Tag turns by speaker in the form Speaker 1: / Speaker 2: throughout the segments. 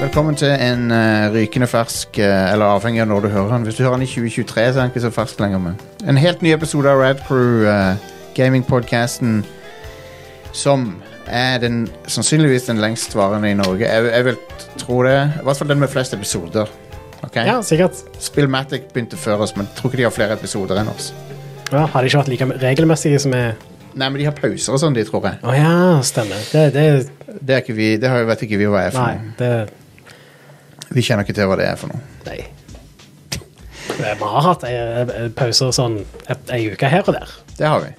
Speaker 1: velkommen til en eh, rykende fersk eh, Eller avhengig av når du hører den. Hvis du hører den i 2023, så er den ikke så fersk lenger. Men. En helt ny episode av Rad Crew, eh, gamingpodcasten som er den, sannsynligvis den lengstvarende i Norge. Jeg, jeg vil tro det. I hvert fall den med flest episoder. Ok?
Speaker 2: Ja, sikkert.
Speaker 1: Spillmatic begynte før oss, men jeg tror ikke de har flere episoder enn oss.
Speaker 2: Ja, har de ikke vært like regelmessige som er
Speaker 1: Nei, men de har pauser og sånn, de, tror jeg.
Speaker 2: Å ja, stemmer. Det, det
Speaker 1: Det, er ikke vi, det har jo vet ikke vi hva er for
Speaker 2: Nei,
Speaker 1: noe.
Speaker 2: det
Speaker 1: Vi kjenner ikke til hva det er for noe.
Speaker 2: Nei. Vi har hatt eh, eh, pauser sånn et- ei uke her og der.
Speaker 1: Det har vi.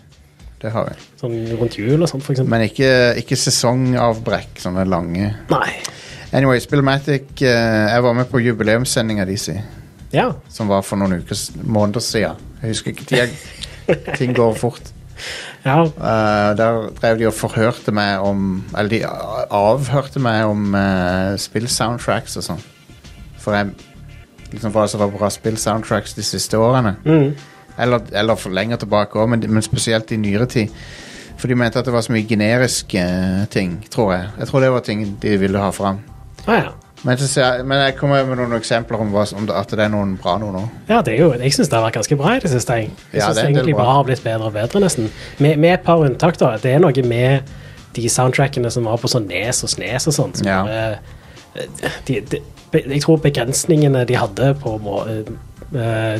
Speaker 1: Det har vi.
Speaker 2: Sånn rundt jul og sånt, for eksempel.
Speaker 1: Men ikke, ikke sesongavbrekk, sånne lange.
Speaker 2: Nei.
Speaker 1: Anyway, Spillmatic eh, Jeg var med på jubileumssendinga de si,
Speaker 2: Ja.
Speaker 1: som var for noen uker, s- måneder siden. Jeg husker ikke tida. Ting går fort.
Speaker 2: ja.
Speaker 1: Eh, der drev de og forhørte meg om Eller de a- avhørte meg om eh, spillsoundtracks og sånn. For jeg liksom hva som var bra spillsoundtracks de siste årene.
Speaker 2: Mm.
Speaker 1: Eller, eller for lenger tilbake òg, men, men spesielt i nyere tid. For de mente at det var så mye generiske eh, ting, tror jeg. Jeg tror det var ting de ville ha fram.
Speaker 2: Ah, ja.
Speaker 1: Men, så, ser jeg- men jeg kommer med noen eksempler om, hva, som- om det, at det er noen bra noen nå.
Speaker 2: ja, det er jo Jeg syns det har vært ganske bra i det siste. Jeg, jeg
Speaker 1: Ja,
Speaker 2: synes
Speaker 1: det er en del
Speaker 2: egentlig
Speaker 1: bra.
Speaker 2: bare har blitt bedre og bedre, nesten. Med, med et par unntak, da. Det er noe med de soundtrackene som var på sånn Nes og Snes og sånt. Som
Speaker 1: Ja.
Speaker 2: bare, eh, de, de, be- jeg tror begrensningene de hadde på må- eh,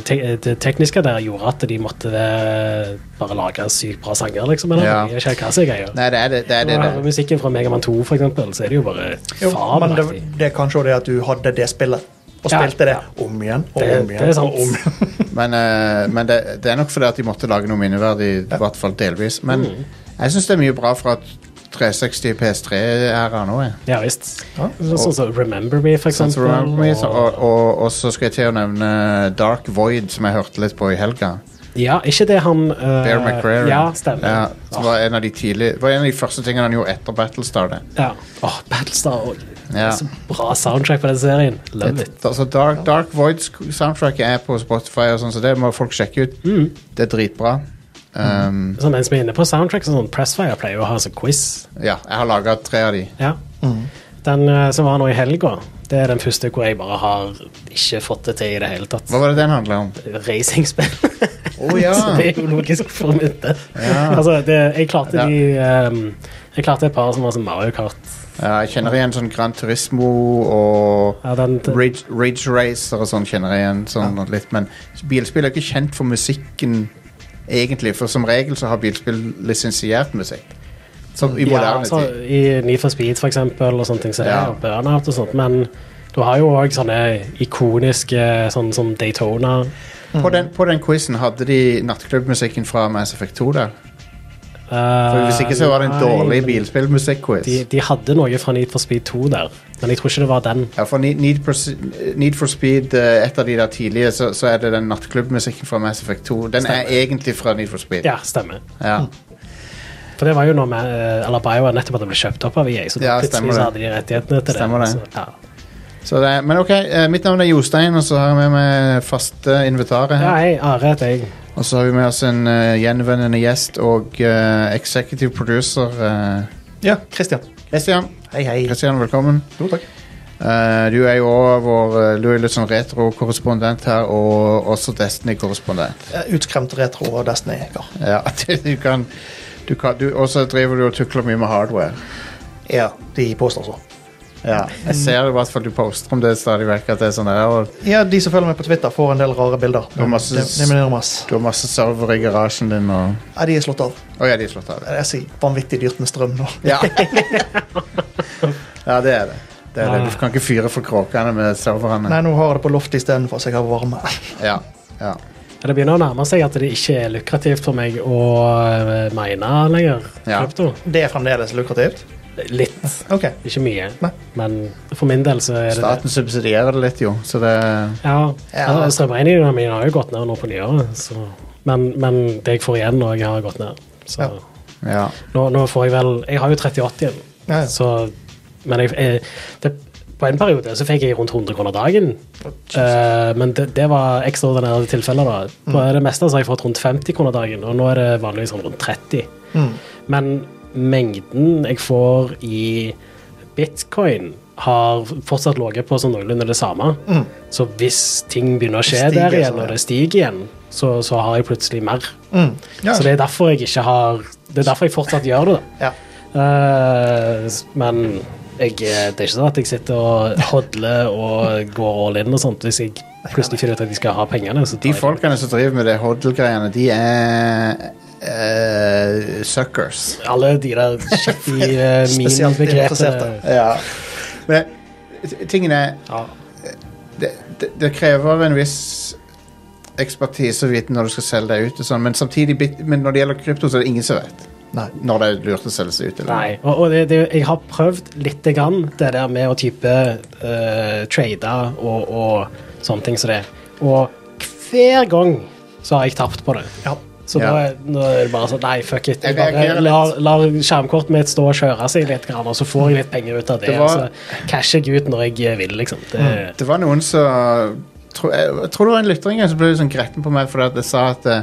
Speaker 2: te, det tekniske der, gjorde at de måtte eh, bare lage sykt bra sanger, liksom. Eller?
Speaker 1: Ja.
Speaker 2: Jeg vet ikke hva som er greia.
Speaker 1: Nei, det er det. det, er det,
Speaker 2: Når du
Speaker 1: det.
Speaker 2: hører musikken fra Megaman 2, for eksempel, så er det jo bare
Speaker 3: Jo, men det,
Speaker 2: fabelaktig.
Speaker 3: det er kanskje også det at du hadde det spillet, og
Speaker 2: Ja.
Speaker 3: spilte det om igjen og
Speaker 2: Det,
Speaker 3: om
Speaker 2: det er
Speaker 3: igjen.
Speaker 2: sant.
Speaker 1: Men, eh, men det, det er nok fordi at de måtte lage noe minneverdig, i hvert fall delvis. Men jeg syns det er mye bra fra 360 PS3 er her nå. Jeg.
Speaker 2: Ja visst.
Speaker 3: Ja.
Speaker 2: Sånn som Remember Me, for
Speaker 1: Sånn
Speaker 2: eksempel.
Speaker 1: som Remember Me, så-
Speaker 2: og-
Speaker 1: og, og, og så skal jeg til å nevne Dark Void, som jeg hørte litt på i helga.
Speaker 2: Ja, ikke det han uh,
Speaker 1: Bear McCrary.
Speaker 2: Ja, stemmer.
Speaker 1: Ja,
Speaker 2: Ja,
Speaker 1: som var en av de tidlige var en av de første tingene han gjorde etter Battlestar. Det.
Speaker 2: ja. Åh, Battlestar og
Speaker 1: Ja.
Speaker 2: Så bra soundtrack på den serien. Love it.
Speaker 1: Da- Så altså, Dark, Dark Void sk- soundtracket er på Spotify, og sånn, så det må folk sjekke ut.
Speaker 2: Mm.
Speaker 1: Det er dritbra. Um,
Speaker 2: Så mens vi er inne på soundtrack, så sånn Pressfire pleier jo å ha sånn quiz.
Speaker 1: ja, jeg har laga tre av de.
Speaker 2: Ja.
Speaker 1: Mm.
Speaker 2: Den eh, som var nå i helga, det er den første hvor jeg bare har ikke fått det til i det hele tatt.
Speaker 1: Hva var det den handla om?
Speaker 2: Racingspill.
Speaker 1: Å, ja.
Speaker 2: så det er jo logisk for mitt. det.
Speaker 1: Ja.
Speaker 2: Altså, det, jeg klarte
Speaker 1: Ja.
Speaker 2: de um, Jeg klarte et par som var som Mario Kart.
Speaker 1: Ja, jeg kjenner igjen sånn Gran Turismo og
Speaker 2: Ja, den,
Speaker 1: Ridge, Ridge Racer og sånn kjenner jeg igjen sånn litt, men bilspill er ikke kjent for musikken egentlig, for som regel så har bilspill lisensiert musikk. Som i moderne
Speaker 2: altså,
Speaker 1: tid.
Speaker 2: I Need for Speed, for eksempel, og sånne ting. Så
Speaker 1: Ja.
Speaker 2: ja. Burnout og sånt. Men du har jo òg sånne ikoniske sånn som Daytona. Mm.
Speaker 1: På den, på den quizen hadde de nattklubbmusikken fra Mass Effect 2 der. For hvis ikke så var det en dårlig bilspillmusikk-quiz.
Speaker 2: Ah, Eh, De, de hadde noe fra Need for Speed 2 der, men jeg tror ikke det var den.
Speaker 1: Ja, for Need, Need, for, Se- Need for Speed, eh, et av de der tidlige, så, så er det den nattklubbmusikken fra Mass Effect 2. Den
Speaker 2: Stemmer.
Speaker 1: er egentlig fra Need for Speed.
Speaker 2: Ja, Mm. stemmer.
Speaker 1: Ja.
Speaker 2: For det var jo når med, eh, eller Bio nettopp hadde blitt kjøpt opp av EA, så
Speaker 1: Ja, stemmer
Speaker 2: plutselig
Speaker 1: det.
Speaker 2: så hadde de rettighetene til
Speaker 1: Stemmer det.
Speaker 2: det. Så, ja.
Speaker 1: Så det er, men ok, eh, mitt navn er Jostein, og så har jeg med meg faste invitarer
Speaker 2: ja,
Speaker 1: her.
Speaker 2: hei, Are heter jeg.
Speaker 1: Og så har vi med oss en eh, gjenvendende gjest og eh, executive producer eh,
Speaker 3: Ja, Christian.
Speaker 1: Christian.
Speaker 3: Hei, hei.
Speaker 1: Christian, velkommen.
Speaker 3: Jo, takk.
Speaker 1: Eh, du er jo også vår eh, du er litt sånn retro-korrespondent her, og også Destiny-korrespondent.
Speaker 3: Eh, Utskremt retro og Destiny. Ja.
Speaker 1: Ja, du kan... Du kan du, og så driver du og tukler mye med hardware.
Speaker 3: ja, de påstår så.
Speaker 1: Ja. Jeg ser i hvert fall du poster om det stadig vekk, at det er sånn der, og
Speaker 3: Ja, de som følger meg på Twitter, får en del rare bilder.
Speaker 1: Og masse-
Speaker 3: Det, det mener jeg masse.
Speaker 1: du har masse server i garasjen din, og...
Speaker 3: Ja, de er slått av.
Speaker 1: Å ja, de er slått av det.
Speaker 3: Det er så vanvittig dyrt med strøm nå.
Speaker 1: Ja. ja, det er det. det, er
Speaker 2: Ah.
Speaker 1: det. Du kan ikke fyre for kråkene med serverne.
Speaker 3: Nei, nå har jeg det på loftet istedenfor, så jeg har varme.
Speaker 1: Ja, ja.
Speaker 2: Ja, Det begynner å nærme seg at det ikke er lukrativt for meg å eh, mine lenger.
Speaker 1: Ja.
Speaker 2: Krypto.
Speaker 3: Det er fremdeles lukrativt.
Speaker 2: Litt.
Speaker 3: Ok.
Speaker 2: Ikke mye,
Speaker 3: Nei.
Speaker 2: men for min del så er det det.
Speaker 1: Staten subsidierer det litt, jo. Så det
Speaker 2: Ja,
Speaker 3: Ja.
Speaker 2: altså, Strømregningene mine har jo gått ned nå på nyåret, så. Men, men det jeg får igjen nå, jeg har gått ned. Så
Speaker 3: Ja.
Speaker 1: Ja.
Speaker 2: nå, nå får jeg vel Jeg har jo 3080 igjen,
Speaker 3: Ja, ja.
Speaker 2: så Men jeg, jeg det, på en periode så fikk jeg rundt 100 kroner dagen. Eh, men det, det var ekstraordinære tilfeller, da.
Speaker 3: Mm.
Speaker 2: På det meste så har jeg fått rundt 50 kroner dagen, og nå er det vanligvis sånn rundt 30.
Speaker 3: Mm,
Speaker 2: Men mengden jeg får i bitcoin har fortsatt ligget på sånn noenlunde det samme.
Speaker 3: Mm.
Speaker 2: Så hvis ting begynner å skje
Speaker 3: Det stiger,
Speaker 2: der igjen,
Speaker 3: sånn,
Speaker 2: og
Speaker 3: ja.
Speaker 2: det stiger igjen, så, så har jeg plutselig mer.
Speaker 3: Mm.
Speaker 1: Ja.
Speaker 2: Så det er derfor jeg ikke har Det er derfor jeg fortsatt gjør det. da.
Speaker 3: Ja.
Speaker 2: Eh, men jeg, det er ikke sånn at jeg sitter og hodler og går all in og sånt hvis jeg plutselig finner ut at jeg skal ha pengene. Så tar
Speaker 1: De
Speaker 2: jeg det.
Speaker 1: folkene som driver med det hodl-greiene, de er eh, suckers.
Speaker 2: Alle de der eh, skittige
Speaker 3: Spesielt interesserte. Eh,
Speaker 2: minibegrepene.
Speaker 1: Ja. Men t- tingen er
Speaker 2: Ja.
Speaker 1: det, det, det krever en viss ekspertise å vite når du skal selge deg ut, og sånn, men samtidig bit- men når det gjelder krypto, så er det ingen som vet
Speaker 3: Nei.
Speaker 1: når det er lurt å selge seg ut. eller-
Speaker 2: Nei. Og, og det, det, jeg har prøvd lite grann det der med å type eh, trade og, og sånne ting som det. Og hver gang så har jeg tapt på det.
Speaker 3: Ja.
Speaker 2: Så
Speaker 1: Ja.
Speaker 2: da er- nå er det bare sånn Nei, fuck it. Jeg
Speaker 1: Jeg reagerer
Speaker 2: bare
Speaker 1: litt.
Speaker 2: lar, lar skjermkortet mitt stå og kjøre seg litt, grann, og så får jeg litt penger ut av det.
Speaker 1: Det var- Mm.
Speaker 2: og Så casher jeg ut når jeg vil, liksom. Det,
Speaker 1: Det var noen som tro, jeg, jeg tror det var en lytter en gang som ble litt sånn gretten på meg fordi at jeg sa at eh,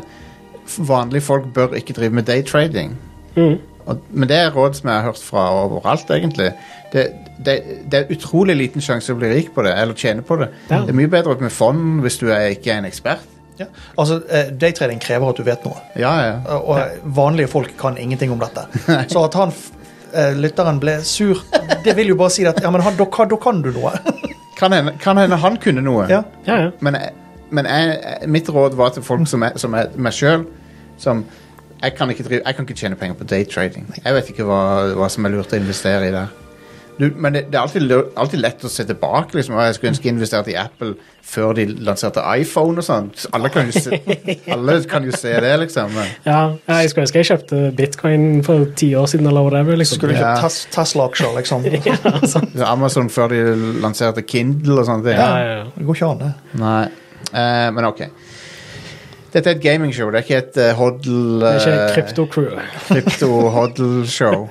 Speaker 1: vanlige folk bør ikke drive med daytrading.
Speaker 2: Mhm.
Speaker 1: Og, men det er råd som jeg har hørt fra overalt, egentlig. Det, det, det er utrolig liten sjanse å bli rik på det, eller tjene på det.
Speaker 2: Ja.
Speaker 1: Det er mye bedre med fond hvis du er, ikke er en ekspert.
Speaker 3: Ja. Altså, eh, Daytrading krever at du vet noe.
Speaker 1: Ja, ja.
Speaker 3: Og vanlige folk kan ingenting om dette. Så at han f- eh, lytteren ble sur, det vil jo bare si at ja, men han, da, kan- da kan du noe.
Speaker 1: Kan hende, kan hende han kunne noe.
Speaker 3: Ja.
Speaker 2: ja, ja.
Speaker 1: Men, jeg- men jeg, jeg- mitt råd var til folk som er, som er meg sjøl, som jeg kan, ikke drive, jeg kan ikke tjene penger på daytrading. Jeg vet ikke hva, hva som er lurt å investere i der. Du, men det, det er alltid, lu- alltid lett å se tilbake. Liksom. Jeg skulle ønske jeg investerte i Apple før de lanserte iPhone og sånn. Så Alle kan jo se, alle kan jo se det, liksom. Men,
Speaker 2: ja. ja jeg skulle ønske jeg kjøpte bitcoin for ti år siden, eller whatever.
Speaker 3: Så
Speaker 2: Liksom.
Speaker 3: Skulle ikke
Speaker 1: Ja.
Speaker 3: Tes- Tesla-aksjer, liksom. Det
Speaker 1: så Amazon før de lanserte Kindle og sånne ting.
Speaker 2: Ja, ja, ja.
Speaker 3: går ikke an, det.
Speaker 1: Nei. Eh, men OK. Dette er et gamingshow, det er ikke et uh, hodl...
Speaker 2: Det er ikke
Speaker 1: eh,
Speaker 2: krypto-crew.
Speaker 1: Krypto-hodl-show.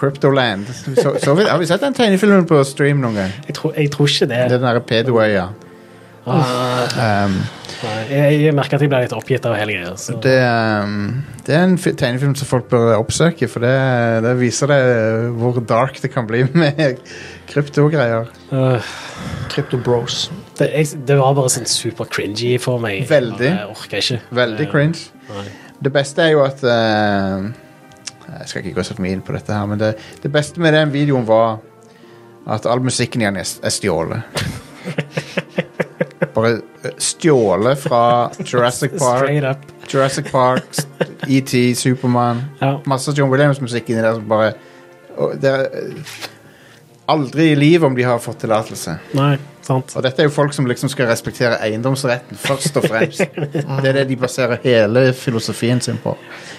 Speaker 1: Kryptoland. Så, så vi, har vi sett den tegnefilmen på stream noen gang?
Speaker 2: Jeg, tror- jeg tror ikke det.
Speaker 1: Den derre pedoøya.
Speaker 2: Ah,
Speaker 1: Um,
Speaker 2: nei. jeg, jeg merker at jeg blir litt oppgitt av hele greia. Så.
Speaker 1: det, um, det er en fi- tegnefilm som folk bør oppsøke, for det, det viser det hvor dark det kan bli med kryptogreier.
Speaker 2: Øh,
Speaker 3: Crypto Bros.
Speaker 2: det, jeg, det var bare sånn super cringy for meg.
Speaker 1: Veldig.
Speaker 2: Jeg bare orker ikke.
Speaker 1: Veldig
Speaker 2: Ja.
Speaker 1: cringe.
Speaker 2: Nei.
Speaker 1: Det beste er jo at eh, Jeg skal ikke gå så mye inn på dette her, men det, det beste med den videoen var at all musikken igjen er s- er stjålet. Bare eh, stjålet fra Jurassic Park,
Speaker 2: Straight up.
Speaker 1: Jurassic Park, s- ET, Supermann.
Speaker 2: Ja.
Speaker 1: Masse John Williams-musikk inni der som bare og det er, eh, Aldri i livet om de har fått tillatelse.
Speaker 2: Nei, sant.
Speaker 1: Og dette er jo folk som liksom skal respektere eiendomsretten først og fremst. Det er det de baserer hele filosofien sin på.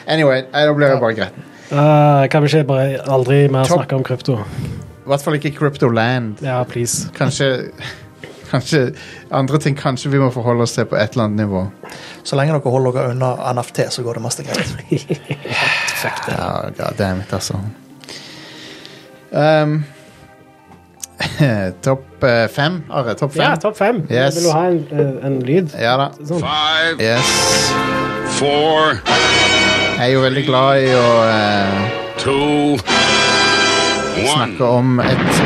Speaker 1: Anyway, eh, da blir jeg bare gretten.
Speaker 2: Øh, kan vi ikke bare aldri mer
Speaker 1: Topp.
Speaker 2: snakke om krypto?
Speaker 1: I hvert fall ikke Cryptoland.
Speaker 2: Ja, please.
Speaker 1: Kanskje, kanskje andre ting kanskje vi må forholde oss til på et eller annet nivå.
Speaker 3: Så lenge dere holder dere unna NFT, så går det meste greit.
Speaker 2: Fuck det.
Speaker 1: Ja, God damn it, altså. Um, topp eh, fem, Are. Topp fem.
Speaker 2: Ja, topp fem.
Speaker 1: Yes.
Speaker 2: Vil du ha en, eh, en lyd?
Speaker 1: Ja da.
Speaker 2: Sånn.
Speaker 4: Five,
Speaker 1: Yes.
Speaker 4: four,
Speaker 1: Jeg er jo veldig glad i å eh,
Speaker 4: two, one.
Speaker 1: snakke om et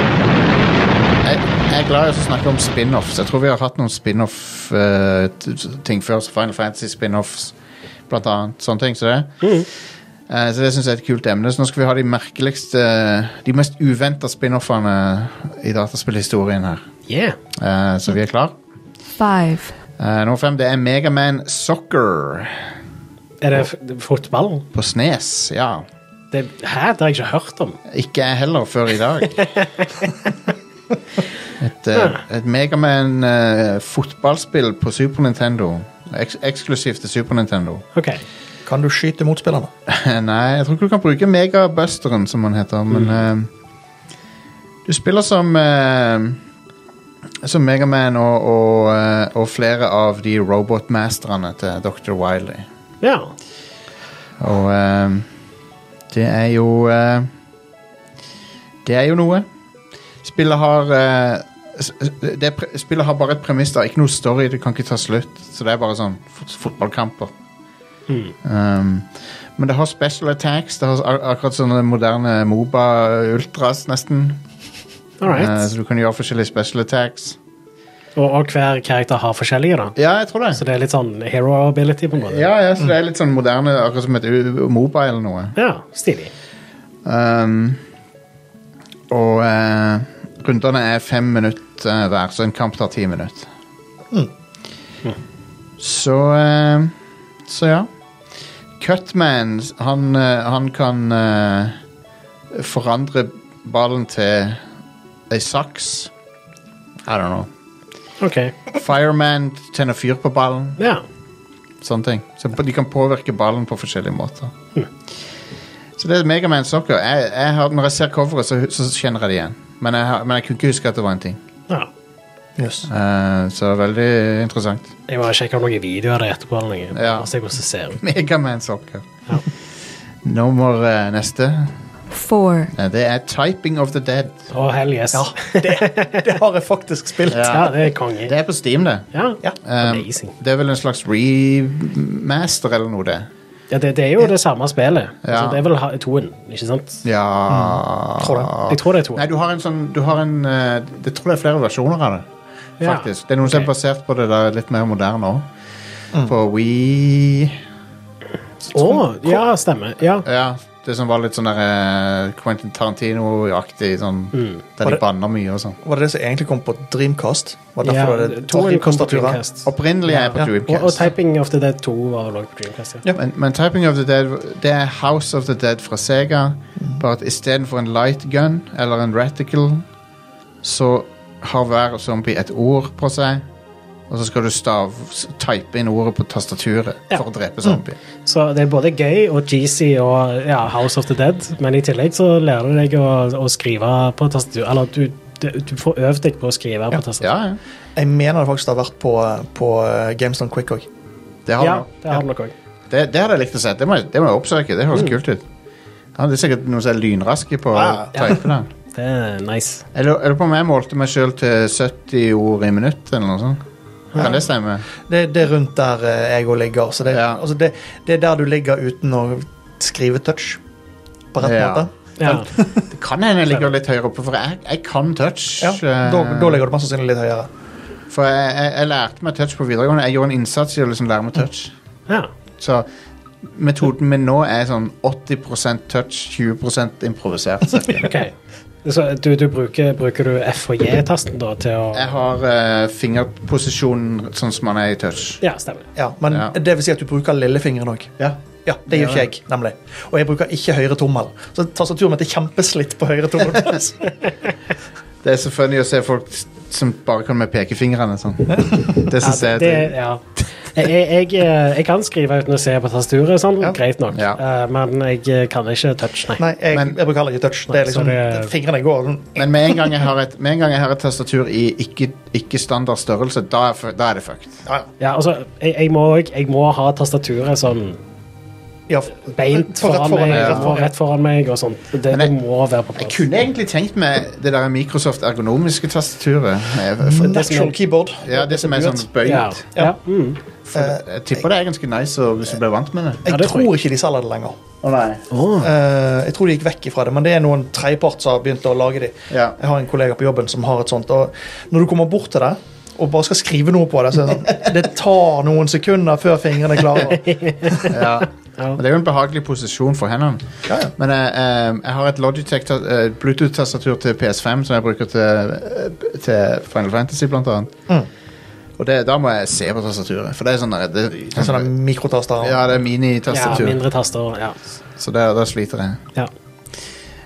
Speaker 1: jeg, jeg er glad i å snakke om spin-offs. Jeg tror vi har hatt noen eh, spin-off-ting før. så Final Fantasy spin-offs, blant annet. Sånne ting som det. Eh, så det syns jeg er et kult emne. Så nå skal vi ha de merkeligste De mest uventa spin-offene i dataspillhistorien her.
Speaker 2: Yeah.
Speaker 1: Eh, så vi er klar.
Speaker 5: Five.
Speaker 1: Eh, nummer fem det er Megaman Soccer
Speaker 2: Er det f- fotball?
Speaker 1: på Snes. Ja.
Speaker 2: Det, hæ? Det har jeg ikke hørt om.
Speaker 1: Ikke jeg heller før i dag. Et, eh, et Megaman-fotballspill på Super Nintendo. Eks eksklusivt til Super Nintendo.
Speaker 2: OK.
Speaker 3: Kan du skyte motspillerne?
Speaker 1: Nei, jeg tror ikke du kan bruke Megabusteren, som han heter, men eh, Du spiller som eh, Som Megaman og, og, eh, og flere av de robotmasterne til Dr. Wiley.
Speaker 2: Ja.
Speaker 1: Og eh, det er jo eh, Det er jo noe. Spillet har eh, s- s- det, er pre- Spillet har bare et premiss, det er ikke noe story, det kan ikke ta slutt. Så det er bare sånn fot fotballkamper.
Speaker 2: Hmm.
Speaker 1: Um, men det har special attacks, det har ak- akkurat sånne moderne Moba Ultras, nesten.
Speaker 2: All
Speaker 1: Eh,
Speaker 2: right.
Speaker 1: så du kan gjøre forskjellige special attacks.
Speaker 2: Og, og hver karakter har forskjellige, da.
Speaker 1: Ja, jeg tror det.
Speaker 2: Så det er litt sånn hero ability, på en måte.
Speaker 1: Ja, ja, så det er litt sånn moderne, akkurat som et U- Moba eller noe.
Speaker 2: Ja, stilig.
Speaker 1: Um, og eh, rundene er fem minutter eh, hver, så en kamp tar ti minutter. Så eh, Så ja. Cutman, han, eh, han kan eh, forandre ballen til ei saks. I don't know.
Speaker 2: OK.
Speaker 1: Fireman tenner fyr på ballen.
Speaker 2: Ja.
Speaker 1: Sånne ting. Så på- de kan påvirke ballen på forskjellige måter.
Speaker 2: Hm.
Speaker 1: Så det er Megaman Soccer. Jeg, jeg har, når jeg ser coveret, så, så kjenner jeg det igjen. Men jeg, har, men jeg kunne ikke huske at det var en ting.
Speaker 2: ja.
Speaker 3: Yes.
Speaker 1: Eh, så veldig interessant.
Speaker 2: Jeg må sjekke om noen videoer av det etterpå. eller noe.
Speaker 1: Ja.
Speaker 2: Og se hvordan det ser ut.
Speaker 1: Megaman Soccer.
Speaker 2: Ja.
Speaker 1: Nummer eh, neste.
Speaker 5: four,
Speaker 1: Eh, det er Typing of the Dead.
Speaker 2: Å, hell yes. Ja.
Speaker 3: Det har jeg faktisk spilt.
Speaker 2: det er konge.
Speaker 1: Det er på Steam, det.
Speaker 2: Ja.
Speaker 3: Ja.
Speaker 1: Um,
Speaker 2: Amazing.
Speaker 1: det er vel en slags remaster eller noe, det.
Speaker 2: Ja, det, det er jo det samme spillet.
Speaker 1: Ja.
Speaker 2: Altså, det er vel ha- toen, ikke sant?
Speaker 1: Ja
Speaker 2: Mm.
Speaker 3: Tror det.
Speaker 2: Jeg tror det er toen.
Speaker 1: Nei, du har en sånn du har en, eh, Jeg tror det er flere versjoner av det.
Speaker 2: Ja.
Speaker 1: Faktisk. Det er noen som er
Speaker 2: Ok.
Speaker 1: basert på det der litt mer moderne òg. På Wii
Speaker 2: Å, ja, stemmer. Ja.
Speaker 1: Ja, det som var litt sånn der eh, Quentin Tarantino-aktig, sånn,
Speaker 2: Mm.
Speaker 3: Var
Speaker 1: der de
Speaker 3: det-
Speaker 1: banner mye og sånn.
Speaker 3: Var det det som egentlig kom på Dreamcast? Var det
Speaker 2: ja
Speaker 3: derfor det var
Speaker 2: toen kom på
Speaker 3: Dreamcast-tastatur?
Speaker 2: Dreamcast. Og,
Speaker 1: Opprinnelig er jeg på
Speaker 3: Ja.
Speaker 1: Dreamcast.
Speaker 2: og Typing of the Dead 2 var vel også på Dreamcast. Ja.
Speaker 3: Ja.
Speaker 1: men, men Typing of the Dead Det er House of the Dead fra Sega.
Speaker 2: Mm.
Speaker 1: Bare at istedenfor en light gun eller en reticle, så har hver zombie et ord på seg. Og så skal du stav, s- type inn ordet på tastaturet
Speaker 2: Ja. Mm.
Speaker 1: for å drepe zombie.
Speaker 2: Så det er både gøy og cheesy og ja, House of the Dead, men i tillegg så lærer du deg å, å skrive på tastatur. Eller du, du, du får øvd deg på å skrive på tastatur.
Speaker 1: Ja, ja.
Speaker 3: Jeg mener det faktisk har vært på, på eh, GameStone Quick òg.
Speaker 1: Det har,
Speaker 2: Ja,
Speaker 1: du-
Speaker 2: det har Mm. du nok òg.
Speaker 1: det, det hadde jeg likt å se. Det må, jeg- det må jeg oppsøke. Det høres kult ut. Ja, det er sikkert noen som er lynraske på
Speaker 3: Ja,
Speaker 2: Ah,
Speaker 1: å type det.
Speaker 2: Det er nice.
Speaker 1: Jeg lurer jeg lurer på om jeg målte meg sjøl til 70 ord i minuttet eller noe sånt. Kan det stemme?
Speaker 3: Det, det er rundt der eh, jeg òg ligger. Så det,
Speaker 1: Ja.
Speaker 3: altså det, det er der du ligger uten å skrive touch. På rett
Speaker 1: Ja.
Speaker 3: måte.
Speaker 2: Ja.
Speaker 1: Det kan hende jeg ligger litt høyere oppe, for jeg, jeg kan touch.
Speaker 3: Ja,
Speaker 1: eh,
Speaker 3: da, da ligger du mest sannsynlig litt høyere.
Speaker 1: For jeg, jeg, jeg lærte meg touch på videregående. Jeg gjorde en innsats i å liksom
Speaker 3: Mm.
Speaker 1: lære meg touch.
Speaker 2: ja.
Speaker 1: Så metoden min nå er sånn 80 touch, 20 improvisert. cirka.
Speaker 2: OK. Så du, du bruker, bruker du F og J-tasten da til å
Speaker 1: Jeg har eh, fingerposisjonen sånn som man er i touch.
Speaker 2: Ja, stemmer.
Speaker 3: Ja, men
Speaker 1: Ja.
Speaker 3: det vil si at du bruker lillefingeren òg.
Speaker 1: Ja.
Speaker 3: Ja, det gjør
Speaker 1: Ja.
Speaker 3: ikke jeg, nemlig. Og jeg bruker ikke høyre tommel. Så tastaturet mitt er kjempeslitt på høyre tommel.
Speaker 1: Det er så funny å se folk s- som bare kan med pekefingrene sånn. Det
Speaker 2: Ja,
Speaker 1: syns jeg
Speaker 2: det,
Speaker 1: er
Speaker 2: ja. jeg, jeg, eh, jeg, jeg kan skrive uten å se på tastaturet, sånn,
Speaker 3: Ja.
Speaker 2: greit nok,
Speaker 1: Ja.
Speaker 2: Eh, men jeg kan ikke touch, nei.
Speaker 3: Nei, jeg,
Speaker 1: Men-
Speaker 3: jeg bruker heller ikke touch. Det
Speaker 2: Nei,
Speaker 3: er
Speaker 2: så
Speaker 3: liksom,
Speaker 2: det-
Speaker 3: Fingrene går sånn.
Speaker 1: Men med en gang jeg har et, med en gang jeg har et tastatur i ikke, ikke standard størrelse, da er, fu- da er det fucked.
Speaker 3: Ja,
Speaker 2: Ja, altså, jeg, jeg, må, ikke- jeg må ha tastaturet sånn
Speaker 3: ja.
Speaker 2: beint
Speaker 3: For rett
Speaker 2: foran,
Speaker 3: foran
Speaker 2: meg,
Speaker 1: ja.
Speaker 2: og rett foran meg og sånt. Det,
Speaker 1: Men jeg-
Speaker 2: det må være på
Speaker 1: Jeg
Speaker 2: plass.
Speaker 1: kunne egentlig tenkt meg det der Microsoft ergonomiske tastaturet. Eh, for-
Speaker 3: Natural keyboard.
Speaker 1: Ja, det som er sånn bøyd.
Speaker 2: Ja. Ja. Mm.
Speaker 3: Eh,
Speaker 1: Jeg tipper det er ganske nice og hvis du blir vant med det.
Speaker 2: Ja,
Speaker 3: Jeg
Speaker 2: det tror jeg.
Speaker 3: tror ikke de selger det lenger.
Speaker 2: Åh.
Speaker 3: Eh, jeg tror de gikk vekk ifra det, men det er noen tredjepart som har begynt å lage de.
Speaker 1: Ja.
Speaker 3: Jeg har en kollega på jobben som har et sånt. Og når du kommer bort til det og bare skal skrive noe på det, så er det, sånn, det tar noen sekunder før fingrene klarer
Speaker 1: Ja. Men det er jo en behagelig posisjon for hendene.
Speaker 3: Ja, ja.
Speaker 1: Men eh, eh, jeg har et Logitech ta- eh, Bluetooth-tastatur til PS5 som jeg bruker til, eh, til Final Fantasy, blant annet.
Speaker 3: Mm.
Speaker 1: Og det, da må jeg se på tastaturet, for det er sånn der, det,
Speaker 3: En sånn der mikrotaster.
Speaker 1: Ja, det er
Speaker 2: ja,
Speaker 1: minitastatur,
Speaker 2: mindre taster. Ja.
Speaker 1: så der, der sliter jeg.
Speaker 2: Ja.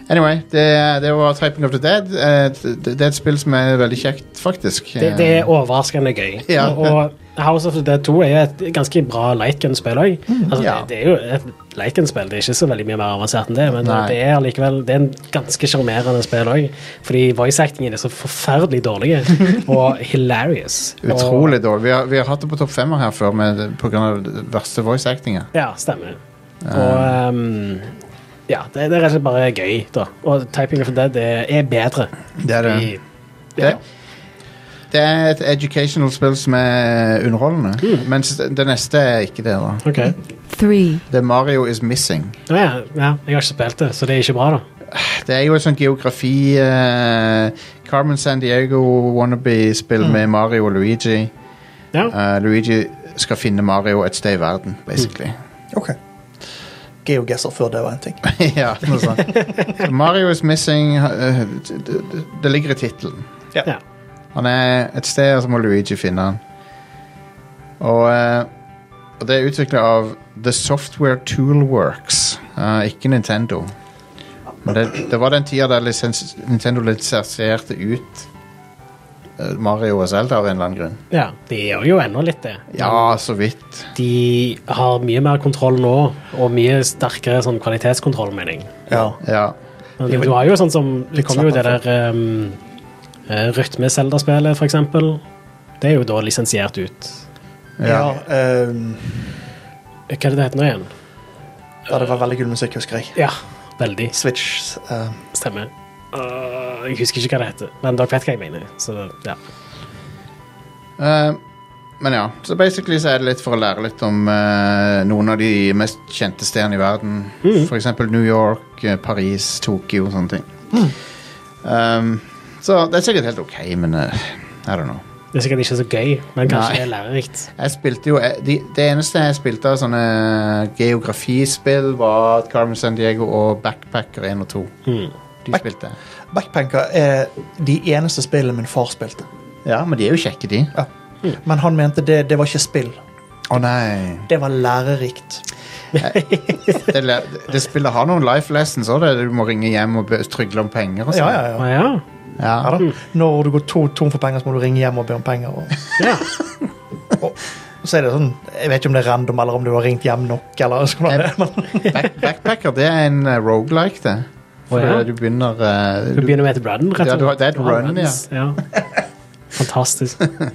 Speaker 1: Anyway, det, det var Typing of the Dead. Eh, det, det er et spill som er veldig kjekt, faktisk.
Speaker 2: Det, det er overraskende gøy.
Speaker 1: Ja.
Speaker 2: Og, og House of the Dead 2 er et ganske bra lightgun-spill òg. Altså,
Speaker 1: Mm, ja.
Speaker 2: det, det er jo et lightgun-spill, det er ikke så veldig mye mer avansert enn det, men
Speaker 1: Nei.
Speaker 2: det er allikevel det er en ganske sjarmerende spill òg. Fordi voice-actingen er så forferdelig dårlig og hilarious.
Speaker 1: Eh, Utrolig dårlig. Vi har, vi har hatt det på topp femmer her før med, på grunn av det verste voice actinga.
Speaker 2: Og, ja, stemmer. Og um, ja, det, det er rett og slett bare gøy, da. Og Typing of the Dead er, er bedre.
Speaker 1: Det er det.
Speaker 2: I,
Speaker 1: Det, det er et educational spill som er underholdende,
Speaker 2: Mm.
Speaker 1: mens det neste er ikke det. da
Speaker 2: ok.
Speaker 5: three,
Speaker 1: Det er Mario is missing.
Speaker 2: Å ja, ja, jeg har ikke spilt det, så det er ikke bra, da.
Speaker 1: Det er jo et sånt geografi eh, Carmen San Diego wannabe-spill
Speaker 2: Mm.
Speaker 1: med Mario og Luigi.
Speaker 2: Ja.
Speaker 1: Eh, Luigi skal finne Mario et sted i verden, basically.
Speaker 3: Ok. Geogesser før det var en ting.
Speaker 1: ja, noe sånt. Så Mario is missing eh, d- d- d- Det ligger i tittelen.
Speaker 2: ja.
Speaker 1: Han er et sted, og så må Luigi finne han. Og, eh, og det er utvikla av The Software Toolworks, eh, ikke Nintendo. Men det, det var den tida der lisens, Nintendo lisensierte ut eh, Mario og Zelda av en eller annen grunn.
Speaker 2: ja. De gjør jo ennå litt det.
Speaker 1: Ja, så vidt.
Speaker 2: De har mye mer kontroll nå, og mye sterkere sånn kvalitetskontroll, mener jeg.
Speaker 3: Ja.
Speaker 1: Ja.
Speaker 2: Men Du har jo sånn som Det
Speaker 3: Litt
Speaker 2: kommer jo det
Speaker 3: slappere.
Speaker 2: der um, Rytme-Selda-spillet, for eksempel. Det er jo da lisensiert ut.
Speaker 3: ja
Speaker 1: ja.
Speaker 3: ehm,
Speaker 2: Hva er det det heter nå igjen?
Speaker 3: ja, det var veldig kul musikk, husker jeg.
Speaker 2: Ja, veldig.
Speaker 3: Switch. ehm,
Speaker 2: Stemmer. Øh, jeg husker ikke hva det heter, men dere vet hva jeg mener. Så ja.
Speaker 1: Eh, men ja, så basically så er det litt for å lære litt om eh, noen av de mest kjente stedene i verden.
Speaker 3: Mm.
Speaker 1: For eksempel New York, eh, Paris, Tokyo og sånne ting.
Speaker 3: Mm.
Speaker 1: Um, så det er sikkert helt ok, men eh, I don't know.
Speaker 2: Det er sikkert ikke så gøy, men kanskje
Speaker 1: Nei.
Speaker 2: det er lærerikt.
Speaker 1: Jeg spilte jo, eh, de, Det eneste jeg spilte av sånne geografispill, var Carmen San Diego og Backpacker 1 og 2. De
Speaker 3: Mm. Back-
Speaker 1: spilte jeg.
Speaker 3: Backpanker er de eneste spillene min far spilte.
Speaker 1: Ja, men de er jo kjekke, de.
Speaker 3: Ja.
Speaker 2: Mm.
Speaker 3: Men han mente det, det var ikke spill.
Speaker 1: Å nei.
Speaker 3: Det var lærerikt.
Speaker 1: Det, le- det spillet har noen life lessons òg. Du må ringe hjem og be- trygle om penger og sånn.
Speaker 3: Ja, ja,
Speaker 2: Å
Speaker 3: ja.
Speaker 2: Ah, ja.
Speaker 1: Ja.
Speaker 3: Ja da. Når du går to, tom for penger, så må du ringe hjem og be om penger. Og,
Speaker 2: ja.
Speaker 3: og så er det sånn, Jeg vet ikke om det er random, eller om du har ringt hjem nok. eller sånn det, er, men,
Speaker 1: Back backpacker det er en uh, roguelike, det. For
Speaker 2: Å, ja.
Speaker 1: eh, du begynner eh,
Speaker 2: Du begynner med et run, rett
Speaker 1: Ja,
Speaker 2: og
Speaker 1: du har- det er et
Speaker 2: Du har
Speaker 1: run, ja.
Speaker 2: runs, ja. Fantastisk. Å,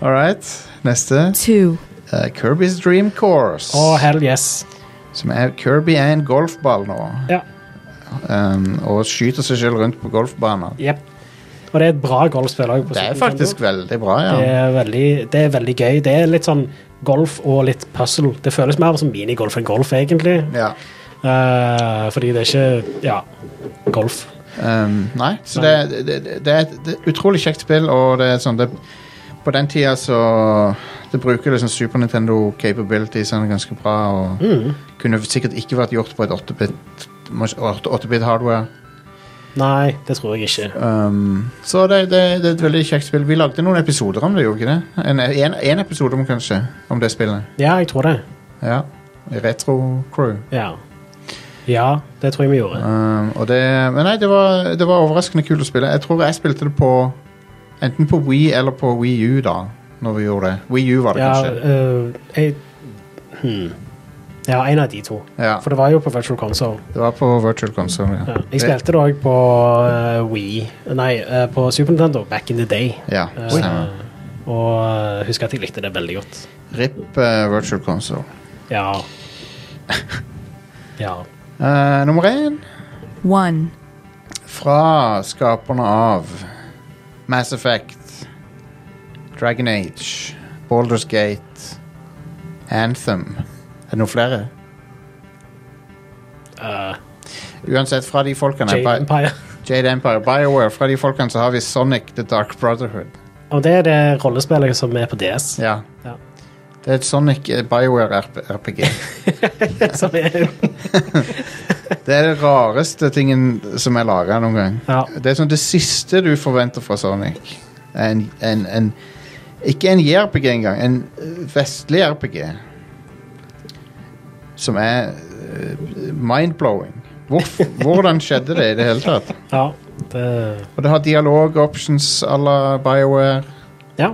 Speaker 1: All right. Neste.
Speaker 5: two,
Speaker 1: Eh, Kirby's Dream Course.
Speaker 2: hell yes.
Speaker 1: som er, Kirby er en golfball nå.
Speaker 2: Ja.
Speaker 1: Um, og skyter seg selv rundt på golfbaner.
Speaker 2: Jep. Og det er et bra golfspill òg.
Speaker 1: Det er faktisk veldig bra, ja.
Speaker 2: Det er, veldig, det er veldig gøy. Det er litt sånn golf og litt puzzle. Det føles mer som minigolf enn golf, egentlig.
Speaker 1: ja.
Speaker 2: Eh, fordi det er ikke Ja, golf.
Speaker 1: Um, nei, så det, det, det, det er et det er et utrolig kjekt spill, og det er sånn det, På den tida så Det bruker liksom Super Nintendo capabilities sånn ganske bra, og kunne sikkert ikke vært gjort på et 8-bit 8-bit hardware.
Speaker 2: Nei, det tror jeg ikke.
Speaker 1: Um, så det, det, det er et veldig kjekt spill. Vi lagde noen episoder om det, gjorde vi ikke det? En, en, en episode om kanskje, om det spillet.
Speaker 2: Ja, jeg tror det.
Speaker 1: Ja. I Retro Crew.
Speaker 2: Ja, ja det tror jeg vi gjorde.
Speaker 1: Um, og det, men nei, det var, det var overraskende kult å spille. Jeg tror jeg spilte det på enten på Wii eller på Wii U, da. Når vi gjorde det. Wii U var det
Speaker 2: Ja,
Speaker 1: kanskje.
Speaker 2: eh, jeg, hmm. ja, en av de to.
Speaker 1: Ja.
Speaker 2: For det var jo på Virtual Console.
Speaker 1: Det var på Virtual Console.
Speaker 2: Ja.
Speaker 1: Ja.
Speaker 2: Jeg spilte det òg på eh, Wii Nei, eh, på Super Nintendo back in the day.
Speaker 1: Ja,
Speaker 2: Eh,
Speaker 1: stemmer.
Speaker 2: og eh, husker at jeg likte det veldig godt.
Speaker 1: RIP eh, Virtual Console.
Speaker 2: Ja. Ja.
Speaker 1: Eh, nummer én
Speaker 5: one,
Speaker 1: fra skaperne av Mass Effect, Dragon Age, Baldur's Gate, Anthem Er det noen flere?
Speaker 2: eh,
Speaker 1: Uansett, fra de folkene
Speaker 2: Jade
Speaker 1: Bi-
Speaker 2: Empire.
Speaker 1: Jade Empire, BioWare, fra de folkene så har vi Sonic The Dark Brotherhood.
Speaker 2: Og det er det rollespillet som er på DS.
Speaker 1: Ja.
Speaker 2: Ja.
Speaker 1: Det er et Sonic eh, BioWare RP RPG.
Speaker 2: Som er,
Speaker 1: Det er det rareste tingen som er laga noen gang.
Speaker 2: ja.
Speaker 1: Det er sånn det siste du forventer fra Sonic. er En, en, en, ikke en JRPG engang, en eh, vestlig RPG. Som er eh, mind-blowing. Hvorf- hvordan skjedde det i det hele tatt?
Speaker 2: ja. Det,
Speaker 1: Og det har dialog-options à la BioWare.
Speaker 2: ja.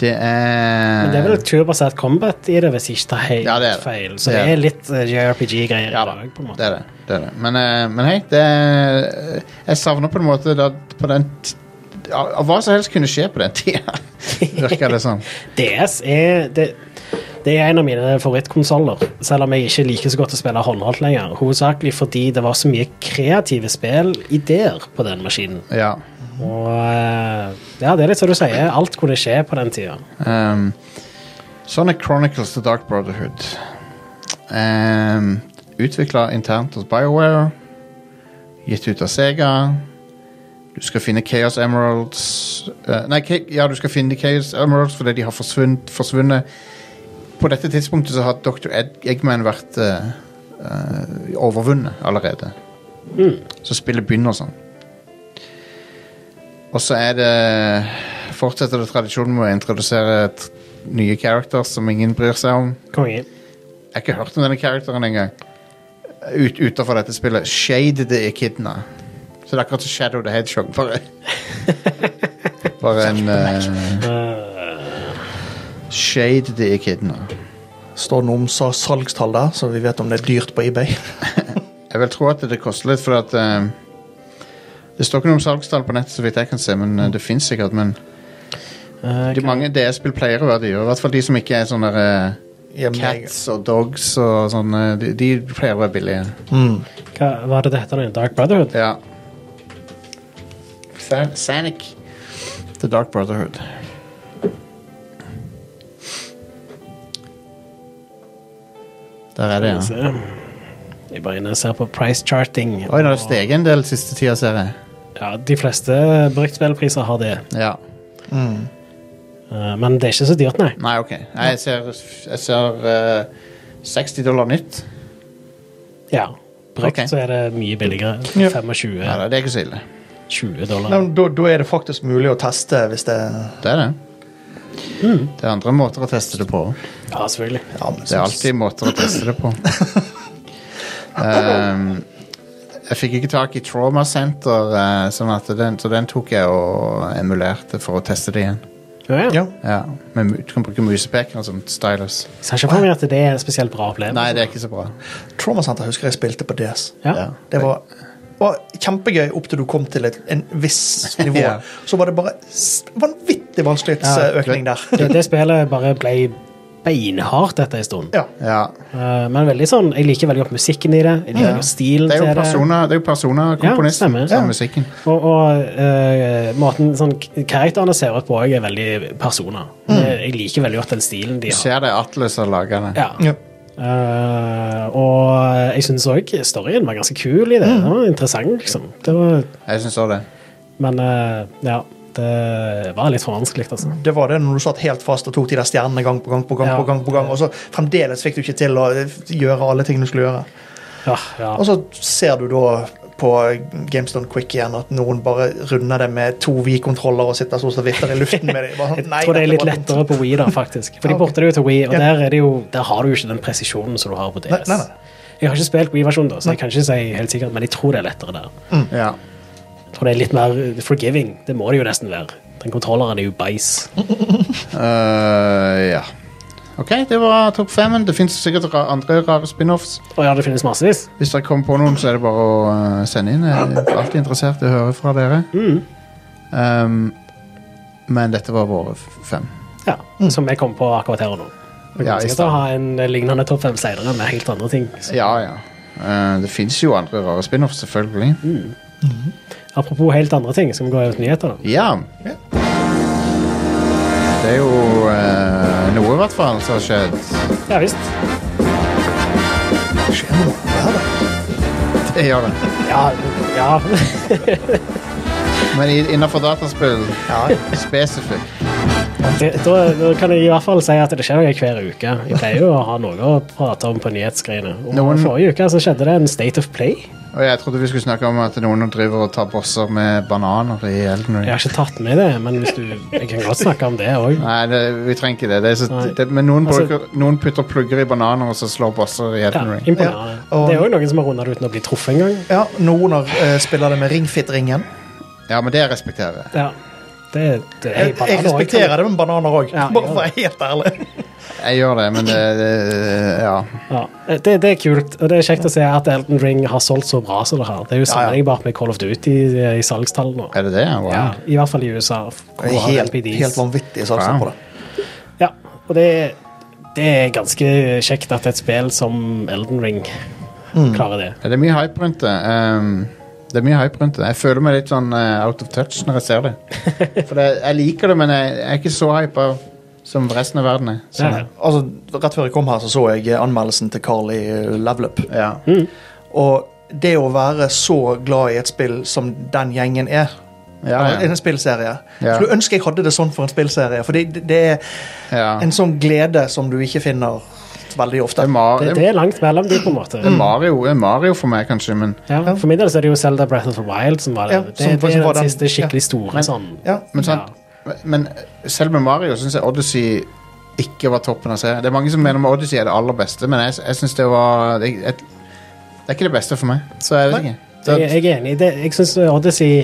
Speaker 1: Det er
Speaker 2: Men det er vel et turbasert combat i det, hvis ikke det er helt
Speaker 1: Eh. Ja, det er det.
Speaker 2: feil. Så
Speaker 1: Det
Speaker 2: det
Speaker 1: er
Speaker 2: er, litt eh, JRPG-greier
Speaker 1: Ja
Speaker 2: i
Speaker 1: da,
Speaker 2: dag, på en måte.
Speaker 1: det er det. det, er det. Men, eh, men hei, det er, Jeg savner på en måte da, på den t ja, Hva som helst kunne skje på den tida, virker det som.
Speaker 2: DS er det, det er en av mine favorittkonsoller, selv om jeg ikke liker så godt å spille håndholdt lenger. Hovedsakelig fordi det var så mye kreative spillideer på den maskinen.
Speaker 1: Ja.
Speaker 2: Og eh, ja, det er litt som du sier, alt kunne skje på den tida.
Speaker 1: Um, Sonic Chronicles The Dark Brotherhood. Ehm, Um, Utvikla internt hos BioWare. Gitt ut av Sega. Du skal finne Chaos Emeralds eh, Nei, Ca- ja, du skal finne Chaos Emeralds fordi de har forsvunnet. forsvunnet. På dette tidspunktet så har Dr. Ed Eggman vært eh, eh, overvunnet allerede. Så spillet begynner sånn. Og så er det Fortsetter det tradisjonen med å introdusere t- nye characters som ingen bryr seg om.
Speaker 2: Konge.
Speaker 1: Jeg har ikke hørt om denne karakteren engang. Ut, utenfor dette spillet. Shade the Echidna. Så det er akkurat som Shadow the Hedgehog, bare. bare en eh, Shade the Echidna.
Speaker 3: Står det noe om sa- salgstall der, så vi vet om det er dyrt på eBay?
Speaker 1: Jeg vil tro at det koster litt, for at eh, Det står ikke noe om salgstall på nettet, så vidt jeg kan se, men eh, det fins sikkert. Men
Speaker 2: Eh,
Speaker 1: de mange DS-spill pleier å være dyre. I hvert fall de som ikke er sånne der, eh,
Speaker 3: Hjemme-
Speaker 1: Cats og Dogs og sånne. De, de pleier å være billige.
Speaker 3: Mm.
Speaker 2: hva var det det heter nå? igjen? Dark Brotherhood?
Speaker 1: Ja. San Sanic. The Dark Brotherhood. Der er det, ja.
Speaker 2: Se. Jeg bare inne og ser på price charting.
Speaker 1: Oi, nå har det steget en del siste tida, ser jeg.
Speaker 2: Ja, de fleste bruktspillpriser har det.
Speaker 1: Ja.
Speaker 2: Eh, Men det er ikke så dyrt, nei.
Speaker 1: Nei, OK. Nei, jeg ser, jeg ser eh, 60 dollar nytt.
Speaker 2: Ja. Brukt
Speaker 1: Ok.
Speaker 2: så er det mye billigere.
Speaker 3: Ja.
Speaker 2: 25-20
Speaker 1: Ja, det er ikke så ille.
Speaker 2: dollar.
Speaker 3: Nei, men Da da er det faktisk mulig å teste hvis det
Speaker 1: Det er det. Det er andre måter å teste det på.
Speaker 2: Ja, selvfølgelig.
Speaker 3: ja, men sånn-
Speaker 1: Det er alltid måter å teste det på. Ehm, jeg fikk ikke tak i Trauma Center, eh, sånn at den, så den tok jeg og emulerte for å teste det igjen.
Speaker 2: Ja, ja.
Speaker 3: Ja.
Speaker 1: Ja, men mu- Du kan bruke musepeker som stylus.
Speaker 2: Jeg ser ikke for meg at det er en spesielt bra opplevelse.
Speaker 1: Nei, det er ikke så bra.
Speaker 3: Trauma Center husker jeg spilte på DS.
Speaker 2: Ja.
Speaker 1: Ja.
Speaker 3: Det var, var kjempegøy opp til du kom til et en viss nivå.
Speaker 1: Ja.
Speaker 3: Så var det bare s- vanvittig vanskelighetsøkning der.
Speaker 2: Det, det spillet bare ble beinhardt etter en stund.
Speaker 3: Ja.
Speaker 1: Ja.
Speaker 2: Eh, Men veldig sånn, jeg liker veldig godt musikken i det. Jeg liker godt stilen
Speaker 1: Det er
Speaker 2: til
Speaker 1: jo
Speaker 2: det.
Speaker 1: personer, det er jo personer komponist
Speaker 2: Ja, stemmer.
Speaker 1: som
Speaker 2: Ja.
Speaker 1: musikken.
Speaker 2: Og, og eh, måten sånn, k- karakterene ser ut på òg, er veldig personer.
Speaker 3: Mm.
Speaker 2: Jeg, jeg liker veldig godt den stilen de
Speaker 1: Du
Speaker 2: har.
Speaker 1: ser det er Atlas har laga det.
Speaker 2: Ja.
Speaker 3: Ja.
Speaker 2: Eh, og jeg syns òg storyen var ganske kul i det.
Speaker 3: Mm.
Speaker 2: Den var interessant, liksom. Det var,
Speaker 1: Jeg syns òg det.
Speaker 2: men eh, ja, det var litt for vanskelig, altså.
Speaker 3: Det var det når du satt helt fast og tok de der stjernene gang på gang, på gang,
Speaker 2: Ja.
Speaker 3: på gang, på gang, og så fremdeles fikk du ikke til å gjøre alle tingene du skulle gjøre.
Speaker 2: Ja, ja.
Speaker 3: Og så ser du da på GameStone Quick igjen at noen bare runder det med to Wii-kontroller og sitter sånn og vifter i luften med det. Bare sånn,
Speaker 2: Jeg
Speaker 3: nei,
Speaker 2: tror det er
Speaker 3: dette
Speaker 2: litt
Speaker 3: var dumt.
Speaker 2: lettere på Wii, da, faktisk. For
Speaker 3: Ja,
Speaker 2: de
Speaker 3: ok.
Speaker 2: porter det jo til Wii, og
Speaker 3: Ja.
Speaker 2: der, er det jo, der har du jo ikke den presisjonen som du har på DS.
Speaker 3: Nei, nei, nei.
Speaker 2: Jeg har ikke spilt Wii-versjonen, da, så jeg kan ikke si helt sikkert, men jeg tror det er lettere der.
Speaker 1: Ja.
Speaker 2: Jeg tror det er litt mer forgiving. Det må det jo nesten være. Den kontrolleren er jo bæsj.
Speaker 1: Øh, ja. OK, det var topp femmen. Det fins sikkert ra andre rare spin-offs.
Speaker 2: Og ja, det finnes massevis.
Speaker 1: Hvis dere kommer på noen, så er det bare å eh, sende inn. Jeg er alltid interessert i å høre fra dere. Um, men dette var våre f- fem.
Speaker 2: Ja, Som jeg kom på akkurat her og nå. Vi
Speaker 1: Ja,
Speaker 2: kan
Speaker 1: i
Speaker 2: sikkert
Speaker 1: stand.
Speaker 2: ha en lignende topp fem senere med helt andre ting. Så,
Speaker 1: Ja, ja. Eh, det fins jo andre rare spin-offs, selvfølgelig.
Speaker 2: Apropos helt andre ting, skal vi gå over til nyheter? da?
Speaker 1: Ja. Det er jo eh, noe, i hvert fall, som har skjedd.
Speaker 2: Ja visst.
Speaker 3: Skjer det noe? Ja, da.
Speaker 1: Det gjør det.
Speaker 2: Ja, ja.
Speaker 1: Men i- innenfor dataspill
Speaker 3: Ja,
Speaker 1: spesifikt.
Speaker 2: Det, da, da kan jeg i hvert fall si at det skjer noe hver uke. Jeg pleier jo å ha noe å prate om på nyhetsgreiene. Og
Speaker 1: Noen-
Speaker 2: Forrige uke så skjedde det en State of Play.
Speaker 1: Og jeg trodde vi skulle snakke om at noen driver og tar bosser med bananer i Elden Ring.
Speaker 2: Jeg har ikke tatt med det, men hvis du, jeg kan godt snakke om det òg.
Speaker 1: Nei, det, vi trenger ikke det. det, er så,
Speaker 2: Nei.
Speaker 1: det men noen,
Speaker 2: Altså-
Speaker 1: bruker, noen putter plugger i bananer og så slår bosser i
Speaker 2: Ja,
Speaker 1: Elden Ring.
Speaker 2: imponerende.
Speaker 3: Ja, og-
Speaker 2: Det er òg noen som har runda det uten å bli truffet engang.
Speaker 3: ja noen har eh, spiller det med ringfit-ringen.
Speaker 1: Ja, men det respekterer jeg.
Speaker 2: Ja. Det, det er eh,
Speaker 3: Jeg, jeg respekterer det med bananer òg,
Speaker 2: Ja,
Speaker 3: bare
Speaker 2: ja.
Speaker 3: for å være helt ærlig.
Speaker 1: Jeg gjør det, men det, det Ja.
Speaker 2: Ja, eh, det, det er kult, og det er kjekt å se at Elden Ring har solgt så bra som det har. Det er jo sammenlignbart med Call of Duty i, i salgstall nå.
Speaker 1: Er det det? Wow.
Speaker 2: Ja, I hvert fall i USA. hvor
Speaker 3: Det er
Speaker 2: har
Speaker 3: helt,
Speaker 2: LPDs.
Speaker 3: helt vanvittig salgsen
Speaker 1: Wow.
Speaker 3: på det.
Speaker 2: Ja, og det, det er ganske kjekt at et spill som Elden Ring
Speaker 3: Mm.
Speaker 2: klarer det.
Speaker 1: Ja, Det er mye hype rundt det. ehm, det er mye hype rundt det. Jeg føler meg litt sånn eh, out of touch når jeg ser det. For det, jeg liker det, men jeg, jeg er ikke så hypa som resten av verden er. Så,
Speaker 2: Ja.
Speaker 3: Altså, Rett før jeg kom her, så så jeg eh, anmeldelsen til Carl i eh, Level Up.
Speaker 1: ja.
Speaker 3: Og det å være så glad i et spill som den gjengen er,
Speaker 1: Ja,
Speaker 3: Eller
Speaker 1: ja.
Speaker 3: en spillserie.
Speaker 1: Ja.
Speaker 3: Skulle ønske jeg hadde det sånn for en spillserie, for det, det er
Speaker 1: ja.
Speaker 3: en sånn glede som du ikke finner veldig
Speaker 1: Det
Speaker 3: ofte.
Speaker 1: er Mar-
Speaker 2: Det, det er langt mellom de, på en måte.
Speaker 3: Mm.
Speaker 1: det er Mario, det er Mario for meg, kanskje, men
Speaker 2: Ja, for min del så er det jo Zelda Breath of the Wild som var det.
Speaker 3: Ja,
Speaker 2: det,
Speaker 3: som
Speaker 2: det
Speaker 3: faktisk
Speaker 2: er
Speaker 3: var
Speaker 2: den
Speaker 3: den-
Speaker 2: siste skikkelig store sånn.
Speaker 3: Ja.
Speaker 1: Men, sant, men selv med Mario syns jeg Odyssey ikke var toppen å se. Det er mange som mener med Odyssey er det aller beste, men jeg, jeg syns det var det, jeg, det er ikke det beste for meg. Så jeg vet
Speaker 3: Nei.
Speaker 1: ikke. Så,
Speaker 2: Jeg, jeg er enig. i Det, jeg syns Odyssey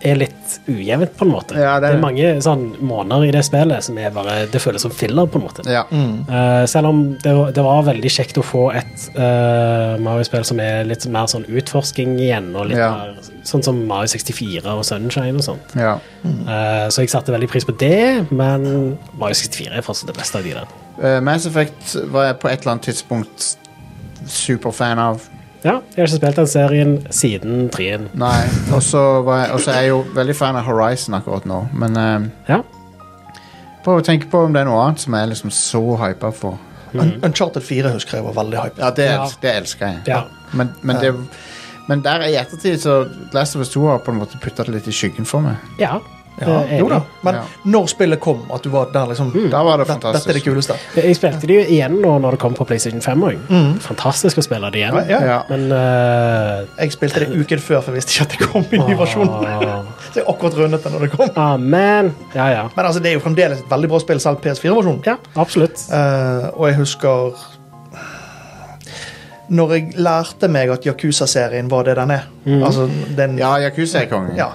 Speaker 2: er litt ujevnt, på en måte.
Speaker 1: Ja, det er
Speaker 2: det er mange sånn måneder i det spillet som er bare Det føles som filler, på en måte.
Speaker 1: ja.
Speaker 2: Eh, selv om det, var- det var veldig kjekt å få et eh, Mario-spill som er litt mer sånn utforsking igjen, og litt
Speaker 1: Ja.
Speaker 2: mer, sånn som Mario 64 og Sunshine og sånt.
Speaker 1: ja.
Speaker 2: Eh, så jeg satte veldig pris på det, men Mario 64 er fortsatt det beste av de der.
Speaker 1: Eh, Mass Effect var jeg på et eller annet tidspunkt superfan av.
Speaker 2: Ja, jeg har ikke spilt den serien siden 3-en.
Speaker 1: Nei. Og så var jeg- og så er jeg jo veldig fan av Horizon akkurat nå, men eh,
Speaker 2: Ja.
Speaker 1: prøv å tenke på om det er noe annet som jeg er liksom så hypa for.
Speaker 3: Un- Uncharted 4 husker jeg var veldig hypet.
Speaker 1: Ja, det,
Speaker 2: Ja.
Speaker 1: els- det elsker jeg.
Speaker 2: Ja.
Speaker 1: Men, men, det, men der i ettertid så Last of Us 2 har på en måte putta det litt i skyggen for meg.
Speaker 2: ja.
Speaker 3: Ja,
Speaker 2: eh,
Speaker 3: jo da.
Speaker 2: enig.
Speaker 3: Men
Speaker 1: Ja. Mm,
Speaker 3: når spillet kom, at du var der liksom
Speaker 1: Da var det
Speaker 3: "Dette- Dette er det
Speaker 1: fantastisk.
Speaker 3: kuleste.
Speaker 2: Jeg spilte det jo igjen nå når det kom på PlayStation 5 òg. Fantastisk å spille det igjen.
Speaker 3: Mm. Ja, ja.
Speaker 1: Ja.
Speaker 2: Men eh,
Speaker 3: Jeg spilte det uken før, for jeg visste ikke at det kom i ny versjon. Så jeg akkurat rundet det når det kom.
Speaker 2: Amen. Ja, ja.
Speaker 3: Men altså, det er jo fremdeles et veldig bra spill, selv PS4-versjonen.
Speaker 2: Ja, absolutt.
Speaker 3: Eh, og jeg husker Når jeg lærte meg at Yakuza-serien var det den er Altså, den
Speaker 1: Mhm. Ja, Yakuza er kongen.
Speaker 3: ja,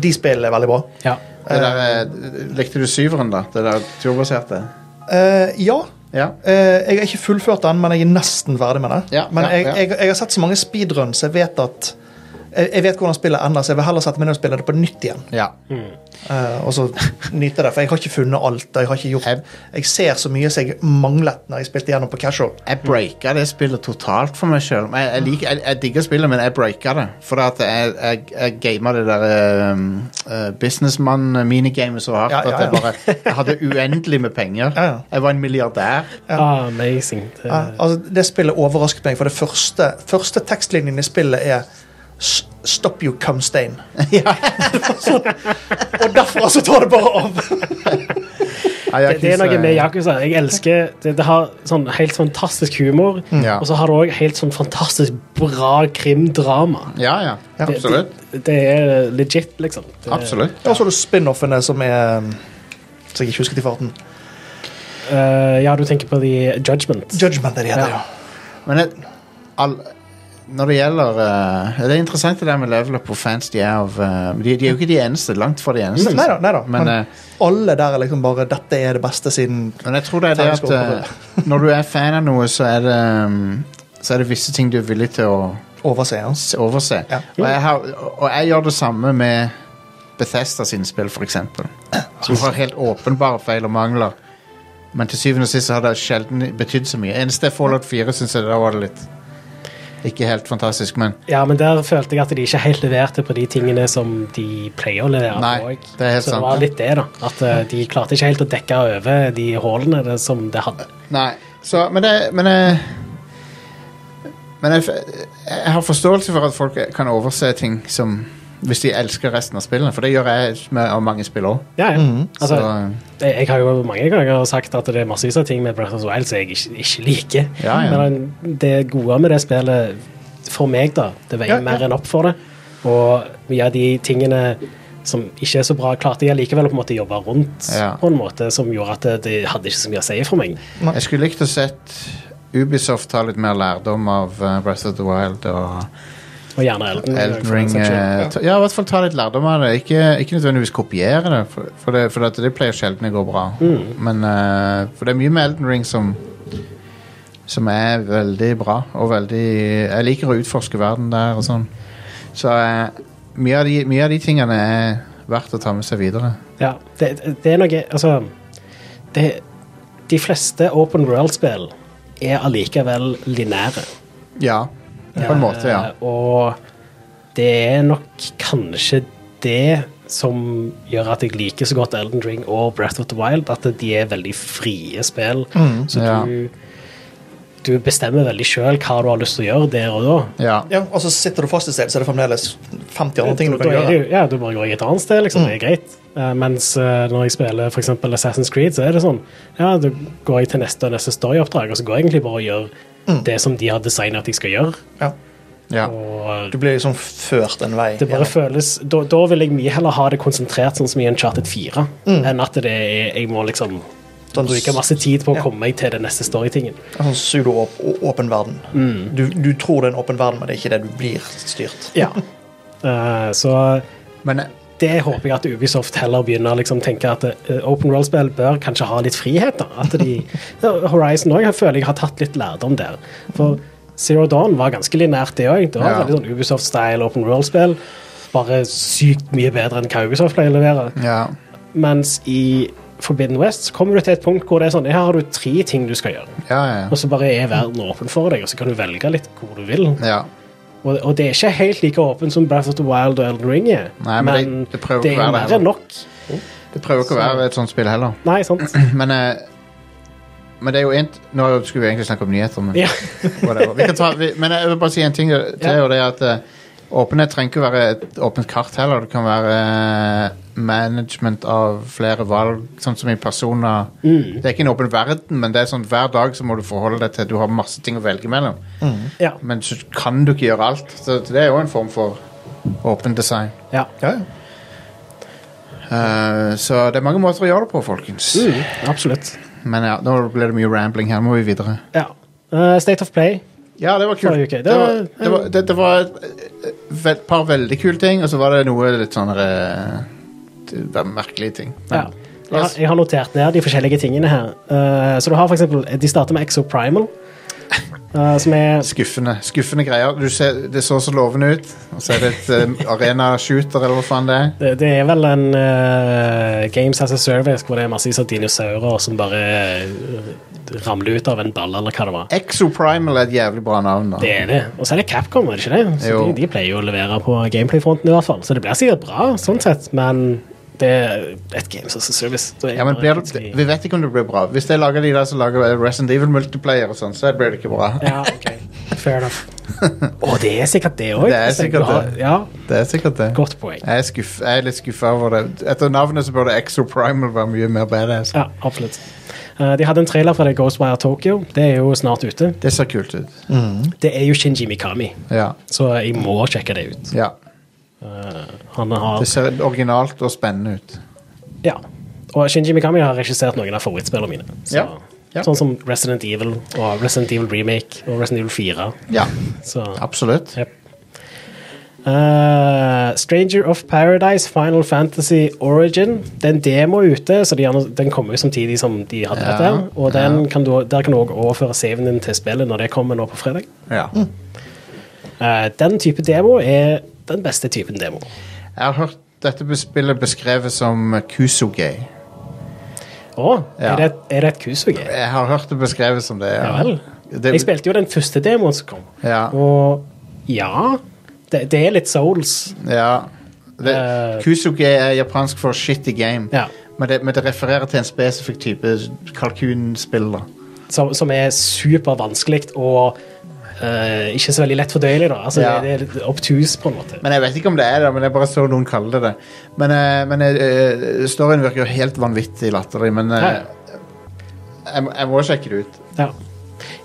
Speaker 3: De spillene er veldig bra.
Speaker 2: Ja.
Speaker 1: Det der, eh, likte du syveren, da? Det der turbaserte?
Speaker 3: Eh, ja.
Speaker 1: Ja.
Speaker 3: eh, jeg har ikke fullført den, men jeg er nesten ferdig med det.
Speaker 1: Ja,
Speaker 3: men
Speaker 1: ja,
Speaker 3: jeg,
Speaker 1: ja.
Speaker 3: Jeg, jeg har sett så mange speedruns, jeg vet at jeg, jeg vet hvordan spillet ender, så jeg vil heller sette meg ned og spille det på nytt igjen.
Speaker 1: ja.
Speaker 3: Eh, og så nyte det, for jeg har ikke funnet alt. Og jeg, har ikke
Speaker 1: Jeg-
Speaker 3: gjort, jeg ser så mye som jeg manglet når jeg spilte gjennom på casual.
Speaker 1: Jeg breaka det spillet totalt for meg sjøl. Jeg, jeg, liker- jeg, jeg digger spillet, men jeg breaka det. For at jeg, jeg, jeg gama det der eh, eh, businessmann-minigamet så hardt
Speaker 3: Ja, ja,
Speaker 1: at jeg
Speaker 3: ja.
Speaker 1: bare jeg hadde uendelig med penger.
Speaker 3: Ja, ja.
Speaker 1: Jeg var en milliardær.
Speaker 2: Amazing. Det,
Speaker 1: Eh,
Speaker 3: Ja, altså, det spillet overrasket meg, for det første, første tekstlinjen i spillet er "S- Stop you cum stain. og derfra så tar det bare av.
Speaker 2: det, det er noe med
Speaker 1: eh,
Speaker 2: Yakuza. Jeg elsker Det, det har sånn helt fantastisk humor,
Speaker 3: Mm.
Speaker 1: Ja.
Speaker 2: og så har det òg helt sånn fantastisk bra krimdrama.
Speaker 1: Ja, ja. Absolutt.
Speaker 2: Det, det er legit, liksom. Det,
Speaker 1: Absolutt.
Speaker 3: Og så har du spin-offene som er Så jeg ikke husket i farten.
Speaker 2: Eh, ja, du tenker på The Judgment.
Speaker 3: Judgment er det heter,
Speaker 2: Ja.
Speaker 3: ja.
Speaker 1: Men jeg, all, når det gjelder eh, Det er interessant det der med level up hvor fans de er av eh, de, de er jo ikke de eneste. Langt fra de eneste.
Speaker 3: Nei da, nei da.
Speaker 1: Men,
Speaker 3: Men,
Speaker 1: eh,
Speaker 3: alle der er liksom bare 'Dette er det beste siden
Speaker 1: Men jeg tror det er det
Speaker 3: Terje skal
Speaker 1: at eh, når du er fan av noe, så er det um, så er det visse ting du er villig til å
Speaker 3: overseeren'.
Speaker 1: s- overse.
Speaker 3: Ja.
Speaker 1: Og, jeg har, og jeg gjør det samme med Bethesda sine spill, f.eks. Som har helt åpenbare feil og mangler. Men til syvende og sist så har det sjelden betydd så mye. Eneste er Fallout 4 syns jeg da var det litt Ikke helt fantastisk, men
Speaker 2: Ja, men der følte jeg at de ikke helt leverte på de tingene som de pleier å levere
Speaker 1: Nei,
Speaker 2: på.
Speaker 1: det er helt
Speaker 2: så
Speaker 1: sant.
Speaker 2: det var litt det, da. At eh, de klarte ikke helt å dekke over de hullene det- som det hadde.
Speaker 1: Nei, så, men det Men, jeg, men jeg, jeg har forståelse for at folk kan overse ting som hvis de elsker resten av spillene, for det gjør jeg med av mange spill òg.
Speaker 2: Ja, ja. Altså,
Speaker 1: Mhm, Så-
Speaker 2: jeg, jeg har jo mange ganger sagt at det er massevis av ting med Breath of the Wild som jeg ikke, ikke liker.
Speaker 1: Ja, ja.
Speaker 2: Men det gode med det spillet for meg, da, det veier
Speaker 3: Ja, ja.
Speaker 2: mer enn opp for det. Og mye av de tingene som ikke er så bra, klarte jeg likevel å på en måte jobbe rundt
Speaker 1: Ja.
Speaker 2: på en måte som gjorde at det, det hadde ikke så mye å si for meg.
Speaker 1: Jeg skulle likt å sett Ubisoft ta litt mer lærdom av eh, Breath of the Wild og
Speaker 2: Og gjerne Elden,
Speaker 1: Elden
Speaker 2: for den
Speaker 1: Ring.
Speaker 2: saks skyld.
Speaker 1: eh, ta- Mm. ja, i hvert fall ta litt lærdom av det. Ikke, ikke nødvendigvis kopiere det, for, for, det, for at det pleier sjelden å gå bra. Men, eh, for det er mye med Elden Ring som som er veldig bra, og veldig Jeg liker å utforske verden der og sånn. Så eh, mye, av de, mye av de tingene er verdt å ta med seg videre.
Speaker 2: Ja, det, det er noe Altså, det, de fleste open world-spill er allikevel lineære.
Speaker 1: Ja, på en måte, ja.
Speaker 2: Eh, Og det er nok kanskje det som gjør at jeg liker så godt Elden Ring
Speaker 1: Mm,
Speaker 2: og Breath of the Wild, at de er veldig frie spill. så
Speaker 1: ja.
Speaker 2: du, du bestemmer veldig sjøl hva du har lyst til å gjøre der og da.
Speaker 1: Ja.
Speaker 3: Ja, og så sitter du fast et sted, så er det fremdeles 50 andre ting du
Speaker 2: Da
Speaker 3: kan Mm.
Speaker 2: er det
Speaker 3: gjøre.
Speaker 2: jo- Ja, du bare går jeg et annet sted, liksom. Det er greit. Eh, mens eh, når jeg spiller for eksempel Assassin's Creed, så er det sånn Ja, da går jeg til neste og neste storyoppdrag, og så går jeg egentlig bare og gjør det som de har designet at jeg skal gjøre.
Speaker 3: Mm. Ja.
Speaker 1: ja.
Speaker 2: Og eh,
Speaker 3: Du blir liksom ført en vei.
Speaker 2: det bare føles da, da vil jeg mye heller ha det konsentrert sånn som i Uncharted 4,
Speaker 3: Mm.
Speaker 2: enn at det er, jeg må liksom
Speaker 3: Sånn-
Speaker 2: bruke masse tid på å
Speaker 3: Ja.
Speaker 2: komme meg til den neste storytingen.
Speaker 3: En Sånn pseudo-åpen verden. Du, du tror det er en åpen verden, men det er ikke det du blir styrt.
Speaker 2: Ja. Eh, så
Speaker 1: Men eh,
Speaker 2: det håper jeg at Ubisoft heller begynner å liksom, tenke at eh, open world-spill bør kanskje ha litt frihet. da. At de, Ja, Horizon òg føler jeg har tatt litt lærdom der. For Zero Dawn var ganske linært, det òg. Det var
Speaker 1: Ja.
Speaker 2: veldig sånn Ubisoft-style open world-spill. Bare sykt mye bedre enn hva Ubisoft pleier å levere.
Speaker 1: ja.
Speaker 2: Mens i Forbidden West så kommer du til et punkt hvor det er sånn, her har du tre ting du skal gjøre.
Speaker 1: Ja, ja.
Speaker 2: Og så bare er verden åpen for deg, og så kan du velge litt hvor du vil.
Speaker 1: ja.
Speaker 2: Og, og det er ikke helt like åpent som Breath of the Wild og Elden Ring er.
Speaker 1: Nei, men det- det prøver ikke
Speaker 2: det
Speaker 1: å være det
Speaker 2: er mer
Speaker 1: heller.
Speaker 2: enn nok.
Speaker 1: Det prøver ikke å være et sånt spill heller.
Speaker 2: Nei, sant?
Speaker 1: Men, eh, men det er jo en Nå skulle vi egentlig snakke om nyheter, men
Speaker 2: Ja.
Speaker 1: whatever. Vi kan ta, vi, men jeg vil bare si en ting til,
Speaker 2: Ja.
Speaker 1: og det er at eh, åpenhet trenger ikke å være et åpent kart heller. Det kan være eh, management av flere valg, sånn som i personer.
Speaker 2: Mm.
Speaker 1: Det er ikke en åpen verden, men det er sånn hver dag så må du forholde deg til Du har masse ting å velge mellom,
Speaker 3: Mm.
Speaker 2: Ja.
Speaker 1: men så kan du ikke gjøre alt. Så det er jo en form for åpen design.
Speaker 2: ja.
Speaker 3: Ja, ja.
Speaker 1: Eh, så det er mange måter å gjøre det på, folkens.
Speaker 2: Mm, absolutt.
Speaker 1: Men ja, nå blir det mye rambling her. Nå må vi videre.
Speaker 2: Ja. Eh, State of Play.
Speaker 1: Ja, det var kult.
Speaker 2: Forrige uke. Det
Speaker 1: Det var,
Speaker 2: var-
Speaker 1: det var, det, det var et, et- et par veldig kule ting, og så var det noe litt sånn eh, det var merkelige ting. Men,
Speaker 2: Ja. Jeg, har- jeg har notert ned de forskjellige tingene her. Eh, så du har for eksempel, De starter med Exo Primal, eh, som er
Speaker 1: Skuffende skuffende greier. Du ser, det så så lovende ut, og så er det et eh, arena-shooter, eller hva faen det er.
Speaker 2: Det, det er vel en eh, Games as a Service hvor det er massevis av dinosaurer som bare eh, ramler ut av en ball, eller hva det var.
Speaker 1: Exoprimal er et jævlig bra navn. da
Speaker 2: Det er det. Og så er det Capcom, er det ikke det? Så
Speaker 1: Jo.
Speaker 2: de, de pleier jo å levere på gameplay-fronten, i hvert fall. Så det blir sikkert bra, sånn sett, men det er et Games as a Service. Det er
Speaker 1: Ja, men
Speaker 2: bare
Speaker 1: blir det,
Speaker 2: vanskelig.
Speaker 1: vi vet ikke om det blir bra. Hvis jeg lager de der som lager Resident Evil Multiplayer, og sånn, så blir det ikke bra.
Speaker 2: Ja, ok. Fair enough. Og det er sikkert det òg.
Speaker 1: Det er sikkert det.
Speaker 2: Ja,
Speaker 1: Det er sikkert det.
Speaker 2: godt poeng.
Speaker 1: Jeg er, skuff, jeg er litt skuffa over det. Etter navnet så burde Exoprimal være mye mer badass.
Speaker 2: Ja, absolutt. Eh, de hadde en trailer fra det Ghostwire Tokyo. Det er jo snart ute.
Speaker 1: Det ser kult ut.
Speaker 2: Mm. Det er jo Shinji Mikami,
Speaker 1: Ja.
Speaker 2: så jeg må sjekke det ut.
Speaker 1: ja.
Speaker 2: Eh, han har
Speaker 1: Det ser originalt og spennende ut.
Speaker 2: Ja. Og Shinji Mikami har regissert noen av favorittspillene mine. Så,
Speaker 1: Ja, ja.
Speaker 2: Sånn som Resident Evil og Resident Evil Remake og Resident Evil 4.
Speaker 1: Ja,
Speaker 2: Så,
Speaker 1: absolutt.
Speaker 2: jep. Eh, Stranger of Paradise Final Fantasy Origin. Det er en demo ute, så de, gjerne- den kommer jo samtidig som de hadde
Speaker 1: Ja,
Speaker 2: dette. her. Og den kan du, der kan du òg overføre saven din til spillet når det kommer nå på fredag.
Speaker 1: Ja.
Speaker 2: Mm. Eh, den type demo er den beste typen demo.
Speaker 1: Jeg har hørt dette bes- spillet beskrevet som Kusuge.
Speaker 2: Å,
Speaker 1: Ja.
Speaker 2: er, det, er det et kusuge?
Speaker 1: Jeg har hørt det beskrevet som det.
Speaker 2: Ja vel.
Speaker 1: Det,
Speaker 2: Jeg spilte jo den første demoen som kom.
Speaker 1: Ja.
Speaker 2: Og ja det, det er litt Souls.
Speaker 1: ja. Det,
Speaker 2: Eh.
Speaker 1: Kusuge er japansk for shitty game.
Speaker 2: Ja.
Speaker 1: Men, det, men det refererer til en spesifikk type kalkunspill. da.
Speaker 2: Som, som er supervanskelig og eh, ikke så veldig lett fordøyelig. da. Altså,
Speaker 1: Ja.
Speaker 2: Det er litt obtus, på en måte.
Speaker 1: Men jeg vet ikke om det er det, men jeg bare så noen kalle det det. Men, eh, men eh, storyen virker jo helt vanvittig latterlig, men eh,
Speaker 2: Ja, ja.
Speaker 1: jeg, må- jeg må sjekke det ut.
Speaker 2: Ja.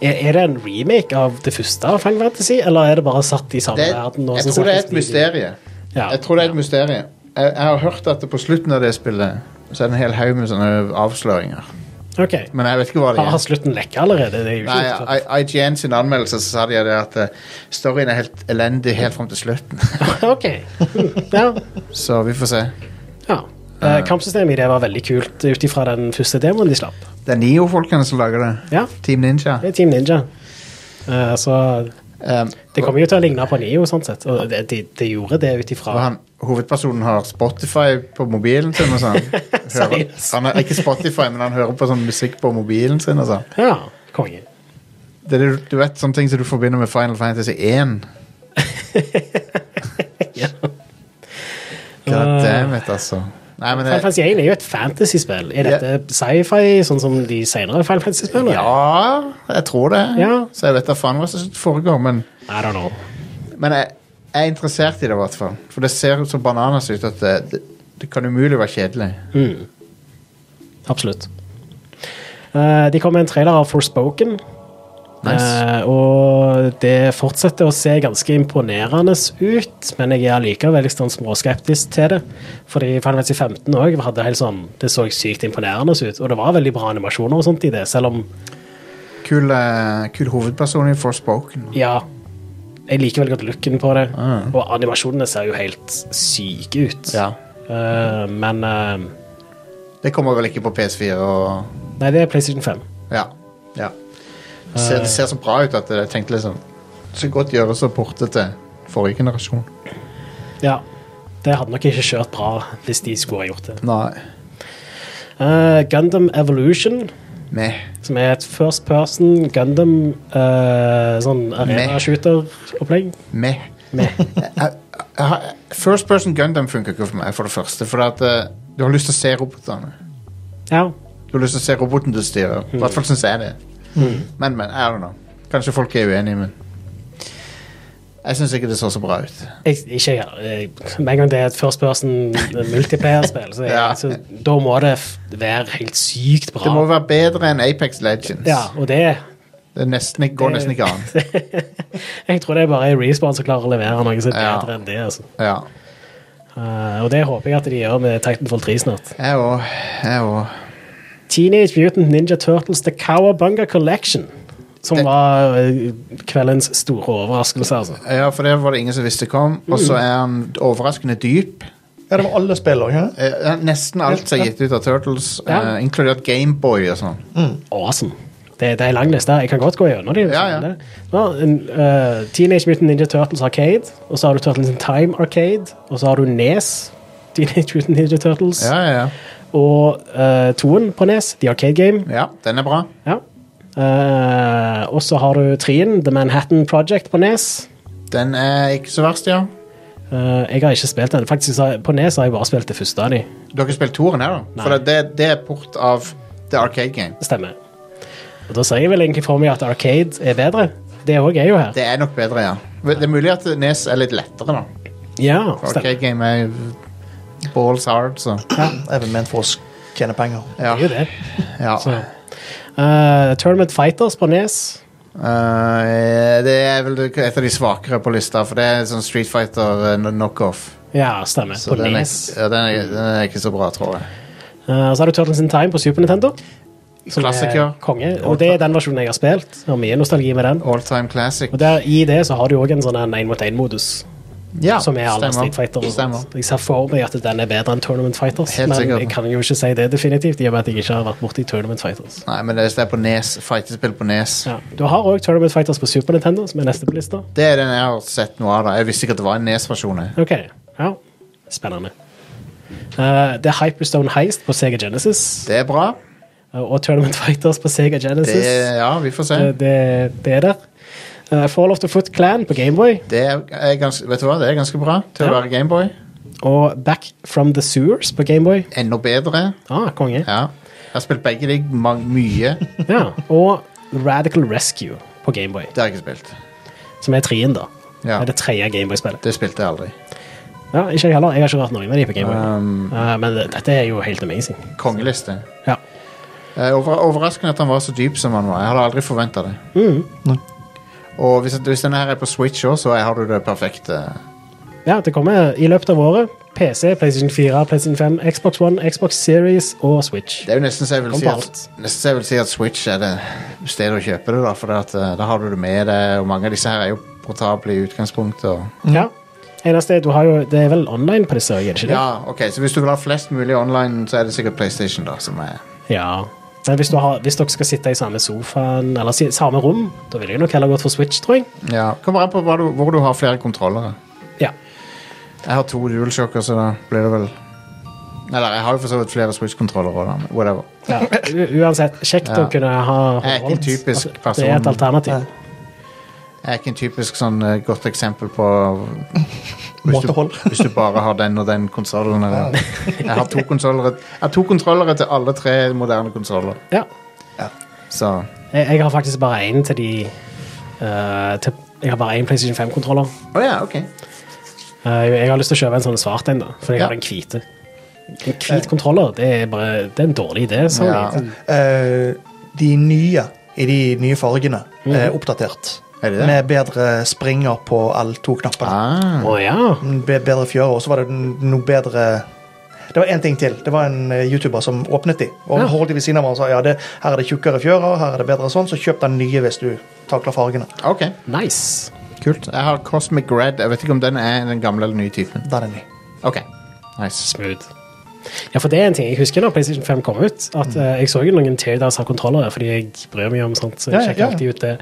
Speaker 2: Er, er det en remake av det første Final Fantasy, eller er det bare satt i samme
Speaker 1: Det,
Speaker 2: verden? og
Speaker 1: jeg
Speaker 2: så
Speaker 1: tror det er
Speaker 2: snakkes
Speaker 1: et
Speaker 2: de-
Speaker 1: mysterium.
Speaker 2: Ja.
Speaker 1: Jeg tror det er et mysterium. Jeg, jeg har hørt at det på slutten av det spillet så er det en hel haug med sånne avsløringer.
Speaker 2: Ok.
Speaker 1: Men jeg vet ikke hva det
Speaker 2: Har, har
Speaker 1: er.
Speaker 2: slutten lekka allerede? Det er jo ikke
Speaker 1: Nei, I- IGN sin anmeldelse så sa de det at eh, storyen er helt elendig helt fram til slutten.
Speaker 2: Ok. Ja.
Speaker 1: så vi får se.
Speaker 2: ja. Eh, kampsystemet i det var veldig kult ut ifra den første demoen de slapp.
Speaker 1: Det er Nio-folkene som lager det.
Speaker 2: Ja.
Speaker 1: Team Ninja.
Speaker 2: Det er Team Ninja. Eh, så
Speaker 1: Um,
Speaker 2: det kommer jo til å ligne på Neo, sånn sett. Og det, de, de gjorde det ut
Speaker 1: Og
Speaker 2: ifra
Speaker 1: han, hovedpersonen har Spotify på mobilen sin og sånn. Hører,
Speaker 2: Seriøst?
Speaker 1: han er ikke Spotify, men han hører på sånn musikk på mobilen sin og sånn.
Speaker 2: Ja, konge.
Speaker 1: Det er, det du vet sånne ting som du forbinder med Final Fantasy 1.
Speaker 2: Ja.
Speaker 1: God damn it, altså. Nei, men
Speaker 2: Ah. Final
Speaker 1: det,
Speaker 2: Fantasy 1 er jo et fantasyspill. Er
Speaker 1: Ja.
Speaker 2: dette sci-fi, sånn som de senere Final Fantasy-spillene?
Speaker 1: ja, jeg tror det.
Speaker 2: Ja.
Speaker 1: Så jeg vet da faen hva som foregår, men,
Speaker 2: I don't know.
Speaker 1: men jeg, jeg er interessert i det i hvert fall. For det ser så bananas ut at det, det, det kan umulig være kjedelig.
Speaker 2: Absolutt. Eh, de kom med en trailer av Forspoken.
Speaker 1: Nice.
Speaker 2: Eh, og det fortsetter å se ganske imponerende ut, men jeg er allikevel litt sånn småskeptisk til det. Fordi Final Fantasy 15 òg hadde helt sånn Det så sykt imponerende ut, og det var veldig bra animasjoner og sånt i det, selv om
Speaker 1: Kul, eh, kul hovedperson i Forspoken.
Speaker 2: Ja. Jeg liker veldig godt looken på det.
Speaker 1: Ah.
Speaker 2: Og animasjonene ser jo helt syke ut.
Speaker 1: Ja.
Speaker 2: Eh, men eh,
Speaker 1: Det kommer vel ikke på PS4 og
Speaker 2: Nei, det er PlayStation 5.
Speaker 1: Ja. ja. Det, ser,
Speaker 2: Eh.
Speaker 1: det ser så bra ut at jeg tenkte liksom Så godt gjøres å porte til forrige generasjon.
Speaker 2: Ja. Det hadde nok ikke kjørt bra hvis de skulle ha gjort det.
Speaker 1: Nei.
Speaker 2: Eh, Gundam Evolution,
Speaker 1: Meh.
Speaker 2: som er et first person Gundam eh, sånn
Speaker 1: Meh.
Speaker 2: arena-shooter-opplegg.
Speaker 1: Meh.
Speaker 2: Meh.
Speaker 1: Jeg- jeg- jeg har- First person Gundam funker ikke for meg, for det første. For at, eh, du har lyst til å se robotene.
Speaker 2: Ja.
Speaker 1: Du har lyst til å se roboten du styrer.
Speaker 2: Mm.
Speaker 1: I hvert fall syns jeg det. Men, men. I don't know. Kanskje folk er uenige, men Jeg syns ikke det så så bra ut.
Speaker 2: Jeg, ikke jeg, Med en gang det er et first person eh, multiplayer-spill, så, jeg-
Speaker 1: Ja.
Speaker 2: så da må det f være helt sykt bra.
Speaker 1: Det må være bedre enn Apex Legends.
Speaker 2: ja, og det
Speaker 1: Det er nesten, ikke- går
Speaker 2: Det-
Speaker 1: nesten ikke an.
Speaker 2: Jeg tror det er bare Respawn som klarer å levere noe som er
Speaker 1: Ja.
Speaker 2: bedre enn det. Altså.
Speaker 1: Ja.
Speaker 2: Eh, og det håper jeg at de gjør med Titanfall 3 snart.
Speaker 1: Jeg òg. Jeg òg.
Speaker 2: Teenage Mutant Ninja Turtles The Cowabunga Collection, som
Speaker 1: Det-
Speaker 2: var eh, kveldens store overraskelse, altså.
Speaker 1: Ja, for det var det ingen som visste kom. Og
Speaker 2: Mm.
Speaker 1: så er han overraskende dyp.
Speaker 3: Ja, det var alle spill òg, ja.
Speaker 1: Eh, Nesten alt som er gitt ut av Turtles,
Speaker 2: Ja.
Speaker 1: eh, inkludert Gameboy og sånn.
Speaker 2: Awesome. Det, det er en lang liste. Jeg kan godt gå gjennom dem.
Speaker 1: Ja, ja.
Speaker 2: eh, Teenage Mutant Ninja Turtles Arcade, og så har du Turtles in Time Arcade, og så har du Nes. Teenage Mutant Ninja Turtles
Speaker 1: Ja, ja, ja.
Speaker 2: og uh, toen på Nes, The Arcade Game.
Speaker 1: ja, den er bra.
Speaker 2: Ja. Eh, og så har du trien, The Manhattan Project på E Nes.
Speaker 1: Den er ikke så verst, ja.
Speaker 2: Eh, jeg har ikke spilt den. Faktisk så har jeg- På Nes har jeg bare spilt det første av de.
Speaker 1: Du har ikke spilt toeren her, da?
Speaker 2: Nei.
Speaker 1: For det, det er port av The Arcade Game.
Speaker 2: Stemmer. Og da ser jeg vel egentlig for meg at Arcade er bedre. Det òg er jo her.
Speaker 1: Det er nok bedre, ja. Det er mulig at Nes er litt lettere, da.
Speaker 2: Ja,
Speaker 1: For
Speaker 2: stemmer.
Speaker 1: Arcade Game er balls hard, så
Speaker 3: Jeg er vel ment for å tjene penger.
Speaker 1: Ja.
Speaker 2: Det er jo det.
Speaker 1: ja.
Speaker 2: Så. Eh, Tournament Fighters på E Nes.
Speaker 1: Eh, det er vel et av de svakere på lista, for det er sånn Street Fighter eh, knockoff.
Speaker 2: Ja, stemmer.
Speaker 1: Så
Speaker 2: På E
Speaker 1: den er,
Speaker 2: Nes.
Speaker 1: ja, den, er, den er ikke så bra, tror jeg.
Speaker 2: Eh, og så har du Turtles in Time på Super Nintendo. Som
Speaker 1: Klassiker.
Speaker 2: er konge. Og det er den versjonen jeg har spilt. Har mye nostalgi med den.
Speaker 1: All time classic.
Speaker 2: Og der, I det så har du òg en sånn en mot én-modus.
Speaker 1: Ja,
Speaker 2: som er alle Street Fighter. og
Speaker 1: Stemmer.
Speaker 2: sånt. Jeg ser for meg at den er bedre enn Tournament Fighters,
Speaker 1: Helt
Speaker 2: men
Speaker 1: sikkert.
Speaker 2: jeg kan jo ikke si det definitivt, i og med at jeg ikke har vært borti Tournament Fighters.
Speaker 1: Nei, men det er- det er på Nes. Fightespill på E Nes.
Speaker 2: Ja. Du har òg Tournament Fighters på Super Nintendo, som er neste på lista.
Speaker 1: Det er den jeg har sett noe av. da Jeg visste ikke at det var en Nes-versjon. jeg.
Speaker 2: Ok, ja. Spennende. Eh, det er Hyperstone Heist på Sega Genesis,
Speaker 1: Det er bra.
Speaker 2: Eh, og Tournament Fighters på Sega
Speaker 1: Det
Speaker 2: Genesis.
Speaker 1: er, ja, vi får se.
Speaker 2: Eh, det, det er der. Eh, Fall of the Foot Clan på Gameboy,
Speaker 1: Det er, er ganske, vet du hva, det er ganske bra til å
Speaker 2: Ja.
Speaker 1: være Gameboy.
Speaker 2: og Back from the Sewers på Gameboy.
Speaker 1: Enda bedre.
Speaker 2: Ah, konge.
Speaker 1: Ja. Jeg har spilt begge de mang- mye.
Speaker 2: Ja. Og Radical Rescue på Gameboy.
Speaker 1: Det har jeg ikke spilt.
Speaker 2: Som er trien, da.
Speaker 1: Ja.
Speaker 2: Det er det tredje Gameboy-spillet.
Speaker 1: Det spilte jeg aldri.
Speaker 2: Ja, ikke jeg heller. Jeg har ikke vært noen av de på Gameboy.
Speaker 1: Um.
Speaker 2: Eh, men det- dette er jo helt amazing.
Speaker 1: Kongeliste.
Speaker 2: Ja.
Speaker 1: Eh, Over, overraskende at han var så dyp som han var. Jeg hadde aldri forventa det. Og hvis, hvis denne her er på Switch òg, så har du det perfekte.
Speaker 2: ja, det kommer i løpet av året. PC, PlayStation 4, PlayStation 5, Xbox One, Xbox Series og Switch.
Speaker 1: Det er jo nesten så jeg vil
Speaker 2: Kom
Speaker 1: si
Speaker 2: på
Speaker 1: at,
Speaker 2: alt.
Speaker 1: nesten så jeg vil si at Switch er det stedet å kjøpe det, da. For det at, eh, da har du det med deg, og mange av disse her er jo portable i utgangspunktet. Og...
Speaker 2: Ja. Eneste, du har jo, det er vel online på disse, er det ikke det?
Speaker 1: Ja, ok, Så hvis du vil ha flest mulig online, så er det sikkert PlayStation, da. Som er
Speaker 2: Ja. Men hvis, du har, hvis dere skal sitte i samme sofaen, eller si- samme rom, da ville jeg nok heller gått for Switch, tror jeg.
Speaker 1: ja. Kommer an på hva du, hvor du har flere kontrollere.
Speaker 2: Ja.
Speaker 1: Jeg har to dualshocker, så da blir det vel Eller jeg har jo for så vidt flere Switch-kontrollere òg, da. men Whatever.
Speaker 2: ja. U- Uansett, kjekt å
Speaker 1: Ja.
Speaker 2: kunne ha
Speaker 1: Jeg er ikke en
Speaker 2: håndholdt.
Speaker 1: typisk
Speaker 2: Det er et
Speaker 1: person.
Speaker 2: alternativ.
Speaker 1: er ikke en typisk sånn eh, godt eksempel på hvis du,
Speaker 3: Måtehold.
Speaker 1: hvis du bare har den og den konsollen. eller- Jeg har to konsoller Jeg har to kontrollere til alle tre moderne konsoller.
Speaker 2: Ja.
Speaker 1: Så
Speaker 2: Jeg, jeg har faktisk bare én til de eh, til, Jeg har bare én PlayStation 5-kontroller.
Speaker 1: Å ja, OK.
Speaker 2: jeg har lyst til å kjøpe en sånn svart en, da, for jeg
Speaker 1: Ja. Eh.
Speaker 2: har den hvite. En hvit kontroller, det er bare Det er en dårlig idé. Sony.
Speaker 1: Ja.
Speaker 3: Eh, de nye i de nye fargene Mm. er oppdatert.
Speaker 1: Er de det?
Speaker 3: Med bedre springer på L2-knappene.
Speaker 1: Ah,
Speaker 2: Å ja.
Speaker 3: Bedre fjører, og så var det n- noe bedre Det var én ting til. Det var en eh, YouTuber som åpnet de. Og
Speaker 2: Ja.
Speaker 3: holdt de ved siden av meg og sa ja, det, her er det tjukkere fjører, her er det bedre sånn, så kjøp den nye hvis du takler fargene.
Speaker 1: OK.
Speaker 2: Nice.
Speaker 1: Kult. Jeg har Cosmic Red. Jeg vet ikke om den er den gamle eller nye typen.
Speaker 3: Den er ny.
Speaker 1: OK. Nice.
Speaker 2: Smooth. Ja, for det er en ting jeg husker da PlayStation 5 kom ut. At
Speaker 3: Mm.
Speaker 2: eh, Jeg så jo noen teardowns av kontrollere, fordi jeg bryr meg om sånt. så jeg
Speaker 3: Ja, ja,
Speaker 2: sjekker
Speaker 3: ja.
Speaker 2: alltid ut det.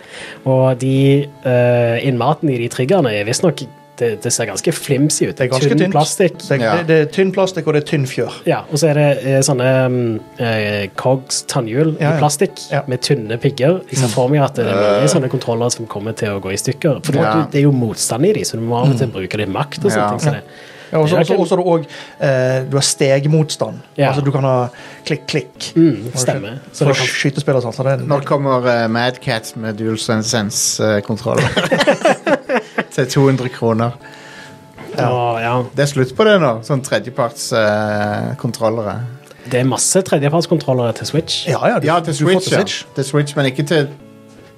Speaker 2: Og de eh, innmaten i de triggerne er visstnok det, det ser ganske flimsy ut.
Speaker 3: Det er ganske
Speaker 2: Tynn
Speaker 3: tynt.
Speaker 2: plastikk.
Speaker 3: Så jeg,
Speaker 1: Ja.
Speaker 3: det, det er tynn plastikk, og det er tynn fjør.
Speaker 2: Ja, og så er det eh, sånne mm, eh, cogs, tannhjul
Speaker 3: Ja, ja.
Speaker 2: i plastikk
Speaker 3: Ja. Mm.
Speaker 2: med tynne pigger. Jeg ser for meg at eh, det er mange sånne kontroller som kommer til å gå i stykker. For du-
Speaker 1: Ja.
Speaker 2: det er jo motstand i de, så du må av og til bruke litt makt og
Speaker 1: Ja.
Speaker 2: sånne ting. Så det,
Speaker 3: Mm. Ja, og så
Speaker 2: det er
Speaker 3: og så-
Speaker 2: ikke-
Speaker 3: og så er det òg eh, Du har stegmotstand.
Speaker 2: Ja.
Speaker 3: Altså du kan ha klikk-klikk.
Speaker 2: Mm, stemmer. Så
Speaker 3: For
Speaker 2: det kan
Speaker 3: skytespill og sånt. Så det er
Speaker 1: Når kommer eh, Madcat med DualSense-kontroller? til 200 kroner.
Speaker 2: ja. ja.
Speaker 1: Det er slutt på det nå, sånn eh, tredjepartskontrollere.
Speaker 2: Det er masse tredjepartskontrollere til Switch.
Speaker 3: Ja, ja, du,
Speaker 1: ja, til
Speaker 3: du får
Speaker 1: Switch, ja. Til Switch, men ikke til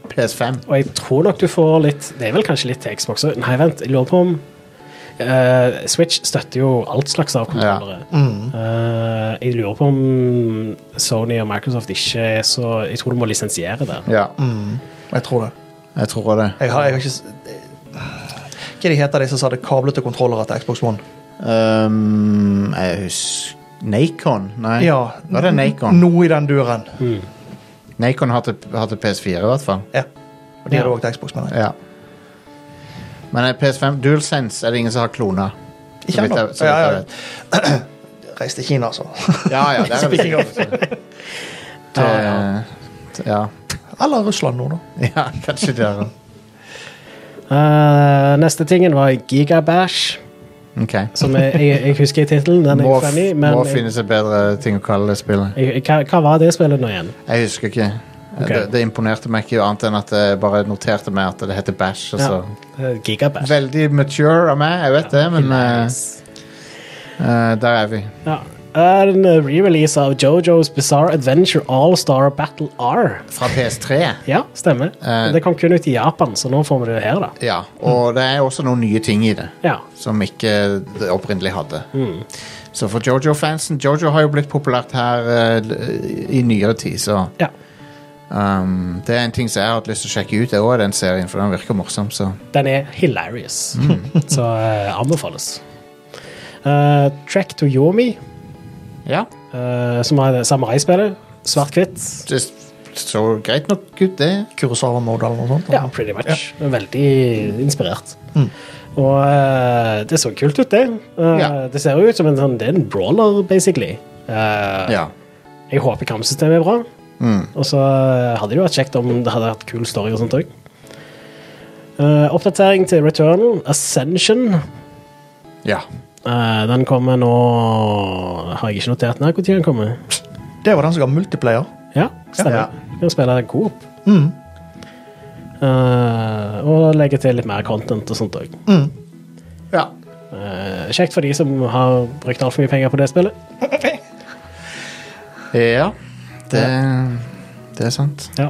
Speaker 1: PS5.
Speaker 2: Og jeg tror nok du får litt Det er vel kanskje litt til Xbox også. Nei, vent. Jeg lurer på om eh, Switch støtter jo alt slags av kontrollere.
Speaker 3: Mm,
Speaker 2: Eh, jeg lurer på om Sony og Microsoft ikke er så Jeg tror du må lisensiere der.
Speaker 1: Ja,
Speaker 3: Jeg tror det.
Speaker 1: Mm. jeg tror det.
Speaker 3: Jeg har, jeg har ikke s- Hva de heter de som hadde kablete kontrollere til Xbox One?
Speaker 1: Um, jeg husker Nacon? Nei,
Speaker 3: Ja,
Speaker 1: var det Nacon?
Speaker 3: Noe i den duren.
Speaker 1: Nacon har til, har til PS4 i hvert fall.
Speaker 3: Ja. Og de
Speaker 2: Ja.
Speaker 3: hadde også til Xbox, mener jeg.
Speaker 1: Ja. Men eh, PS5, DualSense er det ingen som har klona. Så
Speaker 3: Ikke
Speaker 1: vidt
Speaker 3: ennå.
Speaker 1: jeg- så
Speaker 3: Ja,
Speaker 1: vidt jeg
Speaker 3: ja.
Speaker 1: vet.
Speaker 3: Reis til Kina, altså.
Speaker 1: Ja, ja, det er det.
Speaker 3: Speaking of.
Speaker 1: Til- Ja.
Speaker 3: Eller Russland nå, da.
Speaker 1: ja, kanskje det er det.
Speaker 2: Eh, neste tingen var Gigabash,
Speaker 1: Ok.
Speaker 2: som jeg, jeg, jeg husker i tittelen. Den er
Speaker 1: Må,
Speaker 2: ikke funny,
Speaker 1: f-
Speaker 2: men
Speaker 1: må
Speaker 2: jeg,
Speaker 1: finne seg bedre ting å kalle det spillet.
Speaker 2: jeg, jeg, hva, hva var det spillet nå igjen?
Speaker 1: Jeg husker ikke.
Speaker 2: Ok.
Speaker 1: Det, det imponerte meg ikke annet enn at jeg bare noterte meg at det heter Bæsj. og så-
Speaker 2: Eh, Gigabash.
Speaker 1: Veldig mature av meg, jeg vet det, men eh,
Speaker 2: Nice.
Speaker 1: eh, der er vi.
Speaker 2: Ja. Er en eh, re-release av Jojo's Bizarre Adventure All-Star Battle R.
Speaker 1: Fra PS3.
Speaker 2: Ja, stemmer.
Speaker 1: Eh.
Speaker 2: det kom kun ut i Japan, så nå får vi det her, da.
Speaker 1: Ja, og det er også noen nye ting i det
Speaker 2: Ja.
Speaker 1: som ikke det opprinnelig hadde. Så for Jojo-fansen Jojo har jo blitt populært her eh, i nyere tid, så
Speaker 2: ja.
Speaker 1: um, Det er en ting som jeg har hatt lyst til å sjekke ut, det òg, den serien, for den virker morsom, så
Speaker 2: Den er hilarious,
Speaker 1: Mm.
Speaker 2: så eh, anbefales. Eh, Track to Yomi,
Speaker 1: ja.
Speaker 2: eh, som er det samuraispillet. Svart-hvitt.
Speaker 1: Det så greit nok ut, det.
Speaker 3: Kurosawa-mode eller noe sånt.
Speaker 2: Ja, pretty much. Veldig inspirert.
Speaker 1: Mm.
Speaker 2: Og eh, det så kult ut, det. Eh,
Speaker 1: Ja.
Speaker 2: Det ser jo ut som en sånn Det er en brawler, basically. Eh,
Speaker 1: Ja.
Speaker 2: Jeg håper kampsystemet er bra.
Speaker 1: Mm.
Speaker 2: Og så eh, hadde det jo vært kjekt om det hadde hatt kul story og sånt òg. oppdatering til Returnal, Ascension.
Speaker 1: ja.
Speaker 2: Eh, den kommer nå Har jeg ikke notert ned når den kommer?
Speaker 3: Det var den som ga multiplayer.
Speaker 2: Ja, stemmer.
Speaker 1: Ja.
Speaker 2: Vi Kan spille coop.
Speaker 3: Mm.
Speaker 2: Eh, og legge til litt mer content og sånt òg.
Speaker 1: ja.
Speaker 2: kjekt for de som har brukt altfor mye penger på det spillet.
Speaker 1: Ja. Det, det er sant.
Speaker 2: Ja.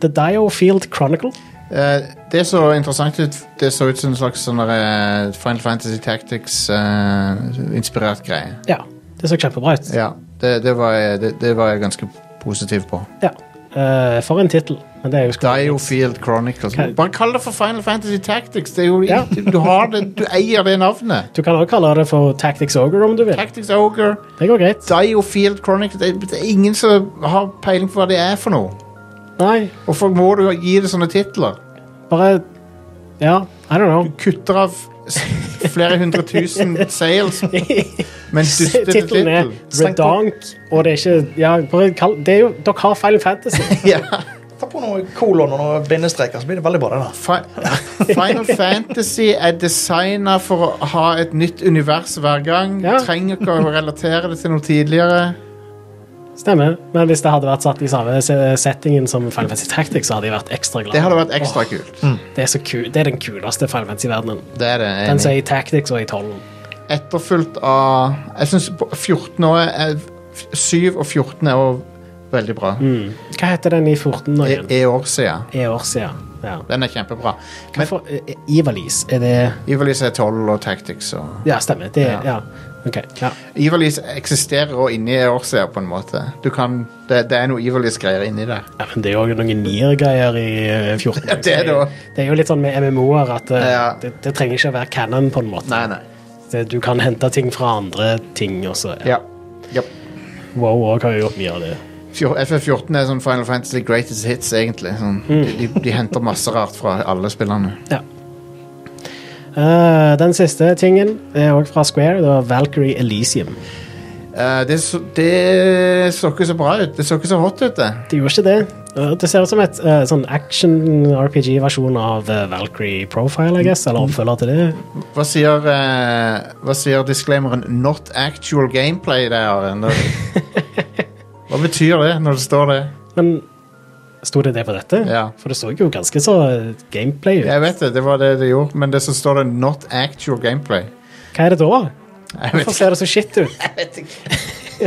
Speaker 2: The Dio Field Chronicle.
Speaker 1: Eh, det så interessant ut. Det så ut som en slags sånn der, eh, Final Fantasy Tactics-inspirert greie.
Speaker 2: Ja, det så kjempebra ut.
Speaker 1: Ja, det, det, var jeg, det, det var jeg ganske positiv på.
Speaker 2: Ja. Eh, for en tittel. Men det er jo skulle-
Speaker 1: Diofield Chronicles.
Speaker 2: Hva-
Speaker 1: Bare kall det for Final Fantasy Tactics. Det er jo,
Speaker 2: Ja.
Speaker 1: du, har det, du eier det navnet.
Speaker 2: Du kan også kalle det for Tactics Ogre om du vil.
Speaker 1: Tactics Ogre,
Speaker 2: Det går greit.
Speaker 1: Diofield Chronicles det, det er ingen som har peiling på hva det er for noe.
Speaker 2: Nei,
Speaker 1: Hvorfor må du gi det sånne titler?
Speaker 2: bare Ja, I don't know.
Speaker 1: Kutter av s- flere hundre tusen sales, men duster til
Speaker 2: Tittelen er
Speaker 1: tittel.
Speaker 2: Redonk, og det er ikke Ja, bare kall Det er jo Dere har Final Fantasy.
Speaker 1: Ja.
Speaker 3: Ta på noe noen kolon og noen bindestreker, så blir det veldig bra. det da.
Speaker 1: Fi- Final Fantasy er designa for å ha et nytt univers hver gang.
Speaker 2: Ja.
Speaker 1: Trenger ikke å relatere det til noe tidligere.
Speaker 2: Stemmer. Men hvis det hadde vært satt i samme se- settingen som Final Fantasy Tactics, så hadde jeg vært ekstra glad.
Speaker 1: Det hadde vært ekstra kult.
Speaker 2: Det er, så ku- det er den kuleste Final Fantasy-verdenen.
Speaker 1: Det er det. jeg er
Speaker 2: Den som
Speaker 1: enig i.
Speaker 2: er i Tactics og i 12.
Speaker 1: Etterfulgt av Jeg syns 14 år er, 7 og 14 er også veldig bra.
Speaker 2: Mm. Hva heter den i 14 nå
Speaker 1: E,
Speaker 2: igjen?
Speaker 1: e år siden.
Speaker 2: Eorsia. Ja.
Speaker 1: Den er kjempebra. Men
Speaker 2: Hvorfor e- e- Ivalice? Er det
Speaker 1: Ivalis er 12 og Tactics og
Speaker 2: Ja, stemmer. Det
Speaker 1: Ja.
Speaker 2: er Ja. OK. Ja.
Speaker 1: Ivalis eksisterer også inni e år siden, på en måte. Du kan, det, det er noe Ivalis-greier inni der.
Speaker 2: Ja, men det er jo noen nier-greier i eh, 14.
Speaker 1: Ja, det er det også.
Speaker 2: Det er jo litt sånn med MMO-er at eh,
Speaker 1: Ja.
Speaker 2: det, det trenger ikke å være canon, på en måte.
Speaker 1: Nei, nei.
Speaker 2: Det, du kan hente ting fra andre ting også.
Speaker 1: Ja. Japp.
Speaker 2: Wow òg har jo gjort mye av det.
Speaker 1: Fjor- FF14 er sånn Final Fantasy Greatest Hits, egentlig. Sånn, de, de henter masse rart fra alle spillerne.
Speaker 2: Ja. Eh, den siste tingen er òg fra Square. Det var Valkyrie Elisium.
Speaker 1: Eh, det, så, det så ikke så bra ut. Det så ikke så hot ut, det.
Speaker 2: Det gjorde ikke det. Eh, det ser ut som et eh, sånn action-RPG-versjon av eh, Valkyrie Profile, I guess, eller oppfølger til det.
Speaker 1: Hva sier, eh, hva sier disclaimeren 'not actual gameplay' der? Are? Når- Hva betyr det når det står det?
Speaker 2: Men sto det det på dette?
Speaker 1: Ja.
Speaker 2: For det så jo ganske så eh, gameplay ut.
Speaker 1: Jeg vet det, det var det det gjorde, men det så står det 'not actual gameplay'.
Speaker 2: Hva er det da?
Speaker 1: Jeg vet
Speaker 2: Hvorfor ser det så shit ut?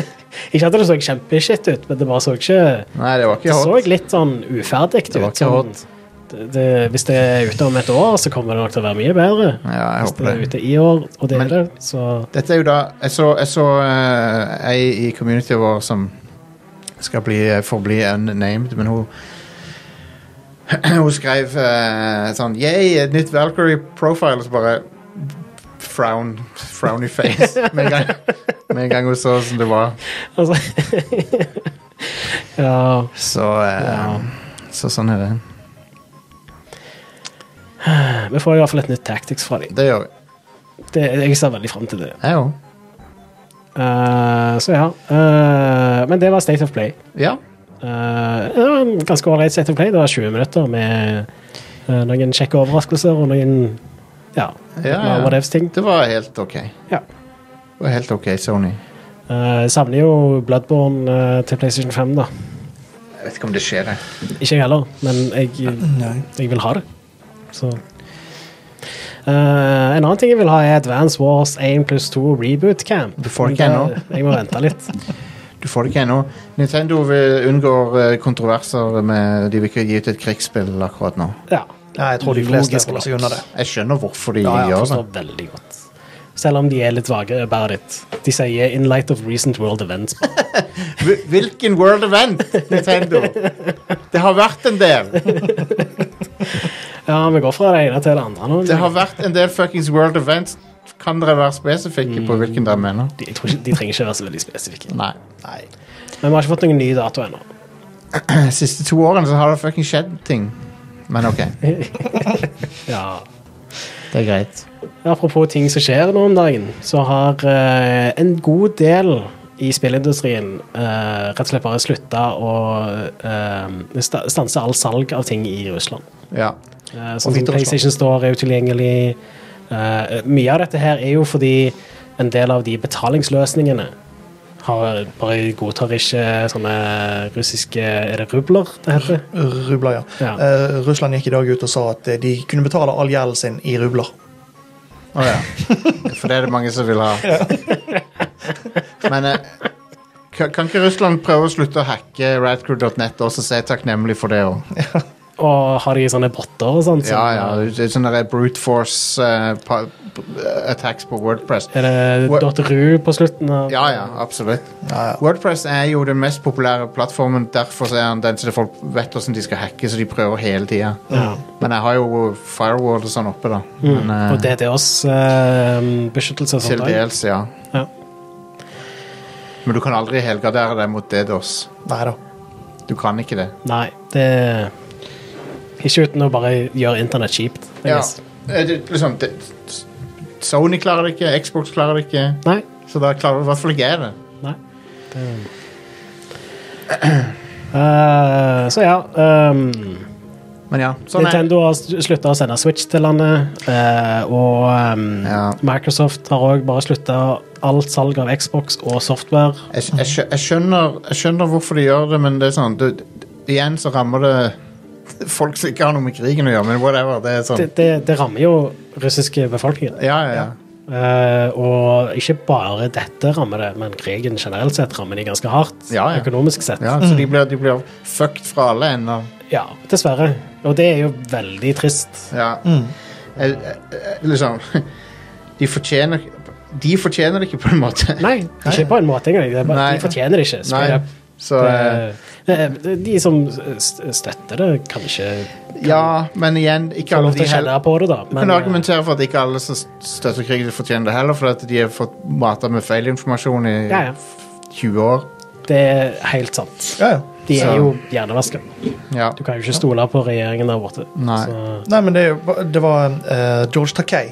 Speaker 2: ikke at det så kjempeshit ut, men det bare så ikke
Speaker 1: Nei, det var ikke
Speaker 2: Det så
Speaker 1: hot.
Speaker 2: litt sånn uferdig ut.
Speaker 1: Det var ikke
Speaker 2: sånn-
Speaker 1: hot.
Speaker 2: det, det, hvis det er ute om et år, så kommer det nok til å være mye bedre.
Speaker 1: Ja, jeg
Speaker 2: Hvis
Speaker 1: håper
Speaker 2: det er
Speaker 1: det.
Speaker 2: ute i år, og det
Speaker 1: Men-
Speaker 2: er det, så
Speaker 1: Dette er jo da Jeg så, jeg så eh, ei i communityet vår som skal bli, eh, forbli unnamed, men hun Hun skrev eh, sånn Yay, et nytt Valkyrie profile, og så bare frown, frowny face med en gang, med en gang hun så som det var.
Speaker 2: altså, Ja.
Speaker 1: Så, eh,
Speaker 2: Ja.
Speaker 1: så sånn er det.
Speaker 2: Vi får i hvert fall et nytt tactics fra dem.
Speaker 1: Det gjør vi.
Speaker 2: Det, jeg ser veldig fram til det.
Speaker 1: Jeg òg.
Speaker 2: Eh, så ja. eh, men det var State of Play.
Speaker 1: Ja.
Speaker 2: Eh, det var en ganske ålreit State of Play. Det var 20 minutter med eh, noen kjekke overraskelser og noen ja,
Speaker 1: Ja, ja.
Speaker 2: whatevs-ting.
Speaker 1: Det var helt OK.
Speaker 2: Ja.
Speaker 1: Det var helt OK, Sony.
Speaker 2: Eh, jeg savner jo Bloodborne eh, til PlayStation 5, da.
Speaker 1: Jeg vet ikke om det skjer, det.
Speaker 2: Ikke jeg heller, men jeg,
Speaker 3: Nei.
Speaker 2: jeg vil ha det. Så Eh, En annen ting jeg vil ha, er Advance Wars 1 pluss 2 Reboot Camp.
Speaker 1: Du får det ikke
Speaker 2: Men
Speaker 1: ennå.
Speaker 2: Jeg må vente litt.
Speaker 1: Du får det ikke ennå. Nintendo vil unngår eh, kontroverser med De vil ikke gi ut et krigsspill akkurat nå.
Speaker 2: Ja.
Speaker 3: Nei, jeg tror de fleste holder seg unna det.
Speaker 1: Jeg skjønner hvorfor de
Speaker 2: Ja, ja, jeg
Speaker 1: gjør det.
Speaker 2: forstår veldig godt. Selv om de er litt vage about it. De sier 'in light of recent world events'.
Speaker 1: Hvil- Hvilken world event, Nintendo? Det har vært en del.
Speaker 2: Ja, vi går fra det ene til det andre nå.
Speaker 1: Det har vært en del fuckings world events. Kan dere være spesifikke på hvilken dere mener?
Speaker 2: de, jeg tror ikke, de trenger ikke være så veldig spesifikke.
Speaker 1: Nei.
Speaker 3: Nei.
Speaker 2: Men vi har ikke fått noen ny dato ennå.
Speaker 1: De siste to årene så har det fucking skjedd ting. Men OK,
Speaker 2: Ja.
Speaker 1: det er greit.
Speaker 2: Apropos ting som skjer nå om dagen, så har eh, en god del i spillindustrien eh, rett og slett bare slutta å eh, sta- stanse all salg av ting i Russland.
Speaker 1: Ja.
Speaker 2: Eh,
Speaker 1: Og
Speaker 2: sånn som
Speaker 1: Hviterussland.
Speaker 2: PlayStation Store er utilgjengelig. Eh, mye av dette her er jo fordi en del av de betalingsløsningene har bare godtar ikke sånne russiske Er det rubler det heter?
Speaker 3: Rubler, ja.
Speaker 2: Ja.
Speaker 3: Eh, Russland gikk i dag ut og sa at eh, de kunne betale all gjelden sin i rubler.
Speaker 1: Å ja. For det er det mange som vil ha. Men eh, kan kan ikke Russland prøve å slutte å hacke radcrew.net også, så jeg er takknemlig for det òg.
Speaker 2: Og har de sånne botter og sånt?
Speaker 1: Ja,
Speaker 2: som-
Speaker 1: ja. det er Sånne der brute force eh, pa- attacks på Wordpress.
Speaker 2: Er det
Speaker 1: Hvor-
Speaker 2: .ru på slutten av
Speaker 1: Ja, ja, absolutt.
Speaker 3: Ja, ja.
Speaker 1: Wordpress er jo den mest populære plattformen. Derfor så er han den som folk vet hvordan de skal hacke, så de prøver hele tida.
Speaker 2: Ja.
Speaker 1: Men jeg har jo firewall og sånn oppe, da. Men, eh,
Speaker 2: Og DDoS-beskyttelse eh,
Speaker 1: til
Speaker 2: og sånt. også.
Speaker 1: dels, ja.
Speaker 2: Ja.
Speaker 1: Men du kan aldri helgardere deg mot DDoS.
Speaker 3: Nei da.
Speaker 1: Du kan ikke det.
Speaker 2: Nei, det Ikke uten å bare gjøre internett kjipt. I
Speaker 1: Ja.
Speaker 2: guess.
Speaker 1: Eh, Det, liksom, det, Sony klarer det ikke, Xbox klarer det ikke.
Speaker 2: Nei.
Speaker 1: Så da klarer i hvert fall ikke jeg det.
Speaker 2: Nei. Det... Eh, så ja ehm,
Speaker 1: Men ja, sånn er
Speaker 2: Nintendo har slutta å sende Switch til landet, eh, og ehm,
Speaker 1: Ja.
Speaker 2: Microsoft har òg bare slutta alt salg av Xbox og software.
Speaker 1: jeg, jeg, skjø- jeg, skjønner, jeg skjønner hvorfor de gjør det, men det er sånn det, det, Igjen så rammer det folk som ikke har noe med krigen å gjøre, men whatever. Det er sånn
Speaker 2: Det, det, det rammer jo russiske befolkningen.
Speaker 1: Ja, ja, ja.
Speaker 2: Eh, og ikke bare dette rammer det, men krigen generelt sett rammer de ganske hardt.
Speaker 1: Ja, ja.
Speaker 2: Økonomisk sett.
Speaker 1: ja så de blir, de blir fucked fra alle ender.
Speaker 2: Ja, dessverre. Og det er jo veldig trist.
Speaker 1: Ja. Jeg, jeg, jeg, liksom De fortjener De fortjener det ikke, på en måte.
Speaker 2: Nei, ikke på en måte engang. Det er bare,
Speaker 1: Nei.
Speaker 2: de fortjener det ikke. straight
Speaker 1: Nei.
Speaker 2: up.
Speaker 1: Så eh,
Speaker 2: Det- det- de som st- støtter det, kanskje
Speaker 1: Ja, men igjen Ikke
Speaker 2: får
Speaker 1: alle
Speaker 2: lov til
Speaker 1: de
Speaker 2: å
Speaker 1: heller
Speaker 2: kjenne på det, da.
Speaker 1: kan
Speaker 2: Men, eh,
Speaker 1: argumentere for at ikke alle som støtter krigen, fortjener det heller, fordi at de har fått mata med feilinformasjon i
Speaker 2: ja, ja.
Speaker 1: 20 år.
Speaker 2: Det er helt sant.
Speaker 3: Ja, ja.
Speaker 2: De
Speaker 1: Så-
Speaker 2: er jo hjernevaska.
Speaker 1: Ja.
Speaker 2: Du kan jo ikke stole på regjeringen der borte.
Speaker 1: Nei.
Speaker 2: Så,
Speaker 3: Nei, men det, er jo ba- det var eh, George Takei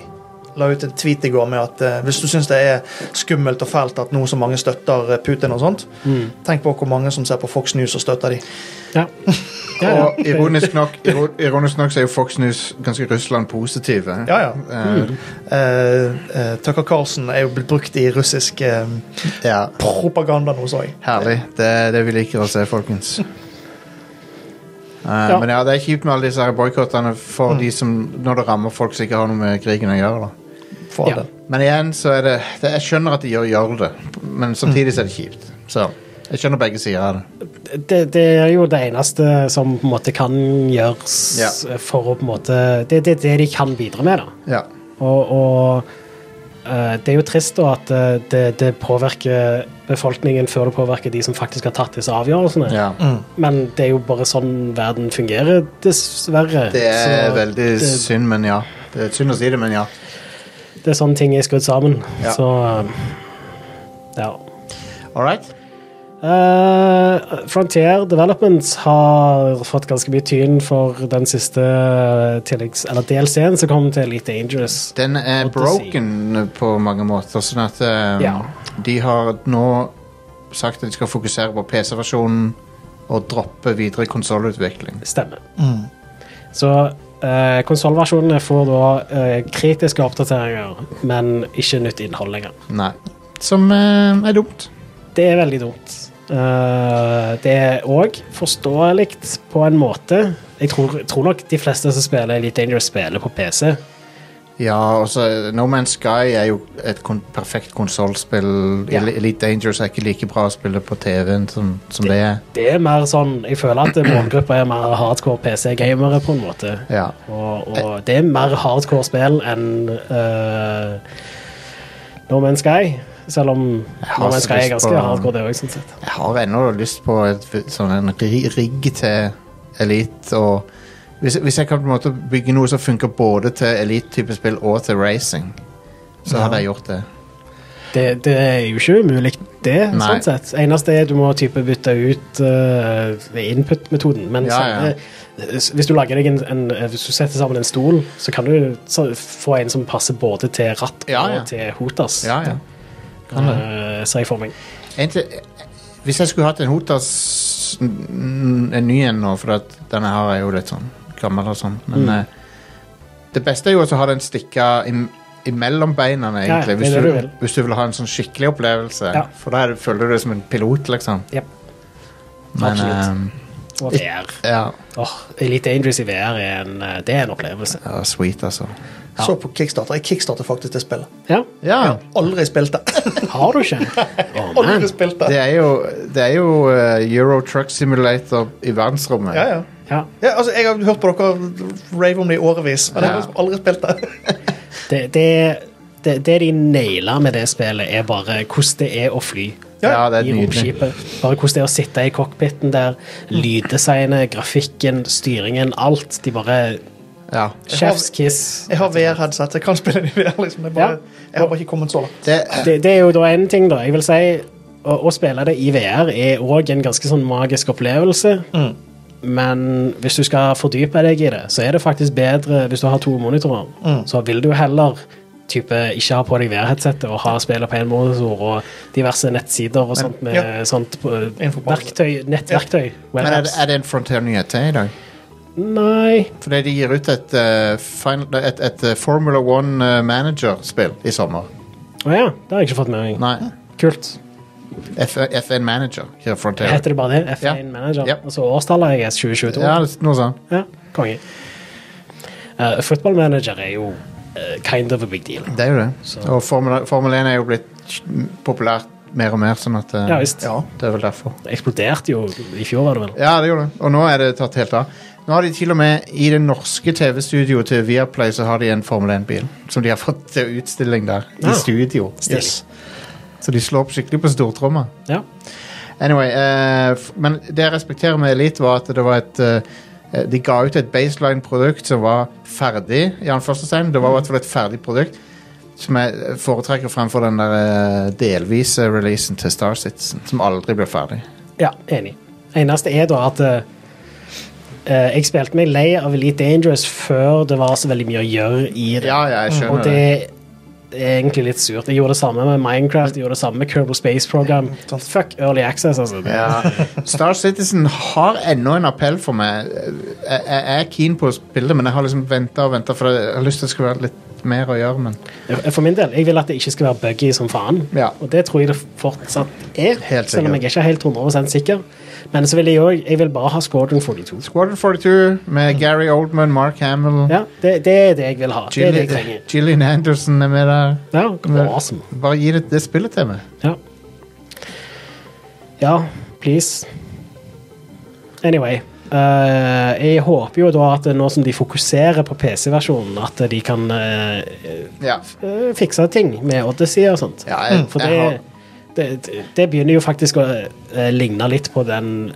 Speaker 3: la ut en tweet i går med at eh, hvis du syns det er skummelt og fælt at nå så mange støtter eh, Putin og sånt,
Speaker 2: Mm.
Speaker 3: tenk på hvor mange som ser på Fox News og støtter de.
Speaker 2: ja. Ja, ja.
Speaker 1: Og ironisk nok, iro- ironisk nok så er jo Fox News ganske Russland-positive.
Speaker 3: Ja, ja.
Speaker 1: Eh,
Speaker 2: Mm.
Speaker 3: Eh, eh, Tucker Carlson er jo blitt brukt i russisk eh,
Speaker 1: ja.
Speaker 3: propaganda nå, så jeg.
Speaker 1: Herlig. Det er det vi liker å se, folkens. Eh,
Speaker 2: Ja. Mm.
Speaker 1: Men ja, det er kjipt med alle disse her boikottene for de som Når det rammer folk som ikke har noe med krigen å gjøre. da
Speaker 3: For
Speaker 2: Ja.
Speaker 3: det.
Speaker 1: Men igjen så er det, det Jeg skjønner at de gjør, gjør det, men
Speaker 2: Mm.
Speaker 1: samtidig så er det kjipt. Så jeg skjønner begge sider av det.
Speaker 2: Det, det er jo det eneste som på en måte kan gjøres
Speaker 1: Ja.
Speaker 2: for å på en måte Det er det, er det de kan bidra med, da.
Speaker 1: Ja.
Speaker 2: Og, og eh, det er jo trist da at eh, det, det påvirker befolkningen før det påvirker de som faktisk har tatt disse avgjørelsene.
Speaker 1: ja.
Speaker 2: Men det er jo bare sånn verden fungerer, dessverre.
Speaker 1: Det er
Speaker 2: Så
Speaker 1: veldig
Speaker 2: det,
Speaker 1: synd, men ja. Det er synd å si det, men ja.
Speaker 2: det er sånn ting er skrudd sammen.
Speaker 1: Ja.
Speaker 2: Så eh, ja.
Speaker 1: All right.
Speaker 2: Eh, Frontier Developments har fått ganske mye tyn for den siste eh, tilleggs... Eller DLC-en som kom til Elite Dangerous.
Speaker 1: Den er
Speaker 2: Odyssey.
Speaker 1: broken på mange måter, sånn at eh,
Speaker 2: Ja.
Speaker 1: de har nå sagt at de skal fokusere på PC-versjonen og droppe videre konsollutvikling.
Speaker 2: Stemmer.
Speaker 3: Mm.
Speaker 2: Så uh, konsollversjonene får da eh, kritiske oppdateringer, men ikke nytt innhold lenger.
Speaker 1: Nei. Som eh, er dumt.
Speaker 2: Det er veldig dumt. Eh, det er òg forståelig på en måte. Jeg tror, tror nok de fleste som spiller Elite Dangerous, spiller på PC.
Speaker 1: Ja, og så No Man's Sky er jo et kon perfekt konsollspill.
Speaker 2: Ja.
Speaker 1: Eli- Elite Dangerous er ikke like bra å spille på TV-en som, som det er.
Speaker 2: Det er mer sånn Jeg føler at målgruppa er mer hardcore PC-gamere, på en måte.
Speaker 1: Ja.
Speaker 2: Og, og det er mer hardcore spill enn eh, No Man's Sky. Selv om
Speaker 1: har
Speaker 2: No Man's
Speaker 1: så
Speaker 2: Sky er
Speaker 1: lyst
Speaker 2: ganske
Speaker 1: på-
Speaker 2: hardcore, det òg, sånn sett.
Speaker 1: Jeg har ennå lyst på et, v- sånn en ri- rigg til Elite. Og hvis, hvis jeg kan på en måte bygge noe som funker både til Elite-type spill og til racing, så hadde jeg gjort det.
Speaker 2: Det, det er jo ikke umulig, det.
Speaker 1: Nei.
Speaker 2: sånn sett. Eneste er du må type bytte ut eh, input-metoden. Men
Speaker 1: Ja, ja.
Speaker 2: selve- s- hvis du lager deg en, en, eh, hvis du setter sammen en stol, så kan du så, få en som passer både til ratt
Speaker 1: Ja, ja.
Speaker 2: og til hotas.
Speaker 1: Ja, ja. Kan det.
Speaker 2: eh, ser jeg for meg.
Speaker 1: En til- hvis jeg skulle hatt en Hotas n- En ny en nå, for at denne her er jo litt sånn gammel og sånn, men
Speaker 2: Mm.
Speaker 1: eh, det beste er jo også å ha den stikka im imellom beina,
Speaker 2: Ja,
Speaker 1: egentlig,
Speaker 2: det er
Speaker 1: hvis,
Speaker 2: det
Speaker 1: du,
Speaker 2: du vil.
Speaker 1: hvis du vil ha en sånn skikkelig opplevelse.
Speaker 2: Ja.
Speaker 1: For da er det- føler du deg som en pilot, liksom.
Speaker 2: Jep.
Speaker 1: Men
Speaker 2: Absolutt.
Speaker 1: eh,
Speaker 2: Og VR.
Speaker 1: ja.
Speaker 2: Åh, Elite Dangerous i VR er en, eh, det er en opplevelse.
Speaker 1: ja, sweet, altså.
Speaker 3: Så på Kickstarter. Jeg kickstarter faktisk det spillet.
Speaker 2: Ja,
Speaker 1: Ja,
Speaker 3: Aldri spilt det.
Speaker 2: Har du ikke? Å, man.
Speaker 3: Aldri spilt det.
Speaker 1: det er jo, det er jo eh, Euro Truck Simulator i verdensrommet.
Speaker 3: Ja, ja.
Speaker 2: Ja,
Speaker 3: Ja, altså, jeg har hørt på dere rave om det i årevis, men jeg har
Speaker 1: Ja.
Speaker 3: liksom aldri spilt det.
Speaker 2: det, det, det, det de nailer med det spillet, er bare hvordan det er å fly.
Speaker 1: Ja, det er
Speaker 2: i
Speaker 1: nydelig.
Speaker 2: romskipet. Bare hvordan det er å sitte i cockpiten der. Lyddesignet, grafikken, styringen, alt. De bare
Speaker 1: Ja.
Speaker 2: Chef's kiss.
Speaker 3: Jeg har VR-headset, jeg kan spille det i VR. liksom. Jeg, bare, jeg har bare ikke kommet så langt.
Speaker 1: Det,
Speaker 2: Det, det er jo da en ting, da. Jeg vil si å, å spille det i VR er òg en ganske sånn magisk opplevelse.
Speaker 3: Mm.
Speaker 2: Men hvis du skal fordype deg i det, så er det faktisk bedre hvis du har to monitorer.
Speaker 3: Mm.
Speaker 2: Så vil du heller type ikke ha på deg VR-headsetet og ha spillet på én monitor og diverse nettsider og sånt med
Speaker 3: ja.
Speaker 2: sånt eh,
Speaker 3: Info på-
Speaker 2: verktøy, nettverktøy.
Speaker 1: men er,
Speaker 2: webapps.
Speaker 1: det- er det en Frontier-nyhet til i dag?
Speaker 2: Nei.
Speaker 1: Fordi de gir ut et, eh, final, et, et eh, Formula One eh, Manager-spill i sommer.
Speaker 2: Å ja, det har jeg ikke fått med meg.
Speaker 1: Nei,
Speaker 2: Kult.
Speaker 1: F FN Manager. Her Frontier.
Speaker 2: Heter det bare det?
Speaker 1: Ja.
Speaker 2: F1 Manager?
Speaker 1: Ja.
Speaker 2: Altså årstallet jeg er 2022?
Speaker 1: Ja, det- noe sånt.
Speaker 2: Ja, konge. Uh, football manager er jo eh, kind of a big deal.
Speaker 1: Det er jo det.
Speaker 2: Så-
Speaker 1: Og Formel, Formel 1 er jo blitt populært mer og mer, sånn at eh,
Speaker 2: Ja visst.
Speaker 3: Ja.
Speaker 1: det er vel derfor.
Speaker 2: Det eksploderte jo i fjor, var det vel.
Speaker 1: Ja, det gjorde det. Og nå er det tatt helt av. Nå har de til og med I det norske TV-studioet til Viaplay så har de en Formel 1-bil som de har fått til utstilling der.
Speaker 2: Ja.
Speaker 1: I studio.
Speaker 2: Stilig.
Speaker 1: Så de slår opp skikkelig på stortromma.
Speaker 2: Ja.
Speaker 1: Anyway, eh, f- men det jeg respekterer med Elite, var at det var et eh, De ga ut et baseline-produkt som var ferdig, i anførselstegn. Det var i hvert fall et ferdig produkt som jeg eh, foretrekker fremfor den der eh, delvise releasen til Star Citizen, som aldri blir ferdig.
Speaker 2: ja, enig. Eneste er da at eh, eh, jeg spilte meg lei av Elite Dangerous før det var så veldig mye å gjøre i det.
Speaker 1: Ja, ja, jeg
Speaker 2: Og
Speaker 1: skjønner det.
Speaker 2: det er egentlig litt surt. Jeg gjorde det samme med Minecraft, jeg gjorde det samme med Kerbal Space Program.
Speaker 3: sant.
Speaker 2: Fuck Early Access, altså. Det-
Speaker 1: Ja. Star Citizen har ennå en appell for meg. Jeg, jeg er keen på å spille det, men jeg har liksom venta og venta, for jeg har lyst til at det skal være litt mer å gjøre, men
Speaker 2: For min del, jeg vil at det ikke skal være buggy som faen.
Speaker 1: Ja.
Speaker 2: Og det tror jeg det fortsatt er,
Speaker 1: Helt
Speaker 2: selv om jeg ikke er helt 100 sikker. Men så vil jeg òg Jeg vil bare ha Squadron 42.
Speaker 1: Squadron 42 med Gary Oldman, Mark Hamill
Speaker 2: Mm. Ja, det, det er det jeg vil ha. Det er det jeg trenger.
Speaker 1: Gillian, Gillian Anderson er med der.
Speaker 2: Ja,
Speaker 1: Men-
Speaker 2: awesome.
Speaker 1: Bare gi det, det spillet til meg.
Speaker 2: Ja. ja, please. Anyway. eh, jeg håper jo da at nå som de fokuserer på PC-versjonen, at de kan eh,
Speaker 1: Ja.
Speaker 2: eh, fikse ting med Odyssey og sånt.
Speaker 1: Ja, jeg-
Speaker 2: For
Speaker 1: jeg
Speaker 2: det,
Speaker 1: har-
Speaker 2: det, det begynner jo faktisk å eh, ligne litt på den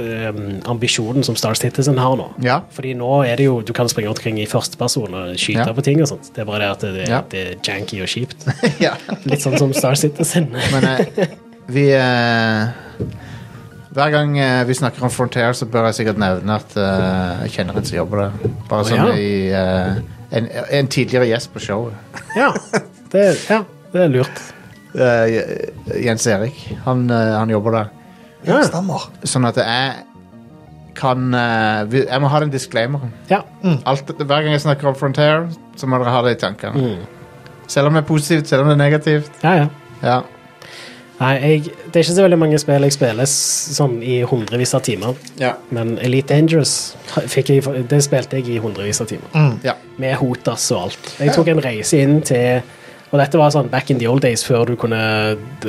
Speaker 2: eh, ambisjonen som Star Citizen har nå.
Speaker 1: Ja.
Speaker 2: Fordi nå er det jo Du kan springe rundt omkring i førsteperson og skyte
Speaker 1: Ja.
Speaker 2: på ting og sånt. Det er bare det at det,
Speaker 1: Ja.
Speaker 2: det er janky og kjipt.
Speaker 1: ja.
Speaker 2: Litt sånn som Star Citizen.
Speaker 1: Men eh, vi eh, Hver gang eh, vi snakker om Frontier, så bør jeg sikkert nevne at eh, jeg kjenner en som jobber der. Bare
Speaker 2: Å,
Speaker 1: sånn
Speaker 2: ja.
Speaker 1: i eh, en, en tidligere gjest på showet.
Speaker 2: ja, det, ja, det er lurt.
Speaker 1: Eh, Jens Erik. Han, eh, han jobber der.
Speaker 2: Ja.
Speaker 3: Stemmer.
Speaker 1: Sånn at jeg kan eh, vi- Jeg må ha den disclaimeren.
Speaker 2: ja.
Speaker 1: Alt, hver gang jeg snakker om Frontier, så må dere ha det i tankene. Selv om det er positivt, selv om det er negativt.
Speaker 2: Mm. ja, ja.
Speaker 1: Ja.
Speaker 2: Nei, jeg, det er ikke så veldig mange spill jeg spiller s- sånn i hundrevis av timer. Men Elite Dangerous fikk jeg, det spilte jeg i hundrevis av timer.
Speaker 3: Mm.
Speaker 1: ja.
Speaker 2: Med Hotas og alt. Jeg tok en reise inn til Og dette var sånn back in the old days, før du kunne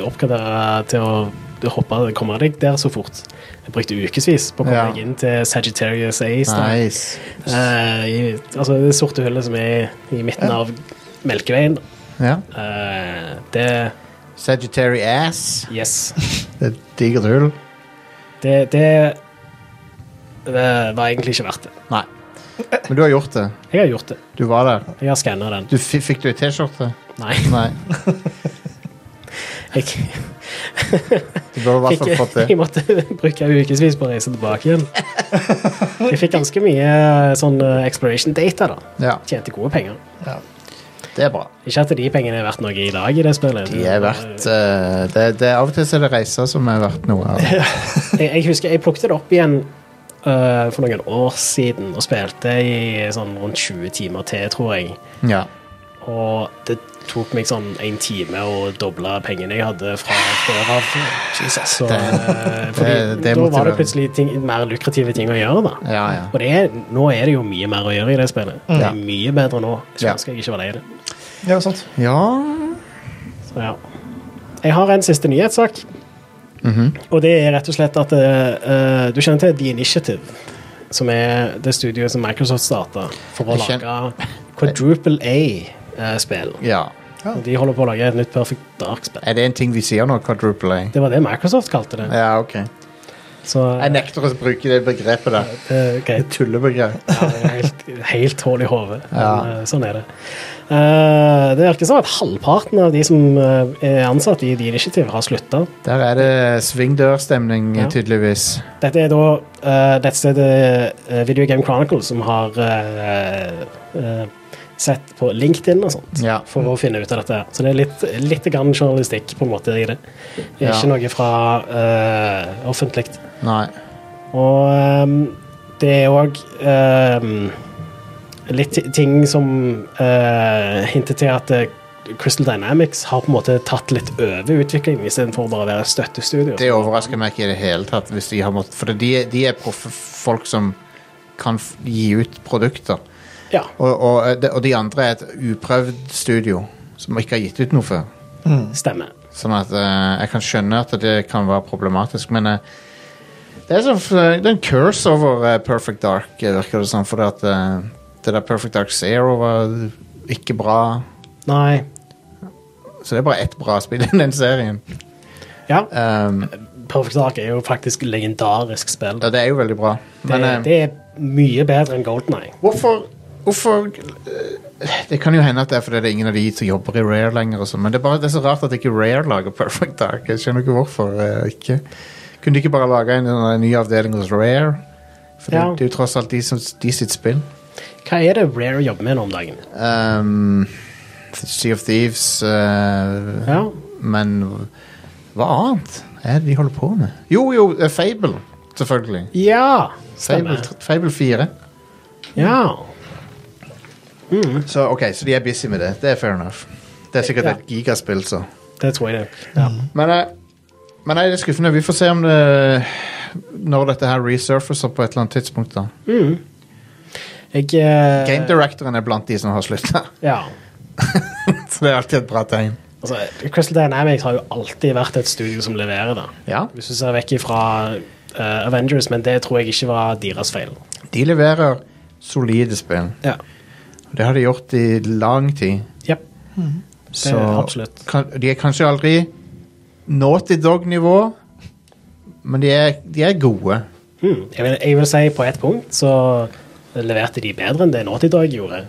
Speaker 2: oppgradere til å hoppe komme deg der så fort. Jeg brukte ukevis på å komme
Speaker 1: Ja.
Speaker 2: meg inn til Sagittarius Ace. da.
Speaker 1: Nice.
Speaker 2: Eh, i, altså det sorte hullet som er i midten av Melkeveien.
Speaker 1: Ja.
Speaker 2: Eh, det
Speaker 1: Sagittary ass.
Speaker 2: Yes.
Speaker 1: Det er et digert hull.
Speaker 2: Det, det, det var egentlig ikke verdt det.
Speaker 1: Nei. Men du har gjort det.
Speaker 2: Jeg har gjort det.
Speaker 1: Du var der.
Speaker 2: Jeg har skanna den.
Speaker 1: Du fi- fikk du ei T-skjorte?
Speaker 2: Nei.
Speaker 1: Nei.
Speaker 2: Jeg,
Speaker 1: Du burde i hvert
Speaker 2: fikk,
Speaker 1: fall fått
Speaker 2: jeg
Speaker 1: det.
Speaker 2: måtte bruke ukevis på å reise tilbake igjen. Jeg fikk ganske mye sånn eh, exploration data, da.
Speaker 1: Ja,
Speaker 2: Tjente gode penger.
Speaker 3: Ja.
Speaker 1: det er bra.
Speaker 2: Ikke at de pengene er verdt noe i dag i det spillet.
Speaker 1: De er verdt eh, det, det, Av og til så er det reiser som er verdt noe. av det.
Speaker 2: Eh, Jeg, jeg husker jeg plukket det opp igjen eh, for noen år siden og spilte i sånn rundt 20 timer til, tror jeg.
Speaker 1: Ja.
Speaker 2: Og det tok meg sånn en time å doble pengene jeg hadde fra før av. Jesus. Så, eh, fordi
Speaker 1: Det- det er
Speaker 2: da var det
Speaker 1: motiverende.
Speaker 2: plutselig ting, mer lukrative ting å gjøre, da.
Speaker 1: Ja, ja.
Speaker 2: Og det er, nå er det jo mye mer å gjøre i det spillet. Det
Speaker 1: Ja.
Speaker 2: er mye bedre nå.
Speaker 1: Mm. Ja.
Speaker 2: Skulle ønske jeg ikke var lei det.
Speaker 3: Ja, sant.
Speaker 1: ja.
Speaker 2: Så ja. Jeg har en siste nyhetssak.
Speaker 1: Mhm.
Speaker 2: Og det er rett og slett at eh, eh, Du kjenner til The Initiative, som er det studioet som Microsoft starta for å
Speaker 1: Jeg kjen-
Speaker 2: lage quadruple A-spill.
Speaker 1: ja.
Speaker 2: Og De holder på å lage et nytt Perfect Dark-spill.
Speaker 1: Er det en ting vi sier nå? Quadruple A?
Speaker 2: Det var det Microsoft kalte det.
Speaker 1: Ja, ok.
Speaker 2: Så
Speaker 1: Jeg nekter å bruke det begrepet der.
Speaker 2: eh, ok.
Speaker 1: Tullebegrep.
Speaker 2: Ja, det er helt, helt hull i hodet. Men,
Speaker 1: Ja.
Speaker 2: eh, Sånn er det. Eh, det virker som at halvparten av de som eh, er ansatt i The Initiative, har slutta.
Speaker 1: Der er det svingdørstemning,
Speaker 2: Ja.
Speaker 1: tydeligvis.
Speaker 2: Dette er da eh, dette stedet eh, Video Game Chronicles som har eh, eh, sett på LinkedIn og sånt
Speaker 1: Ja.
Speaker 2: for å finne ut av dette. Så det er litt, litt grann journalistikk på en måte i det.
Speaker 1: Ja.
Speaker 2: Det er eh, ikke noe fra uh, offentlig.
Speaker 1: Nei.
Speaker 2: Og ehm, det er òg litt ti- ting som eh, hinter til at eh, Crystal Dynamics har på en måte tatt litt over utviklingen istedenfor bare å være et støttestudio.
Speaker 1: Det overrasker meg ikke i det hele tatt, hvis de har måttet, for de, de er proffe folk som kan f gi ut produkter.
Speaker 2: Ja.
Speaker 1: Og, og, eh, de- og de andre er et uprøvd studio som ikke har gitt ut noe før.
Speaker 2: Stemmer.
Speaker 1: Sånn at eh, jeg kan skjønne at det kan være problematisk, men eh, det er sånn f- det er en curse over eh, Perfect Dark, eh, virker det som. Sånn, for at eh, det der Perfect Dark Zero var ikke bra.
Speaker 2: Nei.
Speaker 1: Så det er bare ett bra spill i den serien.
Speaker 2: Ja.
Speaker 1: Um,
Speaker 2: Perfect Dark er jo faktisk legendarisk spill.
Speaker 1: ja, det er jo veldig bra. Men
Speaker 2: det,
Speaker 1: eh,
Speaker 2: det er mye bedre enn Golden Eye.
Speaker 1: hvorfor Hvorfor eh, Det kan jo hende at det er fordi det er ingen av de som jobber i Rare lenger, og sånn, men det er, bare, det er så rart at ikke Rare lager Perfect Dark. Jeg skjønner ikke hvorfor. eh, ikke. Kunne de ikke bare lage en, en ny avdeling hos Rare? For
Speaker 2: Ja.
Speaker 1: det, det er jo tross alt de, som, de sitt spill.
Speaker 2: Hva er det Rare jobber med nå om dagen?
Speaker 1: Um, sea of Thieves eh,
Speaker 2: Ja.
Speaker 1: Men hva annet er det de holder på med? Jo, jo, eh, Fable, selvfølgelig.
Speaker 2: ja.
Speaker 1: Fable,
Speaker 2: Stemmer.
Speaker 1: Fable 4.
Speaker 2: Ja.
Speaker 1: Så ok, så de er busy med det. Det er fair enough. Det er sikkert
Speaker 2: Ja.
Speaker 1: et gigaspill, så.
Speaker 2: Det tror jeg det. Ja.
Speaker 1: Men, eh, men nei, det er skuffende. Vi får se om det Når dette her resurfacer på et eller annet tidspunkt, da.
Speaker 2: Jeg eh,
Speaker 1: Game directoren er blant de som har slutta,
Speaker 2: Ja.
Speaker 1: så det er alltid et bra tegn.
Speaker 2: Altså, Crystal Dynamics har jo alltid vært et studio som leverer det.
Speaker 1: Ja.
Speaker 2: Hvis du ser vekk fra Avengers, men det tror jeg ikke var deres feil.
Speaker 1: De leverer solide spill.
Speaker 2: Ja.
Speaker 1: Det har de gjort i lang tid.
Speaker 2: Yep.
Speaker 1: Så
Speaker 2: absolutt.
Speaker 1: kan, de er kanskje aldri Naughty Dog-nivå, men de er, de er gode.
Speaker 2: Mm. Jeg, vil, jeg vil si på ett punkt så leverte de bedre enn det Naughty Dog gjorde.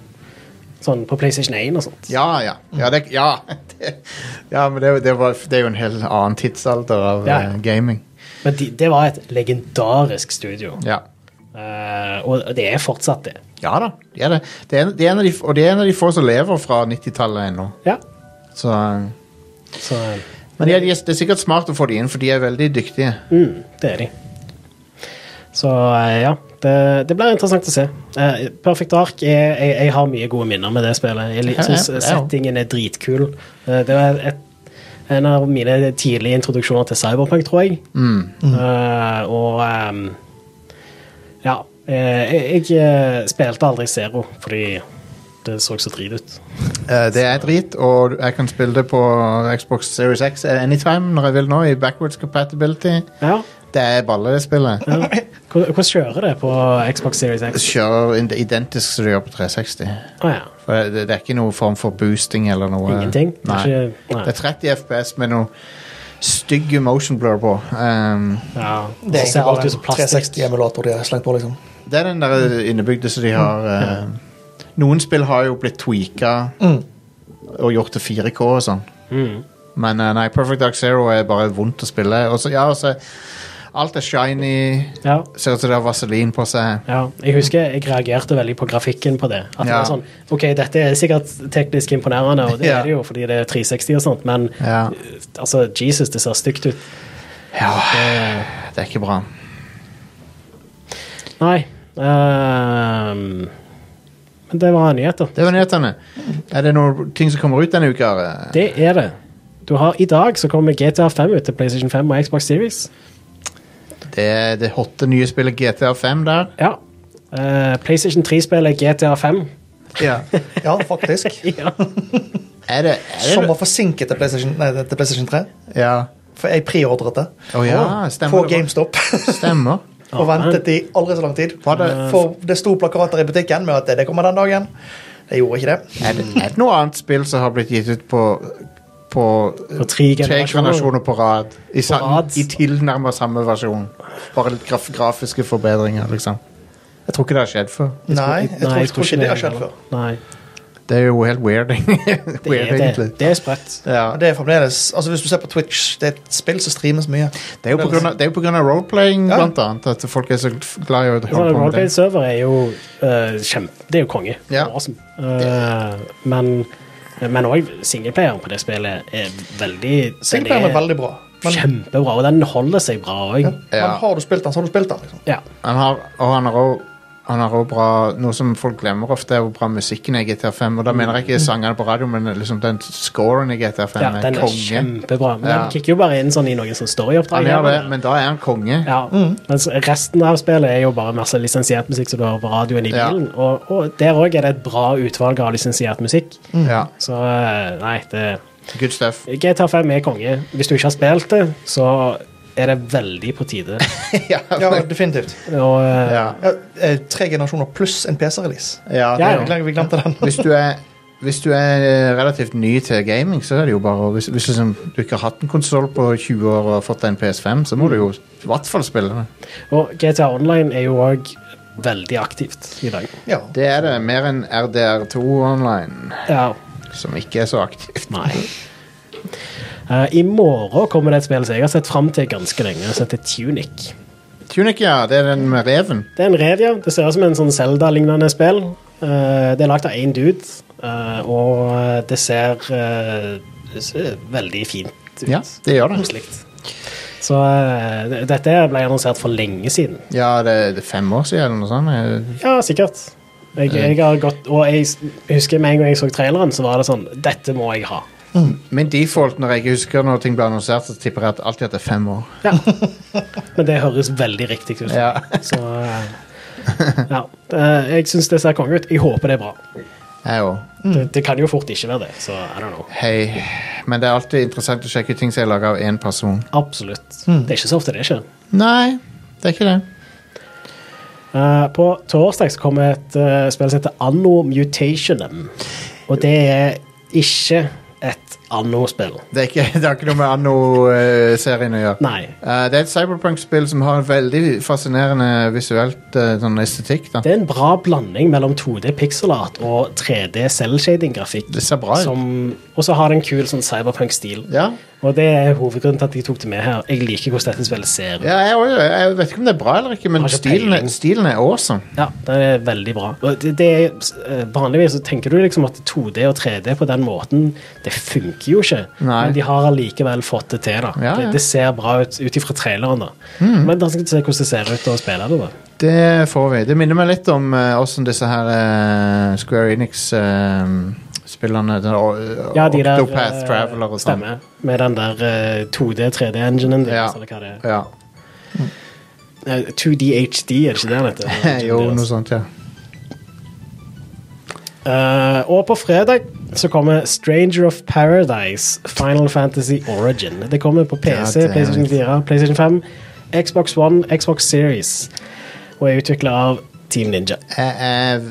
Speaker 2: Sånn på PlayStation 1 og sånt.
Speaker 1: Ja, ja. Ja, det, ja, det, ja men det, er jo- det, var, det er jo en helt annen tidsalder av
Speaker 2: Ja, ja.
Speaker 1: eh, gaming.
Speaker 2: Men de, det var et legendarisk studio.
Speaker 1: Ja.
Speaker 2: Eh, og det er fortsatt det.
Speaker 1: ja da, de er det. Det er, en- det er en av de, og det er en av de få som lever fra 90-tallet ennå.
Speaker 2: Ja.
Speaker 1: Så, eh,
Speaker 2: Så
Speaker 1: Men de er, de er, det er sikkert smart å få de inn, for de er veldig dyktige.
Speaker 2: mm, det er de. Så eh, ja, det, det blir interessant å se. Eh, Perfect Ark er, jeg, jeg har mye gode minner med det spillet. Jeg
Speaker 1: Ja, ja,
Speaker 2: syns
Speaker 1: ja.
Speaker 2: settingen er dritkul. Eh, det var et, en av mine tidlige introduksjoner til Cyberpunk, tror jeg.
Speaker 1: Mm.
Speaker 3: Mm.
Speaker 2: Eh, og ehm, ja. eh, jeg, jeg eh, spilte aldri Zero fordi det så så drit ut.
Speaker 1: Eh, det er drit, og jeg kan spille det på Xbox Series X eh, anytime når jeg vil nå, i backwards compatibility.
Speaker 2: Ja.
Speaker 1: Det er balle, det spillet.
Speaker 2: ja. Hvor- Hvordan kjører det på Xbox Series
Speaker 1: Det
Speaker 2: X?
Speaker 1: Kjører ind- identisk som det gjør på 360.
Speaker 2: Å ja.
Speaker 1: For eh, det, det er ikke noen form for boosting eller noe.
Speaker 2: Ingenting? Det er
Speaker 1: Nei.
Speaker 2: ikke- nei.
Speaker 1: Det er 30 FPS med noe stygg motion blur på. Um,
Speaker 2: Ja.
Speaker 3: Det er
Speaker 2: ser alt
Speaker 3: egentlig bare
Speaker 2: ut som
Speaker 1: sånn
Speaker 3: en
Speaker 2: plastikk.
Speaker 3: 360-emulator de har slengt på, liksom.
Speaker 1: det er den der innebygde
Speaker 2: Mm.
Speaker 1: som de har eh, Noen spill har jo blitt tweaka
Speaker 3: Mm.
Speaker 1: og gjort til 4K og sånn.
Speaker 2: Mm.
Speaker 1: Men eh, nei, Perfect Dark Zero er bare vondt å spille. Og så, ja, og så Alt er shiny.
Speaker 2: Ja.
Speaker 1: Ser ut som det har vaselin på seg.
Speaker 2: ja. Jeg husker jeg reagerte veldig på grafikken på det. At det
Speaker 1: Ja.
Speaker 2: var sånn OK, dette er sikkert teknisk imponerende, og det
Speaker 1: Ja.
Speaker 2: er det jo fordi det er 360 og sånt, men
Speaker 1: Ja.
Speaker 2: altså, Jesus, det ser stygt ut.
Speaker 1: Det er ikke bra.
Speaker 2: Nei. ehm, men det var nyheter.
Speaker 1: Det var nyhetene. Er det noen ting som kommer ut denne uka? Are?
Speaker 2: Det er det. Du har, I dag så kommer GTA 5 ut til PlayStation 5 og Xbox Series.
Speaker 1: Det er det hotte nye spillet GTA5 der.
Speaker 2: Ja. Eh, PlayStation 3-spillet GTA 5.
Speaker 3: Ja, faktisk.
Speaker 2: ja.
Speaker 1: Er det, er
Speaker 3: Som
Speaker 1: det
Speaker 3: var forsinket til PlayStation, nei, til PlayStation 3.
Speaker 1: Ja.
Speaker 3: For jeg preordret det
Speaker 1: Å ja, stemmer
Speaker 3: på
Speaker 1: det.
Speaker 3: GameStop.
Speaker 1: Stemmer.
Speaker 3: og ventet i aldri så lang tid.
Speaker 1: Var det-
Speaker 3: For det sto plakater i butikken med at eh, det kommer den dagen. Det gjorde ikke det.
Speaker 1: Er det, er det noe annet spill som har blitt gitt ut på på,
Speaker 2: På tre generasjoner.
Speaker 1: generasjoner på rad? I, sa-
Speaker 2: rad.
Speaker 1: I tilnærmet samme versjon. Bare litt graf, grafiske forbedringer, liksom. Jeg tror ikke det har skjedd før.
Speaker 3: Nei, jeg tror, jeg tror ikke det har skjedd før.
Speaker 2: Nei,
Speaker 1: Det er jo helt weird, weird
Speaker 2: det er, det.
Speaker 1: egentlig.
Speaker 2: det er sprøtt.
Speaker 1: Ja.
Speaker 3: Og Det er fremdeles, altså Hvis du ser på Twitch, det er et spill som streames mye.
Speaker 1: Det er jo på grunn av, det er jo på grunn av roleplaying,
Speaker 3: Ja.
Speaker 1: blant annet. At folk er så glad i å holde på med det.
Speaker 2: Roleplay-server er jo eh, kjempe... Det er jo konge.
Speaker 1: Ja.
Speaker 2: Awesome. Eh, men men òg singleplayeren på det spillet er veldig den
Speaker 3: Singleplayeren
Speaker 2: er-
Speaker 3: er veldig bra.
Speaker 2: Kjempebra. Og den holder seg bra òg.
Speaker 1: Ja.
Speaker 3: Men har du spilt den, så har du spilt den. liksom.
Speaker 2: Ja.
Speaker 1: Han har, og han har også han har også bra, Noe som folk glemmer ofte, er hvor bra musikken er i GTA 5. Og da mener jeg ikke sangene på radio, men liksom den scoren i GTA 5
Speaker 2: Mm. ja,
Speaker 1: er
Speaker 2: den er
Speaker 1: konge.
Speaker 2: kjempebra. Men
Speaker 1: Ja.
Speaker 2: den kicker jo bare inn sånn i noen sånn storyoppdrag.
Speaker 1: Han
Speaker 2: her,
Speaker 1: gjør det, Mm.
Speaker 2: men-
Speaker 1: men da er han konge.
Speaker 2: Ja, mens resten av spillet er jo bare masse lisensiert musikk som du hører på radioen i
Speaker 1: Ja.
Speaker 2: bilen. Og, og der òg er det et bra utvalg av lisensiert musikk.
Speaker 1: Ja,
Speaker 2: Så eh, nei, det
Speaker 1: Good stuff.
Speaker 2: GTA 5 er konge. Hvis du ikke har spilt det, så er det veldig på tide.
Speaker 1: ja,
Speaker 3: Ja,
Speaker 1: ja.
Speaker 3: definitivt.
Speaker 2: Og eh,
Speaker 1: ja.
Speaker 3: Ja, eh, tre generasjoner pluss en PC-release.
Speaker 1: det
Speaker 2: Ja,
Speaker 1: er
Speaker 2: ja.
Speaker 1: det.
Speaker 3: Beklager, vi glemte den.
Speaker 1: Hvis du er hvis du er relativt ny til gaming, så er det jo bare å- Hvis, hvis liksom, du ikke har hatt en konsoll på 20 år og har fått deg en PS5, så må du jo i hvert fall spille den.
Speaker 2: Og GTA Online er jo òg veldig aktivt i dag.
Speaker 3: Ja.
Speaker 1: Det er det. Mer enn RDR2 online,
Speaker 2: Ja,
Speaker 1: som ikke er så aktivt.
Speaker 2: nei. Eh, I morgen kommer det et spill som jeg har sett fram til ganske lenge, som heter Tunic.
Speaker 1: Tunic, ja. Det er den med reven.
Speaker 2: Det er en rev, ja. Det ser ut som en sånn Zelda-lignende spill. Eh, det er lagd av én dude, eh, og det ser, eh, det ser veldig fint ut.
Speaker 1: Ja, det gjør det.
Speaker 2: Koselig. Så eh, det- dette ble annonsert for lenge siden.
Speaker 1: Ja, det, det er fem år siden eller noe sånt.
Speaker 2: Ja, sikkert. Jeg, jeg har gått, og jeg s- husker med en gang jeg så traileren, så var det sånn Dette må jeg ha.
Speaker 1: Min default når jeg ikke husker når ting blir annonsert, så tipper jeg at alltid at det er fem år.
Speaker 2: Ja. Men det høres veldig riktig ut.
Speaker 1: Ja.
Speaker 2: Så eh, ja. Eh, Jeg syns det ser konge ut. Jeg håper det er bra.
Speaker 1: Jeg òg.
Speaker 2: Det, det kan jo fort ikke være det, så I don't know.
Speaker 1: Hei. Men det er alltid interessant å sjekke ut ting som er laga av én person.
Speaker 2: Absolutt.
Speaker 1: Mm.
Speaker 2: Det er ikke så ofte det skjer.
Speaker 1: Nei, det er ikke det.
Speaker 2: Eh, på torsdag så kommer et eh, spill som heter Anno Mutationem. Og det er ikke et Anno-spill.
Speaker 1: Det, er ikke, det har ikke noe med Anno-serien å gjøre.
Speaker 2: Nei.
Speaker 1: Eh, det er et cyberpunk-spill som har en veldig fascinerende visuelt eh, sånn estetikk. Da.
Speaker 2: Det er en bra blanding mellom 2D pixelart og 3D cellshading-grafikk.
Speaker 1: Det ser bra ut.
Speaker 2: som- Og så har det en kul sånn cyberpunk-stil.
Speaker 1: Ja,
Speaker 2: Og det er hovedgrunnen til at jeg tok det med her. Jeg liker hvordan dette spillet ser ut.
Speaker 1: ja jeg, også- jeg vet ikke om det er bra eller ikke, men
Speaker 2: Har ikke
Speaker 1: stilen, er-
Speaker 2: peiling.
Speaker 1: stilen er awesome.
Speaker 2: Ja, det er veldig bra. Og det, det er, eh, vanligvis så tenker du liksom at 2D og 3D på den måten, det funker jo ikke.
Speaker 1: Nei.
Speaker 2: Men de har allikevel fått det til. da.
Speaker 1: Ja, ja. Mm.
Speaker 2: Det, det ser bra ut ut ifra traileren. da. Men da skal vi se hvordan det ser ut å spille det. da.
Speaker 1: Det får vi. Det minner meg litt om åssen disse her eh, Square eh, Enix-spillerne
Speaker 2: Ja, de der,
Speaker 1: Octopath
Speaker 2: eh,
Speaker 1: Traveler og sånn.
Speaker 2: stemmer. Med den der eh, 2D-3D-enginen deres,
Speaker 1: Ja.
Speaker 2: eller hva det er.
Speaker 1: Ja.
Speaker 2: Eh, 2DHD, er sånn det ikke det den heter?
Speaker 1: jo, noe sånt, ja.
Speaker 2: Eh, og på fredag så kommer Stranger of Paradise Final Fantasy Origin. Det kommer på PC,
Speaker 1: Ja, det er-
Speaker 2: PlayStation 4, PlayStation 5, Xbox One, Xbox Series. Og er utvikla av Team Ninja.
Speaker 1: Jeg, jeg,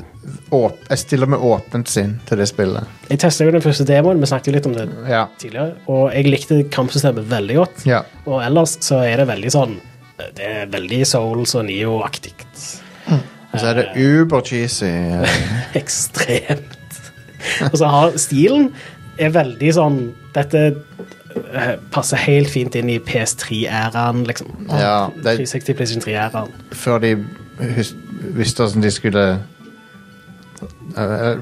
Speaker 1: åp, jeg stiller med åpent sinn til det spillet.
Speaker 2: Jeg testa jo den første demoen, vi snakket jo litt om det
Speaker 1: Ja.
Speaker 2: tidligere, og jeg likte kampsystemet veldig godt.
Speaker 1: Ja.
Speaker 2: Og ellers så er det veldig sånn eh, Det er veldig Souls og Neo-aktig.
Speaker 1: Og så er det uber-cheesy. eh,
Speaker 2: Ekstremt. Og så har stilen er veldig sånn Dette eh, passer helt fint inn i PS3-æraen, liksom.
Speaker 1: Ja, det-
Speaker 2: 360 PlayStation 3-æraen.
Speaker 1: Før de hus, visste hvordan de skulle eh,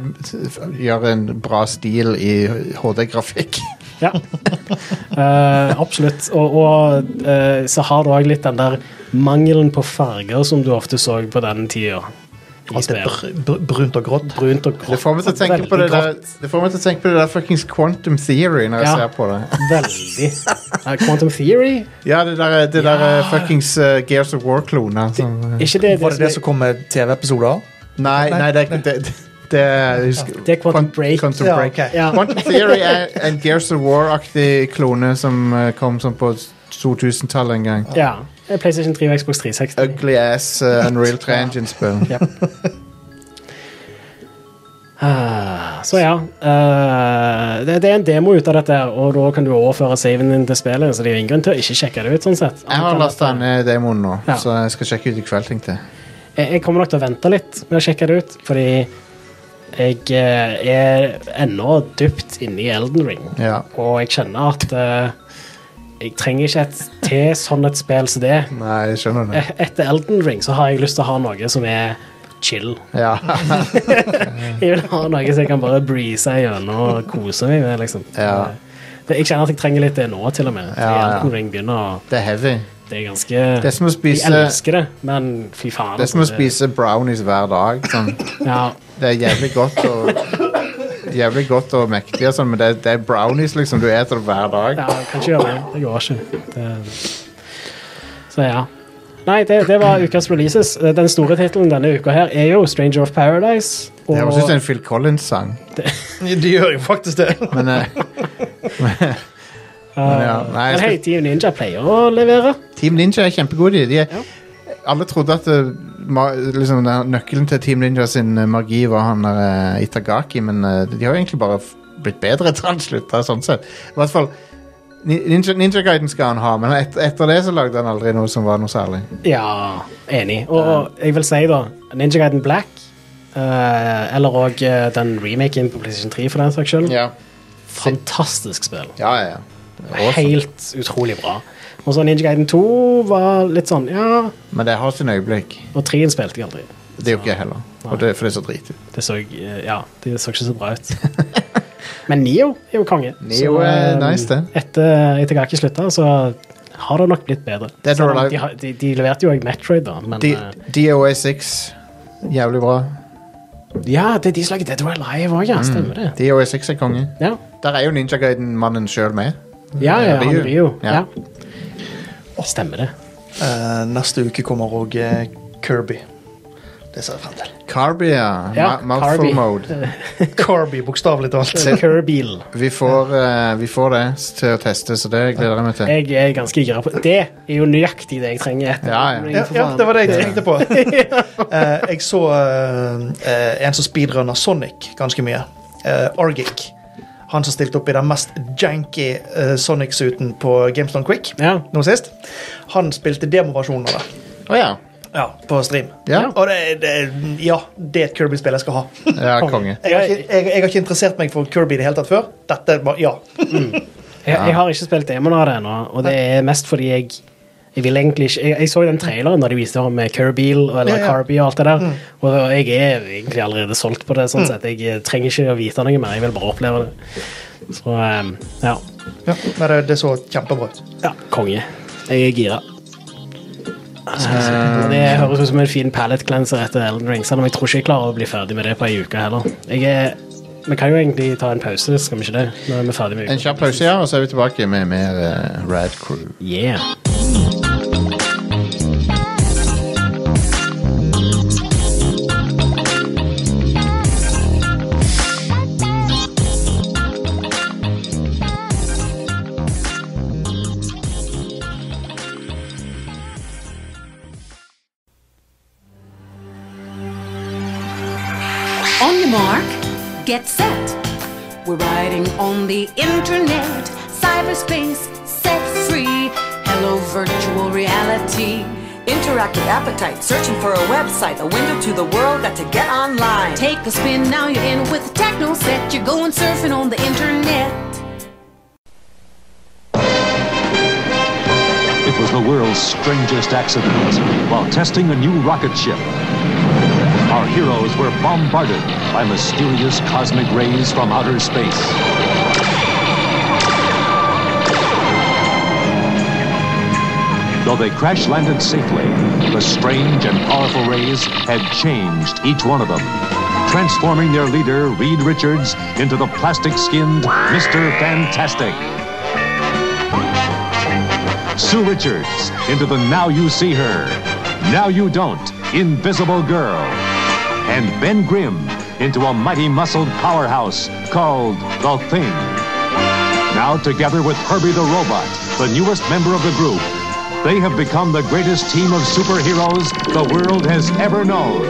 Speaker 1: gjøre en bra stil i HD-grafikk.
Speaker 2: Ja. Eh, absolutt. Og, og eh, så har du òg litt den der mangelen på farger som du ofte så på den tida. i
Speaker 3: Alt er
Speaker 2: spill.
Speaker 3: br br brunt og grått.
Speaker 2: Brunt og grått.
Speaker 1: Det får meg til å tenke på det
Speaker 2: Veldig
Speaker 1: der
Speaker 2: grått.
Speaker 1: Det får meg til å tenke på det der fuckings quantum theory når jeg
Speaker 2: Ja.
Speaker 1: ser på det.
Speaker 2: Veldig. Eh, Quantum Theory?
Speaker 1: Ja, det der, det der eh, fuckings eh, Gears of War-klona. som, eh,
Speaker 2: Ikke det,
Speaker 3: Var det det som kom med TV-episoder?
Speaker 1: Nei, nei, det er ikke det. det- Det er, husk,
Speaker 2: Det er Quantum
Speaker 1: Quant-
Speaker 2: Break.
Speaker 1: Quantum,
Speaker 3: Ja,
Speaker 1: Break.
Speaker 3: ok.
Speaker 2: Ja.
Speaker 1: Quantum Theory er en Gears of War-aktig klone som eh, kom sånn på 2000-tallet en gang.
Speaker 2: Ja. Eh, PlayStation 3 og Xbox 360.
Speaker 1: Ugly ass eh, Unreal 3 Engine-spill.
Speaker 2: Ah, Så ja, eh, det, det er en demo ut av dette, her, og da kan du overføre saven din til spillet, så det er jo ingen grunn til å ikke sjekke det ut. sånn sett.
Speaker 1: Jeg har lasta ned demoen nå,
Speaker 2: Ja.
Speaker 1: så jeg skal sjekke ut i kveld, tenkte jeg.
Speaker 2: Jeg, jeg kommer nok til å vente litt med å sjekke det ut, fordi jeg eh, er ennå dypt inne i Elden Ring,
Speaker 1: Ja.
Speaker 2: og jeg kjenner at eh, jeg trenger ikke et til sånn et spill som det.
Speaker 1: Nei, jeg skjønner det.
Speaker 2: Eh, Etter Elden Ring så har jeg lyst til å ha noe som er chill.
Speaker 1: Ja.
Speaker 2: Jeg vil ha noe som jeg kan bare breeze gjennom og kose meg med. liksom.
Speaker 1: Ja.
Speaker 2: Jeg kjenner at jeg trenger litt det nå, til og med. For
Speaker 1: Ja, ja.
Speaker 2: Elden Ring begynner å
Speaker 1: Det er heavy.
Speaker 2: Det er ganske
Speaker 1: Det er som å
Speaker 2: Jeg
Speaker 1: spise,
Speaker 2: elsker det, men fy faen. altså,
Speaker 1: det er som å spise brownies hver dag. Sånn.
Speaker 2: Ja,
Speaker 1: Det er jævlig godt og Jævlig godt og mektig, og sånn, men det, er- det er brownies liksom du eter hver dag.
Speaker 2: ja kanskje gjøre det. Det går ikke. Det... Så ja. Nei, det, det var ukas releases. Den store tittelen denne uka her er jo Stranger of Paradise.
Speaker 1: Det høres ut som
Speaker 2: Og
Speaker 1: en Phil Collins-sang.
Speaker 3: De gjør jo faktisk det.
Speaker 1: Men, eh,
Speaker 2: eh,
Speaker 1: men ja, nei, jeg
Speaker 2: men hei,
Speaker 1: skal,
Speaker 2: Team Ninja pleier å levere.
Speaker 1: Team Ninja er kjempegode. i. De er,
Speaker 2: Ja.
Speaker 1: Alle trodde at eh, ma, liksom, den nøkkelen til Team Ninja sin eh, magi var han der eh, Itagaki, men eh, de har jo egentlig bare f- blitt bedre etter han slutta. Sånn sett. I hvert fall Ni- Ninja, Ninja Guiden skal han ha, men et, etter det så lagde han aldri noe som var noe særlig.
Speaker 2: Ja, enig. Og, og jeg vil si, da, Ninja Gaiden Black, eh, eller òg den remaken på PlayStation 3, for den saks skyld,
Speaker 1: Ja,
Speaker 2: fantastisk spill.
Speaker 1: ja, ja. Det er awesome.
Speaker 2: Helt utrolig bra. Og så Ninja Gaiden 2 var litt sånn, ja
Speaker 1: Men det har sin øyeblikk.
Speaker 2: Og 3-en spilte jeg aldri.
Speaker 1: Det er jo ikke jeg heller. Og det, for det er så drit ut.
Speaker 2: Det så, eh, ja, det så ikke så bra ut. Men Nio er jo konge.
Speaker 1: Neo
Speaker 2: Så,
Speaker 1: er
Speaker 2: eh,
Speaker 1: nice, det.
Speaker 2: Etter at jeg ikke slutta, så har det nok blitt bedre.
Speaker 1: Dead or
Speaker 2: Selv om
Speaker 1: Alive.
Speaker 2: de, har- de, de leverte jo òg Metroid, da, men eh,
Speaker 1: DOA6. Jævlig bra.
Speaker 2: Ja, det er de som lager Dead or Alive òg, ja. Stemmer det.
Speaker 1: DOA6 er konge.
Speaker 2: Mm. Ja,
Speaker 1: Der er jo Ninja Guiden-mannen sjøl med.
Speaker 2: ja, ja han
Speaker 1: Ryu.
Speaker 2: Rio.
Speaker 1: Ja.
Speaker 2: Ja. Stemmer det.
Speaker 3: Eh, neste uke kommer òg Kirby. Det ser jeg frem til.
Speaker 1: Carbia.
Speaker 2: Ja,
Speaker 1: Ma mouthful
Speaker 2: Kirby.
Speaker 1: mode.
Speaker 3: Kirby, bokstavelig talt.
Speaker 2: Kirbyl.
Speaker 1: Vi får, eh, vi får det s- til å teste, så det gleder jeg meg til.
Speaker 2: Jeg er ganske gira på Det er jo nøyaktig det jeg trenger. etter
Speaker 1: Ja, ja.
Speaker 3: Ja, ja, det var det jeg tenkte på. Eh, jeg så eh, eh, en som speedrunner Sonic ganske mye. Eh, Argic. Han som stilte opp i den mest janky eh, Sonic-suiten på GameStone Quick
Speaker 2: Ja.
Speaker 3: nå sist. Han spilte demoversjonen av det
Speaker 2: Eh,
Speaker 1: Å ja.
Speaker 3: ja, på stream.
Speaker 1: Ja.
Speaker 3: Og det, det, ja, det er et Kirby-spill jeg skal ha.
Speaker 1: ja, konge.
Speaker 3: Jeg har, ikke, jeg, jeg har ikke interessert meg for Kirby i det hele tatt før. Dette var, ja.
Speaker 2: Jeg, jeg har ikke spilt demoen av det ennå, og det er mest fordi jeg jeg vil egentlig ikke, jeg, jeg så jo den traileren da de viste om eh, Kirbyl og- eller
Speaker 3: Ja, ja.
Speaker 2: Kirby og alt det der,
Speaker 1: Mm.
Speaker 2: og jeg er egentlig allerede solgt på det, sånn sett. Jeg eh, trenger ikke å vite noe mer, jeg vil bare oppleve det. Så, eh, ja.
Speaker 3: ja. Men det, det så kjempebra ut.
Speaker 2: Ja, konge. Jeg er gira. Eh, det høres ut som en fin palette cleanser etter Elden Ring, selv om jeg tror ikke jeg klarer å bli ferdig med det på ei uke heller. Jeg er, vi kan jo egentlig ta en pause, skal vi ikke det? Når vi er ferdig
Speaker 1: En
Speaker 2: med uka.
Speaker 1: kjapp pause, ja, og så er vi tilbake med mer eh, Rad Crew.
Speaker 2: Yeah.
Speaker 6: On your mark, get set. We're riding on the internet, cyberspace set free. Hello, virtual reality.
Speaker 7: Interactive appetite, searching for a website, a window to the world, got to get online.
Speaker 6: Take a spin, now you're in with the techno set. You're going surfing on the internet.
Speaker 8: It was the world's strangest accident. While testing a new rocket ship, our heroes were bombarded by mysterious cosmic rays from outer space. Though they crash landed safely, the strange and powerful rays had changed each one of them, transforming their leader, Reed Richards, into the plastic skinned Mr. Fantastic. Sue Richards into the Now You See Her, Now You Don't, Invisible Girl. And Ben Grimm into a mighty muscled powerhouse called The Thing. Now, together with Herbie the Robot, the newest member of the group, they have become the greatest team of superheroes the world has ever known.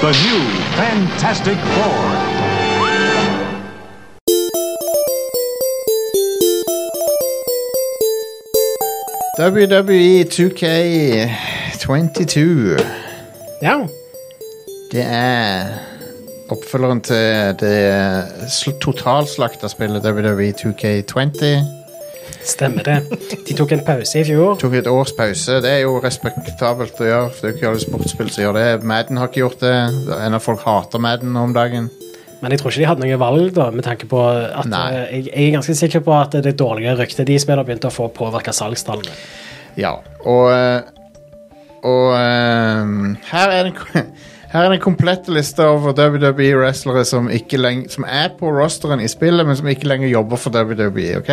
Speaker 8: The new Fantastic Four.
Speaker 1: WWE 2K22.
Speaker 2: Ja.
Speaker 1: Det er oppfølgeren til det sl- totalslakta spillet E WWE 2K20.
Speaker 2: Stemmer det. De tok en pause i fjor.
Speaker 1: tok et års pause. Det er jo respektabelt å gjøre. for Det er jo ikke alle sportsspill som gjør det. Madden har ikke gjort det. En av folk hater Madden om dagen.
Speaker 2: Men jeg tror ikke de hadde noe valg, da, med tanke på at
Speaker 1: Nei.
Speaker 2: eh, jeg, jeg er ganske sikker på at det dårlige ryktet de spiller, begynte å få påvirke salgstallene.
Speaker 1: Ja, og eh, Og eh, her er den her er den komplette lista over WWE-wrestlere som, ikke leng- som er på rosteren i spillet, men som ikke lenger jobber for WWE. ok?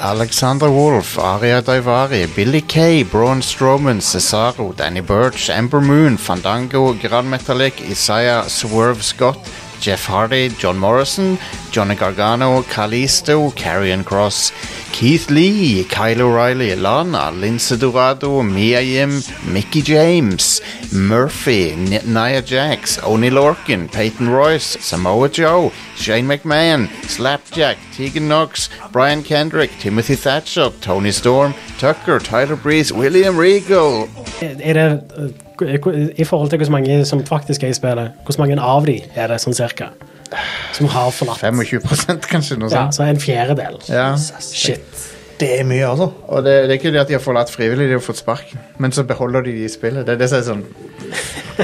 Speaker 1: Alexander Wolff, Aria Daivari, Billy Kay, Braun Strowman, Cesaro, Danny Burch, Ember Moon, Fandango, Grand Metalik, Isaiah Swerve Scott, Jeff Hardy, John Morrison, Johnny Gargano, Kalisto, Karrion Cross, Keith Lee, Kyle O'Reilly, Lana, Lince Dorado, Mia Yim, Mickey James, Murphy, N- Nia Jax, Oni Lorcan, Peyton Royce, Samoa Joe, Shane McMahon, Slapjack, Tegan Knox, Brian Kendrick, Timothy Thatcher, Tony Storm, Tucker, Tyler Breeze, William Regal.
Speaker 2: Er det, eh, I forhold til hvor mange som faktisk er i spillet, hvor mange av de er det sånn cirka? Som har forlatt?
Speaker 1: 25 kanskje, noe
Speaker 2: Ja,
Speaker 1: sånt.
Speaker 2: så en fjerdedel.
Speaker 1: Ja.
Speaker 2: Shit.
Speaker 3: Det er mye, altså.
Speaker 1: Og det, det er ikke det at de har forlatt frivillig, de har fått sparken. Men så beholder de de i spillet. Det er det som er sånn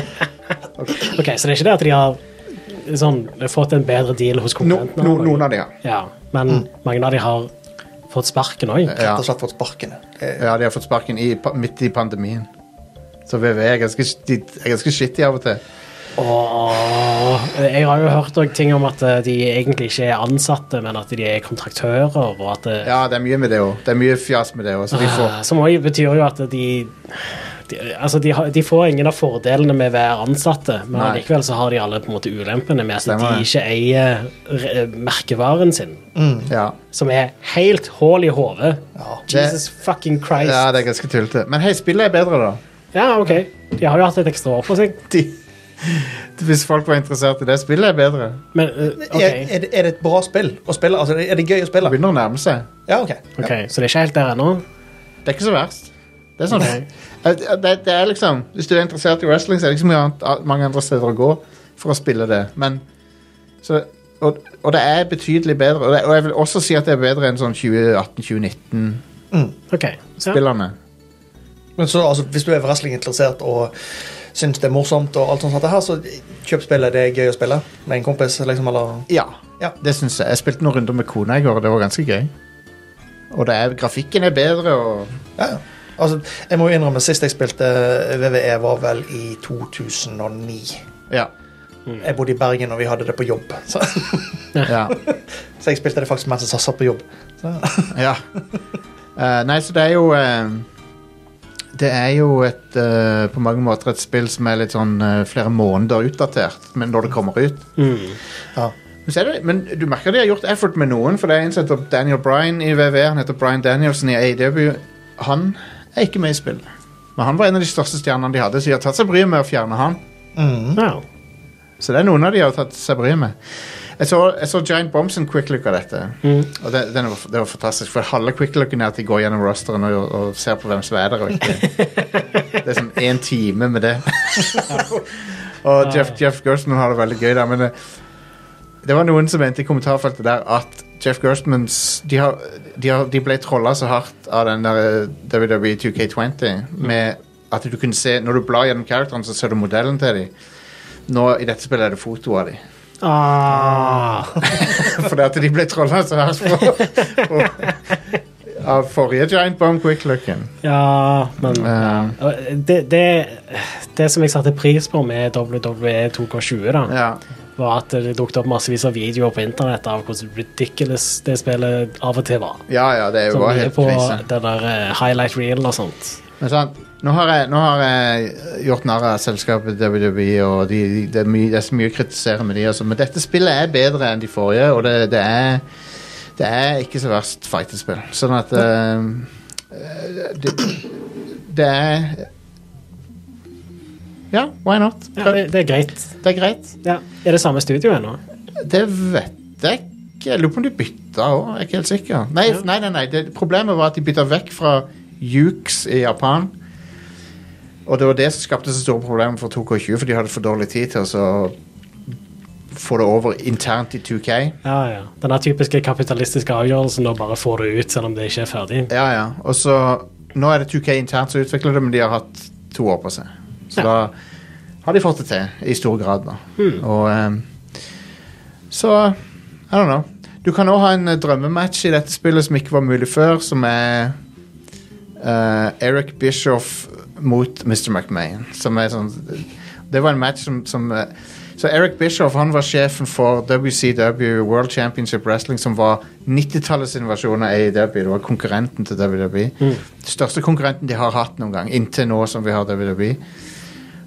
Speaker 2: Ok, Så det er ikke det at de har sånn, fått en bedre deal hos
Speaker 1: no,
Speaker 2: konkurrentene?
Speaker 1: no,
Speaker 2: eller noe?
Speaker 1: Noen av de, ja.
Speaker 2: Ja, men mange av de har fått sparken òg.
Speaker 1: Ja.
Speaker 3: Rett og slett fått sparkene. Det-
Speaker 1: Ja, de har fått sparken i, pa- midt i pandemien. Så VV er ganske, sh- de er ganske shitty av og til.
Speaker 2: eh, Jeg har jo hørt også ting om at eh, de egentlig ikke er ansatte, men at de er kontraktører. og at eh,
Speaker 1: Ja, det er mye med det òg. Det er mye fjas med det òg. Så de får
Speaker 2: ah, Som òg betyr jo at de, de Altså, de, har, de får ingen av fordelene med å være ansatte, men
Speaker 1: Nei.
Speaker 2: likevel så har de alle på en måte ulempene med at
Speaker 1: Stemmer det.
Speaker 2: de ikke eier eh, merkevaren sin.
Speaker 1: Ja,
Speaker 2: som er helt hål i hodet.
Speaker 1: det-
Speaker 2: Jesus fucking Christ.
Speaker 1: ja
Speaker 2: Ja.
Speaker 1: det er ganske tullete. Men hei, spillet er bedre, da.
Speaker 2: ok. De har jo hatt et ekstra år på seg.
Speaker 1: De, hvis folk var interessert i det. Spillet er bedre.
Speaker 2: Men eh, ok,
Speaker 3: Er, er, det- er det et bra spill å spille? Altså, er det gøy
Speaker 1: Det
Speaker 3: å spille?
Speaker 1: begynner å nærme seg.
Speaker 3: Ja, OK.
Speaker 2: ok, så det er ikke helt der ennå.
Speaker 1: Det er ikke så verst. Det er sånn det, det, det er liksom Hvis du er interessert i wrestling, så er det ikke så mye annet, mange andre steder å gå for å spille det. Men så, og, og det er betydelig bedre. Og, det, og jeg vil også si at det er bedre enn sånn 2018-2019-spillerne.
Speaker 2: Mm, Ok, så, ja.
Speaker 3: Men så, altså, hvis du er wrestlinginteressert og syns det er morsomt, og alt sånt, sånt her, så kjøp spillet. Det er gøy å spille med en kompis. liksom, eller...
Speaker 1: Ja,
Speaker 3: Ja.
Speaker 1: det syns jeg. Jeg spilte noen runder med kona i går, og det var ganske gøy. Og det er, grafikken er bedre, og
Speaker 3: Ja, ja. Altså, jeg må jo innrømme, Sist jeg spilte VVE, var vel i 2009.
Speaker 1: Ja.
Speaker 2: Mm.
Speaker 3: Jeg bodde i Bergen, og vi hadde det på jobb. Så,
Speaker 1: Ja.
Speaker 3: så jeg spilte det faktisk mens jeg satt på jobb. Så,
Speaker 1: ja. Eh, nei, så det er jo eh, Det er jo et eh, på mange måter et spill som er litt sånn eh, flere måneder utdatert, men når det kommer ut.
Speaker 3: ja.
Speaker 1: Men, så er det, men du merker de har gjort effort med noen, for det er en som heter Daniel Bryan i VV. Han heter Bryan Danielsen i AW. Han er ikke med i spillet. Men han var en av de største stjernene de hadde, så de har tatt seg bryet med å fjerne han. Mm.
Speaker 2: ja.
Speaker 1: Så det er noen av de har tatt seg bryet med. Jeg så, jeg så Giant Bombs and Quick Look av dette. Og det, den var, det var fantastisk, for halve Quick Looken er at de går gjennom rosteren og, og ser på hvem som er der. og ikke. Det er sånn én time med det. og Jeff, Jeff Gerstmann har det veldig gøy der, men det, det var noen som mente i kommentarfeltet der at Jeff Gerstmans De, har, de, har, de ble trolla så hardt av den der eh, WWE 2K20 med at du kunne se Når du blar gjennom characteren, så ser du modellen til dem. Nå i dette spillet er det foto av dem.
Speaker 2: Ah,
Speaker 1: Fordi at de ble trolla så hardt for, for, av forrige Giant Bomb Quick Looking. Eh,
Speaker 2: ja, men eh,
Speaker 1: Ja.
Speaker 2: det, det, det som jeg satte pris på med WWE 2K20, da,
Speaker 1: Ja.
Speaker 2: var at det dukket opp massevis av videoer på internett av hvordan ridiculous det spillet av og til var.
Speaker 1: ja, ja, det
Speaker 2: Som
Speaker 1: var
Speaker 2: er
Speaker 1: helt
Speaker 2: på
Speaker 1: krise.
Speaker 2: den der eh, highlight reel og sånt.
Speaker 1: Men sant, nå har jeg, nå har jeg gjort narr av selskapet WWE, og de, de, det, er mye, det er så mye å kritisere med de også. Men dette spillet er bedre enn de forrige, og det, det er det er ikke så verst fightespill. Sånn at eh, det, det er Ja, why not?
Speaker 2: Ja, det, det er greit.
Speaker 1: Det er greit.
Speaker 2: Ja. Er det samme studio ennå?
Speaker 1: Det vet jeg ikke. Jeg lurer på om de bytta òg. Jeg er ikke helt sikker. Nei, nei, nei, nei. Det, problemet var at de bytta vekk fra Yukes i Japan. Og det var det som skapte så store problemer for 2K20, for de hadde for dårlig tid til å så få det over internt i 2K.
Speaker 2: Ja, ja. Den her typiske kapitalistiske avgjørelsen å bare få det ut selv om det ikke er ferdig.
Speaker 1: Ja, ja. Og så Nå er det 2K internt som utvikler det, men de har hatt to år på seg. Så da har de fått det til, i stor grad, da. Og, eh, ehm, Så I don't know. Du kan òg ha en eh, drømmematch i dette spillet som ikke var mulig før, som er eh, Eric Bischoff mot Mr. McMahon. Som er sånn Det var en match som, som eh, Så Eric Bischoff han var sjefen for WCW, World Championship Wrestling, som var 90-tallets invasjon av AEW. Det var konkurrenten til WWE. Største konkurrenten de har hatt noen gang, inntil nå som vi har E. WWE.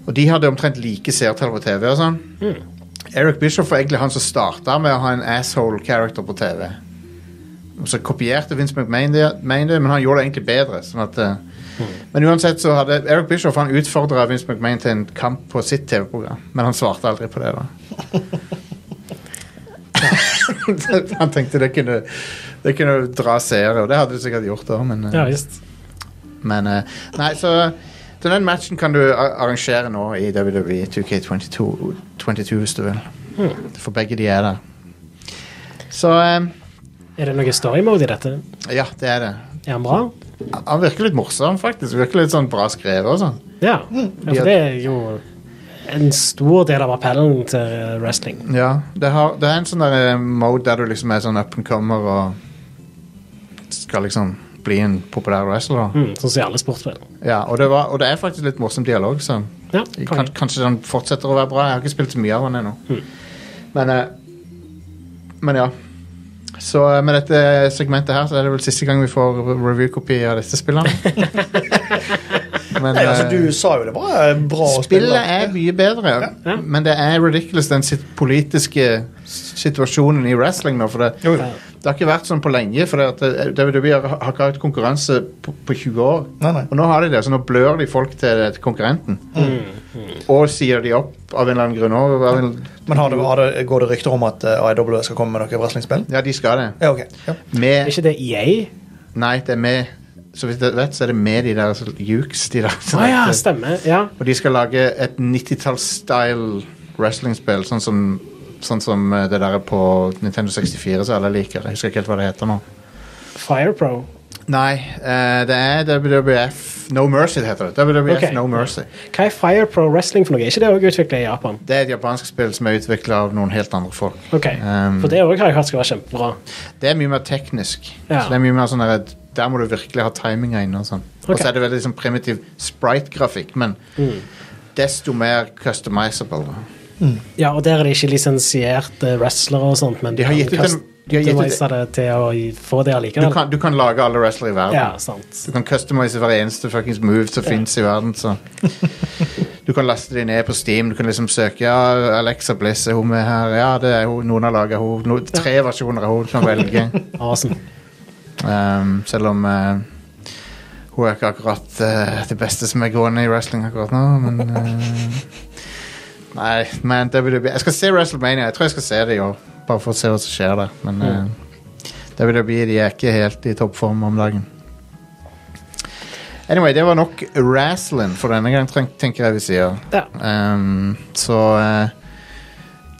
Speaker 1: Og de hadde omtrent like seertall på TV og sånn. Eric Bischoff var egentlig han som starta med å ha en asshole character på TV. Og Så kopierte Vince McMahon det, Main det, men han gjorde det egentlig bedre. Sånn at, eh, Men uansett så hadde Eric Bischoff han utfordra Vince McMahon til en kamp på sitt TV-program, men han svarte aldri på det. da Han tenkte det kunne, det kunne dra seere, og det hadde det sikkert gjort da, men eh,
Speaker 2: Ja visst.
Speaker 1: men eh, Nei, så så den matchen kan du a- arrangere nå i E WWE 2K22 22, hvis du vil. For begge de er der. Så eh,
Speaker 2: Er det noe story mode i dette?
Speaker 1: Ja, det er det.
Speaker 2: Er han bra?
Speaker 1: Han virker litt morsom, faktisk. Virker litt sånn bra skrevet og sånn.
Speaker 2: Ja. ja, for det er jo en stor del av appellen til wrestling.
Speaker 1: Ja, det, har, det er en sånn der eh, mode der du liksom er sånn up and comer og skal liksom bli en populær wrestler.
Speaker 2: Mm, sånn som i alle sportsspill.
Speaker 1: Ja, og det, var, og det er faktisk litt morsom dialog, så
Speaker 2: Ja,
Speaker 1: kan,
Speaker 2: konge.
Speaker 1: kanskje den fortsetter å være bra. Jeg har ikke spilt så mye av den ennå.
Speaker 3: Hmm.
Speaker 1: Men, eh, men ja. Så eh, med dette segmentet her, så er det vel siste gang vi får re- review-kopi av disse spillene. men
Speaker 3: Nei, altså,
Speaker 1: eh,
Speaker 3: du sa jo det var eh, bra å spille.
Speaker 1: Spillet er mye bedre,
Speaker 2: Ja.
Speaker 1: men det er ridiculous, den sit politiske s- situasjonen i wrestling nå. For det,
Speaker 3: Jo, jo.
Speaker 1: det har ikke vært sånn på lenge, for det at eh, WWE har har ikke hatt konkurranse på, på 20 år.
Speaker 3: Nei, nei. Mm.
Speaker 1: Og nå har de det, så nå blør de folk til, eh, til konkurrenten.
Speaker 2: Mm.
Speaker 1: Og sier de opp av en eller annen grunn også, av en-
Speaker 3: Men har det, har det, går det rykter om at eh, AIW skal komme med noe wrestlingspill?
Speaker 1: Ja, de skal det.
Speaker 3: Ja, ok. Ja.
Speaker 2: Er
Speaker 1: Med
Speaker 2: ikke det E EA?
Speaker 1: Nei, det er med Så vidt jeg vet, så er det med de der som jukes, de der.
Speaker 2: Å ja, stemmer. Ja.
Speaker 1: Og de skal lage et 90-talls-style wrestling-spill, sånn som, sånn som eh, det der på Nintendo 64 som alle liker. Jeg husker ikke helt hva det heter nå.
Speaker 2: Firepro.
Speaker 1: Nei, eh, det er WWF No Mercy det heter det. WWF
Speaker 2: Ok.
Speaker 1: No Mercy.
Speaker 2: Hva er Firepro Wrestling for noe? Er ikke det også utviklet i Japan?
Speaker 1: Det er et japansk spill som er utvikla av noen helt andre folk.
Speaker 2: Ok,
Speaker 1: Um,
Speaker 2: For det også har jeg hørt skal være kjempebra.
Speaker 1: Det er mye mer teknisk.
Speaker 2: Ja.
Speaker 1: Så det er mye mer sånn der, der må du virkelig ha timinga inne. Og sånn. Og
Speaker 2: Ok.
Speaker 1: så er det veldig sånn primitiv sprite-grafikk, men desto mer customizable. da.
Speaker 2: Ja, og der er det ikke lisensierte wrestlere og sånt, men
Speaker 1: De har
Speaker 2: du
Speaker 1: gitt ut
Speaker 2: kan
Speaker 1: en- de har gitt ut-
Speaker 2: customize det til å gi- få det
Speaker 1: Du
Speaker 2: allikevel.
Speaker 1: kan, du kan lage alle wrestlere i verden.
Speaker 2: Ja, sant.
Speaker 1: Du kan customize hver eneste fuckings move som finnes i verden. Så. Du kan laste de ned på Steam. Du kan liksom søke Ja, Alexa Bliss, er hun med her? Ja, det er hun. Noen har laga hun. No, tre versjoner av hun du kan velge.
Speaker 2: Awesome.
Speaker 1: Um, selv om eh, hun er ikke akkurat eh, det beste som er gående i wrestling akkurat nå, men eh, Nei, men WWE Jeg skal se WrestleMania. Jeg tror jeg skal se det i år, bare for å se hva som skjer der. Men eh, WWE de er ikke helt i toppform om dagen. Anyway, det var nok wrestling for denne gang, tenk- tenker jeg vi sier.
Speaker 2: Ja.
Speaker 1: Um, så eh,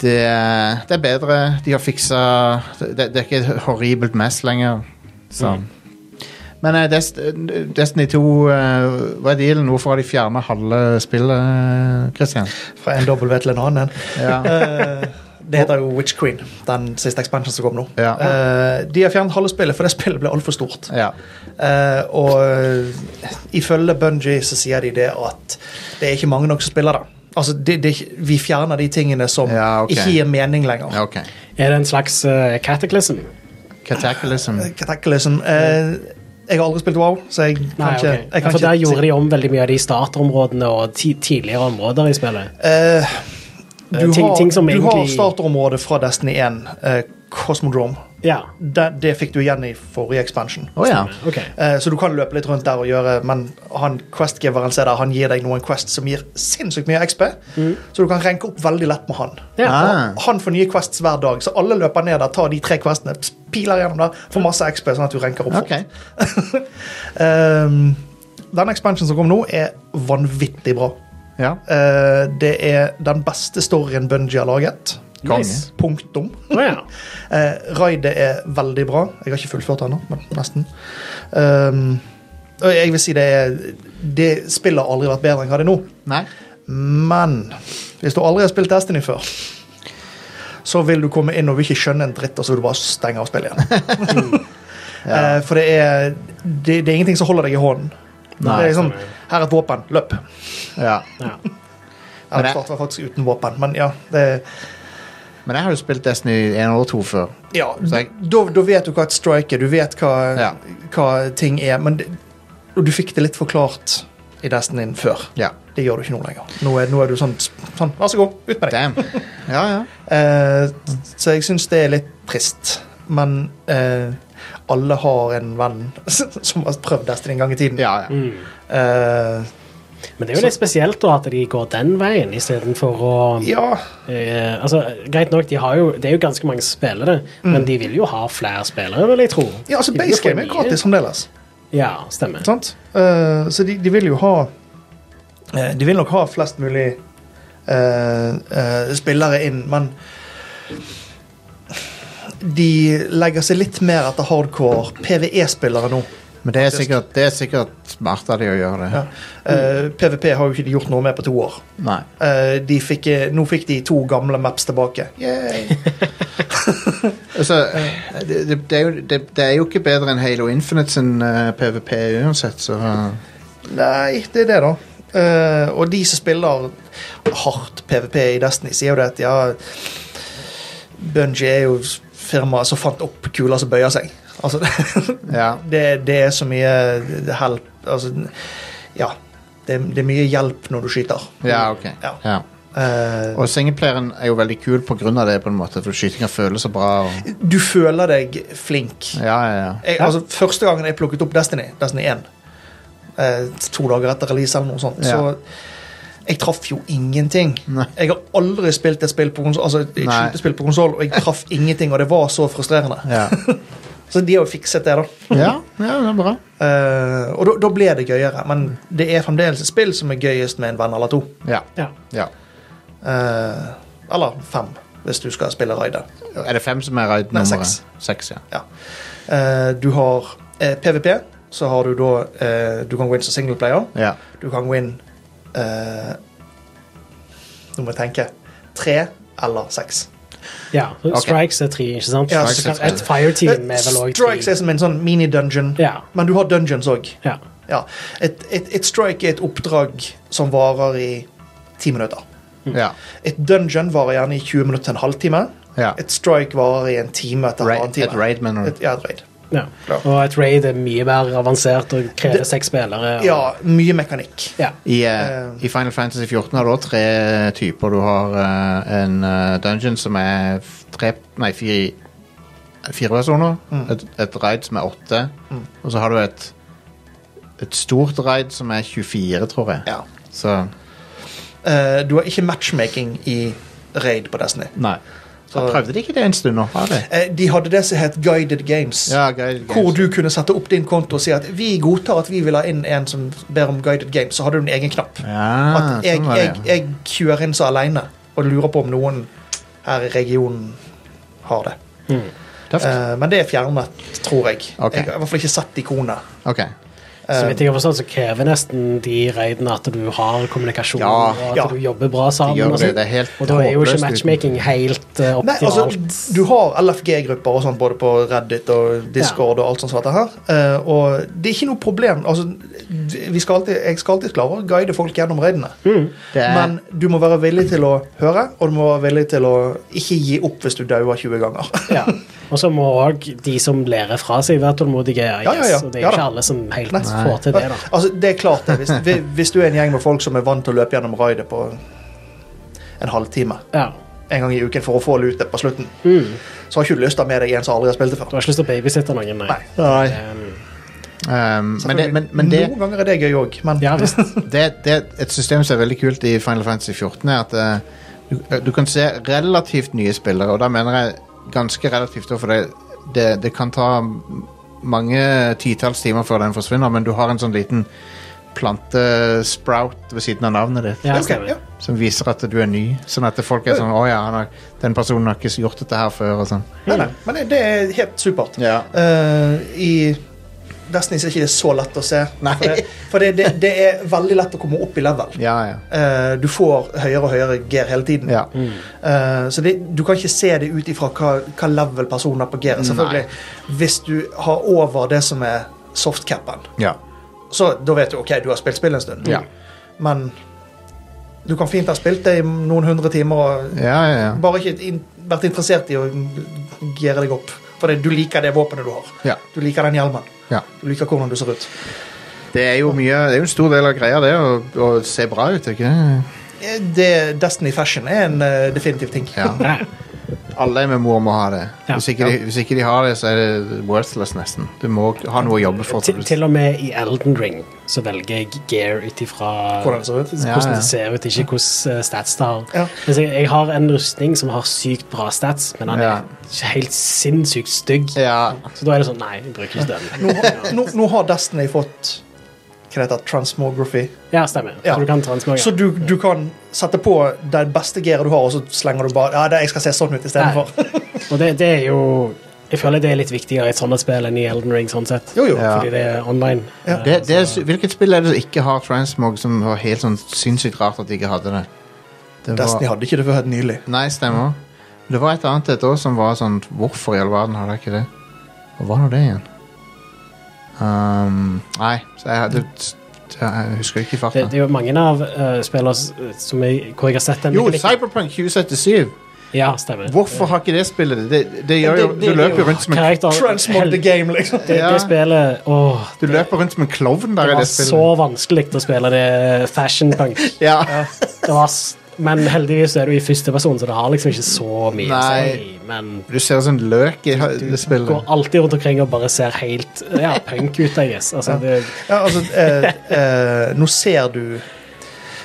Speaker 1: det, er- det er bedre. De har fiksa det, det er ikke et horribelt mess lenger. Så. Men eh, Dest Destiny 2, eh, hva er dealen? Hvorfor har de fjerna halve spillet, Christian?
Speaker 3: Fra en W til en annen.
Speaker 1: Ja.
Speaker 3: Eh, det heter jo Witch Queen, den siste expansion som kom nå.
Speaker 1: Ja.
Speaker 3: Eh, de har fjernet halve spillet, for det spillet ble altfor stort.
Speaker 1: Ja.
Speaker 3: Eh, og eh, ifølge Bungie så sier de det at det er ikke mange nok som spiller det. Altså, det- det er ikke- vi fjerner de tingene som
Speaker 1: Ja, ok.
Speaker 3: ikke gir mening lenger.
Speaker 1: ja, OK.
Speaker 2: Er det en slags eh, cataclysm?
Speaker 1: Cataclysm.
Speaker 3: Cataclysm, eh, jeg har aldri spilt WoW, så jeg kan
Speaker 2: Nei,
Speaker 3: ikke,
Speaker 2: ok.
Speaker 3: jeg
Speaker 2: Ja,
Speaker 3: kan
Speaker 2: for der
Speaker 3: ikke si-
Speaker 2: gjorde de om veldig mye av de startområdene og ti tidligere områder i spillet.
Speaker 3: Eh, du
Speaker 2: ting-
Speaker 3: har,
Speaker 2: ting som
Speaker 3: du har
Speaker 2: egentlig-
Speaker 3: startområdet fra Destiny 1, eh, Cosmodrome.
Speaker 2: Ja.
Speaker 3: Det, det fikk du igjen i forrige expansion.
Speaker 1: Å ja.
Speaker 2: Ok.
Speaker 3: Eh, så du kan løpe litt rundt der og gjøre Men han questgiveren som er der, han gir deg noen quests som gir sinnssykt mye XP. Så du kan ranke opp veldig lett med han.
Speaker 2: Ja.
Speaker 1: Ah.
Speaker 3: Han får nye quests hver dag, så alle løper ned der, tar de tre questene, ps- piler gjennom der, får masse XP, sånn at du ranker opp
Speaker 1: Ok.
Speaker 3: fort. Um, den expansionen som kom nå, er vanvittig bra.
Speaker 1: Ja.
Speaker 3: Eh, det er den beste storyen Bungie har laget.
Speaker 1: Konge.
Speaker 2: Nice.
Speaker 3: Punktum.
Speaker 2: Å ja.
Speaker 3: Eh, raidet er veldig bra. Jeg har ikke fullført det ennå, men nesten. Ehm, og jeg vil si det, er- det spillet har aldri vært bedre enn hva det er nå.
Speaker 1: Nei.
Speaker 3: Men hvis du aldri har spilt Destiny før, så vil du komme inn og ikke skjønne en dritt, og så vil du bare stenge av spillet igjen. Eh, For det er, det, det er ingenting som holder deg i hånden.
Speaker 1: Nei.
Speaker 3: det er liksom, her er et våpen, løp.
Speaker 1: Ja.
Speaker 2: Ja.
Speaker 1: Men
Speaker 3: Jeg
Speaker 1: det-
Speaker 3: starter faktisk uten våpen, men ja. Det,
Speaker 1: Men jeg har jo spilt Destiny 1 og 2 før.
Speaker 3: ja
Speaker 1: Så jeg-
Speaker 3: da, da vet du hva et strike er, du vet hva,
Speaker 1: Ja.
Speaker 3: hva ting er, men det, og du fikk det litt forklart i Destiny før.
Speaker 1: Ja.
Speaker 3: Det gjør du ikke nå lenger. Nå er, nå er du sånn, sånn Vær så god, ut med deg.
Speaker 1: Damn. Ja, ja.
Speaker 3: Eh, så jeg syns det er litt trist. Men eh, alle har en venn som har prøvd Destiny en gang i tiden.
Speaker 1: ja, ja.
Speaker 3: Eh,
Speaker 2: Men det er jo litt spesielt da at de går den veien istedenfor å
Speaker 3: ja.
Speaker 2: eh, altså, Greit nok, de har jo, det er jo ganske mange spillere, men de vil jo ha flere spillere, vil jeg tro.
Speaker 3: Mm. ja, altså
Speaker 2: De vil jo
Speaker 3: base
Speaker 2: få
Speaker 3: game er
Speaker 2: mye.
Speaker 3: gratis fremdeles.
Speaker 2: Ja, stemmer.
Speaker 3: Sant? Eh, så de, de vil jo ha eh, De vil nok ha flest mulig eh, eh, spillere inn, men de legger seg litt mer etter hardcore PVE-spillere nå.
Speaker 1: Men det er sikkert, det er sikkert smart av de å gjøre det.
Speaker 3: Ja. Eh, PVP har jo ikke de gjort noe med på to år.
Speaker 1: Nei.
Speaker 3: Eh, de fikk, eh, nå fikk de to gamle maps tilbake.
Speaker 1: Altså, det, det, det, er jo, det, det er jo ikke bedre enn Halo Infinite sin eh, PVP uansett, så eh,
Speaker 3: Nei, det er det, da. Eh, og de som spiller hardt PVP i Destiny, sier jo det at ja Bungie er jo firmaet som fant opp kuler som bøyer seg. Altså,
Speaker 1: ja.
Speaker 3: det, det er så mye hjelp Altså, ja. Det, det er mye hjelp når du skyter.
Speaker 1: Ja, ok.
Speaker 3: Ja.
Speaker 1: Ja.
Speaker 3: Eh,
Speaker 1: Og singleplayeren er jo veldig kul på grunn av det, på en måte, for skytinga føles så bra. Og,
Speaker 3: du føler deg flink.
Speaker 1: ja, ja, ja.
Speaker 3: Jeg, altså, første gangen jeg plukket opp Destiny, Destiny 1, eh, to dager etter release eller noe sånt,
Speaker 1: Ja.
Speaker 3: så jeg traff jo ingenting.
Speaker 1: Nei. jeg,
Speaker 3: Jeg har aldri spilt et spill på konsol, altså et
Speaker 1: Nei.
Speaker 3: skytespill på konsoll, og jeg traff ingenting, og det var så frustrerende.
Speaker 1: ja.
Speaker 3: Så de har jo fikset det, da.
Speaker 1: ja, ja, det er bra.
Speaker 3: Eh, og da, da ble det gøyere, men det er fremdeles et spill som er gøyest med en venn eller to.
Speaker 1: Ja.
Speaker 2: Ja.
Speaker 1: ja.
Speaker 3: Eh, eller fem, hvis du skal spille raidet.
Speaker 1: Er det fem som er raid-nummeret?
Speaker 3: Nei, seks.
Speaker 1: Seks, ja.
Speaker 3: Ja. Eh, du har eh, PVP, så har du da eh, Du kan gå inn som singleplayer.
Speaker 1: ja.
Speaker 3: Du kan gå inn eh, Nå må jeg tenke. Tre eller seks.
Speaker 2: Ja, Strikes er tre, ikke sant?
Speaker 3: Ja,
Speaker 2: Så
Speaker 1: strikes
Speaker 2: kan-
Speaker 1: er tre.
Speaker 2: et fireteam er vel òg
Speaker 3: Eh, Strikes er som en sånn mini-dungeon,
Speaker 2: Ja.
Speaker 3: men du har dungeons òg.
Speaker 2: ja.
Speaker 3: Ja. Et, et, et strike er et oppdrag som varer i ti minutter.
Speaker 1: ja.
Speaker 3: Et dungeon varer gjerne i 20 minutter til en halvtime.
Speaker 1: Ja.
Speaker 3: Et strike varer i en time til
Speaker 1: Raid-
Speaker 3: en halvannen time.
Speaker 1: et raid, mener du?
Speaker 3: Et- Ja, et raid.
Speaker 2: ja.
Speaker 3: Ja.
Speaker 2: Og et raid er mye mer avansert og krever
Speaker 3: Det-
Speaker 2: seks spillere. Og,
Speaker 3: Ja, mye mekanikk.
Speaker 2: ja.
Speaker 1: I, eh,
Speaker 3: Eh.
Speaker 1: I Final Fantasy 14 har du også tre typer. Du har eh, en eh, dungeon som er f- tre, nei, fire, fire personer.
Speaker 3: Mm.
Speaker 1: Et, et raid som er åtte. Og så har du et, et stort raid som er 24, tror jeg.
Speaker 3: Ja.
Speaker 1: Så
Speaker 3: Eh, du har ikke matchmaking i raid på Destiny.
Speaker 1: Nei. Så
Speaker 3: Så-
Speaker 1: prøvde de ikke det en stund nå? Har de?
Speaker 3: Eh, de hadde det som het Guided Games.
Speaker 1: Ja, Guided Games.
Speaker 3: Hvor du kunne sette opp din konto og si at vi godtar at vi vil ha inn en som ber om Guided Games. Så hadde du en egen knapp.
Speaker 1: Ja,
Speaker 3: at jeg,
Speaker 1: sånn var
Speaker 3: jeg,
Speaker 1: det. ja.
Speaker 3: jeg kjører inn så alene og lurer på om noen her i regionen har det.
Speaker 1: Tøft.
Speaker 3: Eh, men det er fjernet, tror jeg.
Speaker 1: Ok.
Speaker 3: Jeg har i hvert fall ikke sett ikonet.
Speaker 1: Ok.
Speaker 2: Så
Speaker 3: Eh.
Speaker 2: vidt jeg har forstått, så krever nesten de raidene at du har kommunikasjon
Speaker 1: Ja,
Speaker 2: og at
Speaker 3: ja.
Speaker 2: du jobber bra sammen.
Speaker 1: De gjør
Speaker 2: og
Speaker 1: det.
Speaker 2: sånn.
Speaker 1: Det er helt
Speaker 2: og da er jo
Speaker 1: håpløst
Speaker 2: ikke
Speaker 1: uten.
Speaker 2: matchmaking helt eh,
Speaker 3: Nei,
Speaker 2: optimalt.
Speaker 3: altså, du har LFG-grupper og sånt både på Reddit og Discord og alt sånt som dette her. Eh, og det er ikke noe problem. Altså, vi skal alltid, jeg skal alltid klare å guide folk gjennom raidene.
Speaker 1: Det er,
Speaker 3: Men du må være villig til å høre, og du må være villig til å ikke gi opp hvis du dauer 20 ganger.
Speaker 2: ja. Og så må òg de som lærer fra seg, være tålmodige. I
Speaker 3: Ja, ja, ja.
Speaker 2: guess. Og det er
Speaker 3: Ja
Speaker 2: jo
Speaker 3: da.
Speaker 2: ikke alle som helt
Speaker 3: Nei.
Speaker 2: får til det. da.
Speaker 3: altså, det er klart det. Hvis, hvis- hvis du er en gjeng med folk som er vant til å løpe gjennom raidet på en halvtime
Speaker 2: Ja.
Speaker 3: en gang i uken for å få lutet på slutten, så har ikke du lyst til å ha med deg en som aldri har spilt det
Speaker 2: Du
Speaker 3: før.
Speaker 2: har ikke lyst til å babysitte noen, nei.
Speaker 3: Nei.
Speaker 2: Um,
Speaker 1: um, men det, men, men det
Speaker 3: Noen ganger er det gøy òg, men
Speaker 2: ja visst.
Speaker 1: det, det er et system som er veldig kult i Final Fantasy 14, er at eh, du, du kan se relativt nye spillere, og da mener jeg ganske relativt, for det, det, det kan ta m- mange titalls timer før den forsvinner, men du har en sånn liten plantesprout ved siden av navnet ditt,
Speaker 2: Ja,
Speaker 3: Ok,
Speaker 2: stemmer.
Speaker 3: ja.
Speaker 1: som viser at du er ny, sånn at folk er sånn, åja, har, den personen har ikke gjort dette her før, og sånn.
Speaker 3: Nei, nei, men det, det er helt supert.
Speaker 1: Ja.
Speaker 3: Eh, I Destiny er ikke det så lett å se.
Speaker 1: Nei.
Speaker 3: For, det, for det, det, det er veldig lett å komme opp i level.
Speaker 1: Ja, ja.
Speaker 3: Eh, du får høyere og høyere gear hele tiden.
Speaker 1: Ja.
Speaker 2: Mm.
Speaker 3: Eh, så det, du kan ikke se det ut ifra hva, hva level personen er på gearet. Selvfølgelig. Hvis du har over det som er softcapen,
Speaker 1: ja.
Speaker 3: så da vet du ok, du har spilt spill en stund.
Speaker 1: Ja.
Speaker 3: Men du kan fint ha spilt det i noen hundre timer og
Speaker 1: Ja, ja, ja.
Speaker 3: bare ikke in vært interessert i å geare deg opp. Fordi du liker det våpenet du har.
Speaker 1: Ja.
Speaker 3: Du liker den hjelmen.
Speaker 1: Ja.
Speaker 3: Du liker hvordan du ser ut.
Speaker 1: Det er jo mye Det er jo en stor del av greia, det, å, å se bra ut, ikke det?
Speaker 3: Eh, Det, Destiny fashion er en eh, definitiv ting.
Speaker 1: Ja. Alle MMO-er må ha det.
Speaker 2: Ja.
Speaker 1: Hvis, ikke de, hvis ikke de har det, så er det worthless, nesten. Du må ha noe å jobbe for.
Speaker 2: Til, til og med i Elden Ring så velger jeg gear ut ifra
Speaker 3: Hvordan det ser ut.
Speaker 1: Ja, ja.
Speaker 2: hvordan det ser ut, ikke hvordan eh, stats det har.
Speaker 3: Ja.
Speaker 2: Hvis Jeg, jeg har en rustning som har sykt bra stats, men han
Speaker 1: Ja.
Speaker 2: er ikke helt sinnssykt stygg.
Speaker 1: Ja,
Speaker 2: Så da er det sånn Nei, jeg bruker ikke den.
Speaker 3: Nå, har- nå, nå har Destiny fått hva det heter, transmography.
Speaker 2: Ja, stemmer.
Speaker 3: Ja.
Speaker 2: Så du kan transmogere.
Speaker 3: Så du, du kan sette på det beste gearet du har, og så slenger du bare Ja, det, jeg skal se sånn ut istedenfor.
Speaker 2: Og det, det er jo Jeg føler det er litt viktigere i et sånt spill enn i Elden Ring, sånn sett.
Speaker 3: Jo, jo.
Speaker 1: Ja.
Speaker 2: Fordi det er online.
Speaker 3: Ja.
Speaker 1: det, det er, s- hvilket spill er det som ikke har transmog, som var helt sånn sinnssykt rart at de ikke hadde det? det
Speaker 3: Destiny hadde ikke det før helt nylig.
Speaker 1: Nei, stemmer. Det var et annet et òg som var sånn Hvorfor i all verden har de ikke det? Hva var nå det igjen? Um, nei, så jeg, hadde- jeg husker ikke i
Speaker 2: Det,
Speaker 1: farten.
Speaker 2: det er jo mange av eh, spillene s- som jeg, hvor jeg har sett den
Speaker 1: Jo,
Speaker 2: mekanikken.
Speaker 1: Cyberpunk 2077!
Speaker 2: Ja, stemmer.
Speaker 1: Hvorfor har ikke det spillet det? Det, det gjør jo,
Speaker 3: Det- det-
Speaker 1: du
Speaker 3: det-
Speaker 1: løper jo rundt som en
Speaker 2: Karakter-
Speaker 3: Transmog
Speaker 2: hel-
Speaker 3: the game, liksom.
Speaker 2: Det,
Speaker 1: Ja.
Speaker 2: det spillet Åh,
Speaker 1: Du løper rundt som en klovn der
Speaker 2: det
Speaker 1: i
Speaker 2: var
Speaker 1: det spillet.
Speaker 2: så vanskelig å spille det eh, fashion punk.
Speaker 1: Ja.
Speaker 2: Det var, s- men heldigvis er du i første person, så det har liksom ikke så mye å si.
Speaker 1: Nei.
Speaker 2: Men
Speaker 1: Du ser sånn løk i ha- det
Speaker 2: du går
Speaker 1: spillet.
Speaker 2: alltid rundt omkring og bare ser helt ja, punk ut, I guess. Altså, det,
Speaker 3: Ja, altså, eh, eh, nå ser du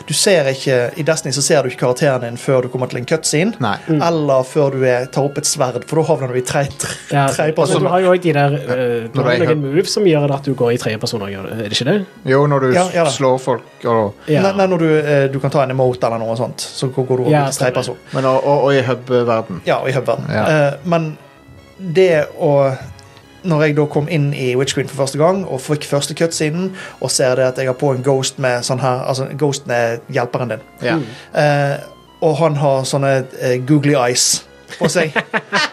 Speaker 3: Du ser ikke I Destiny så ser du ikke karakteren din før du kommer til en cutscene.
Speaker 1: Nei.
Speaker 2: Mm.
Speaker 3: Eller før du er, tar opp et sverd, for da havner du i tre, tre,
Speaker 2: ja,
Speaker 3: tre
Speaker 2: men du
Speaker 3: personer.
Speaker 2: har jo også de der eh, Du
Speaker 1: Når
Speaker 2: har
Speaker 1: jeg
Speaker 2: jo noen moves som gjør at du går i tredje person. Er det ikke det?
Speaker 1: Jo, når du
Speaker 3: Ja, ja da.
Speaker 1: slår folk og
Speaker 2: Ja.
Speaker 3: Nei, nei, når du, eh, du kan ta en emote eller noe sånt, så går du over
Speaker 2: Ja,
Speaker 3: til tre
Speaker 2: stemmer.
Speaker 3: person.
Speaker 1: Men og, og, og i hub-verden.
Speaker 3: Ja, og i hubverden.
Speaker 1: Ja.
Speaker 3: Eh, men det å Når jeg da kom inn i Witchcreen for første gang og fikk første cutscenen, og ser det at jeg har på en ghost med sånn her Altså, ghosten er hjelperen din.
Speaker 1: Ja.
Speaker 3: Eh, og han har sånne eh, googly eyes på seg.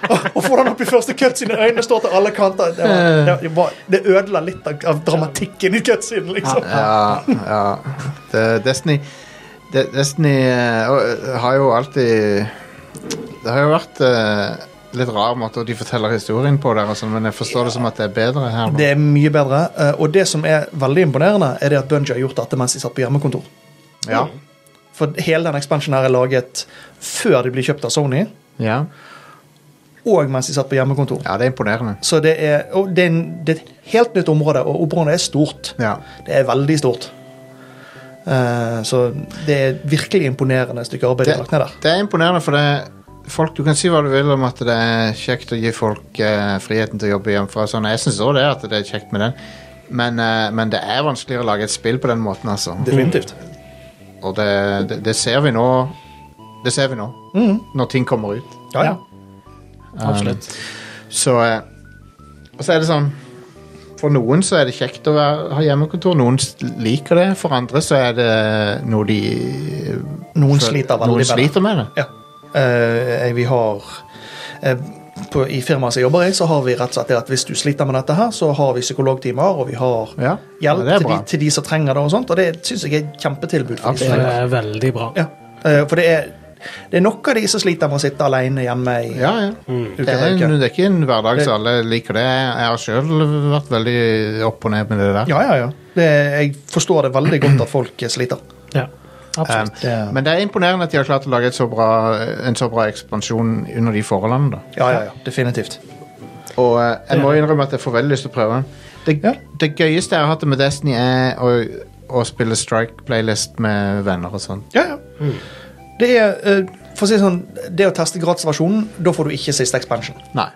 Speaker 3: og, og får han opp i første cutscene, øynene står til alle kanter. Det, var,
Speaker 1: Eh.
Speaker 3: det, det, var, det ødela litt av, av dramatikken i cutscenen, liksom.
Speaker 1: Ja, ja. Det, Destiny det, Destiny eh, og, eh, har jo alltid Det har jo vært eh, litt rar måte de forteller historien på, der og sånn, men jeg forstår det som at det er bedre her nå.
Speaker 3: Det er mye bedre. eh, Og det som er veldig imponerende, er det at Bungie har gjort dette mens de satt på hjemmekontor.
Speaker 1: Ja.
Speaker 3: For hele den expansionen her er laget før de blir kjøpt av Sony,
Speaker 1: Ja.
Speaker 3: og mens de satt på hjemmekontor.
Speaker 1: ja, det er imponerende.
Speaker 3: Så det er, og det er, en- det er et helt nytt område, og området er stort.
Speaker 1: Ja.
Speaker 3: Det er veldig stort. Eh, så det er virkelig imponerende stykke arbeid de
Speaker 1: Det,
Speaker 3: har lagt ned der.
Speaker 1: det er imponerende, for det er folk, du kan si hva du vil om at det er kjekt å gi folk eh, friheten til å jobbe hjemmefra. og Sånn. Jeg syns òg det, at det er kjekt med den. Men, eh, men det er vanskeligere å lage et spill på den måten, altså.
Speaker 3: Definitivt.
Speaker 1: Og det, det, det ser vi nå. Det ser vi nå, når ting kommer ut.
Speaker 3: Mm. Ja, ja.
Speaker 2: Absolutt.
Speaker 1: Så eh, Og så er det sånn For noen så er det kjekt å være, ha hjemmekontor, noen s- liker det. For andre så er det noe de
Speaker 3: Noen
Speaker 1: føl-
Speaker 3: sliter veldig
Speaker 1: noen
Speaker 3: med det.
Speaker 1: sliter med det.
Speaker 3: ja. Eh, vi har eh, på, I firmaet som jeg jobber i, så har vi rett og slett det at hvis du sliter med dette her, så har vi psykologtimer, og vi har
Speaker 1: Ja, ja,
Speaker 3: hjelp
Speaker 1: det er
Speaker 3: til, de,
Speaker 1: bra.
Speaker 3: til de som trenger det, og sånt, og det syns jeg er et kjempetilbud. for de som
Speaker 2: Det
Speaker 3: trenger det.
Speaker 2: er veldig bra.
Speaker 3: Ja, eh, for det er, det er nok av de som sliter med å sitte alene hjemme i
Speaker 1: Ja, ja.
Speaker 3: uke
Speaker 1: Det, er,
Speaker 3: etter
Speaker 1: en-
Speaker 3: uke.
Speaker 1: det er ikke en hverdag
Speaker 3: Det-
Speaker 1: som alle liker det. Jeg har sjøl vært veldig opp og ned med det der.
Speaker 3: Ja, ja, ja. Det, jeg forstår det veldig godt at folk sliter.
Speaker 2: Ja.
Speaker 1: Um,
Speaker 2: Absolutt.
Speaker 3: Det-
Speaker 1: men det er imponerende at de har klart å lage et så bra, en så bra ekspansjon under de forholdene. da
Speaker 3: Ja, ja, ja. Definitivt.
Speaker 1: Og eh, jeg må innrømme at jeg får veldig lyst til å prøve den. Det,
Speaker 3: Ja.
Speaker 1: det gøyeste jeg har hatt det med Destiny, er å, å spille Strike-playlist med venner og sånn.
Speaker 3: Ja, ja. Det er, eh, for å si det sånn, det å teste gratisversjonen, da får du ikke siste expansion.
Speaker 1: Nei.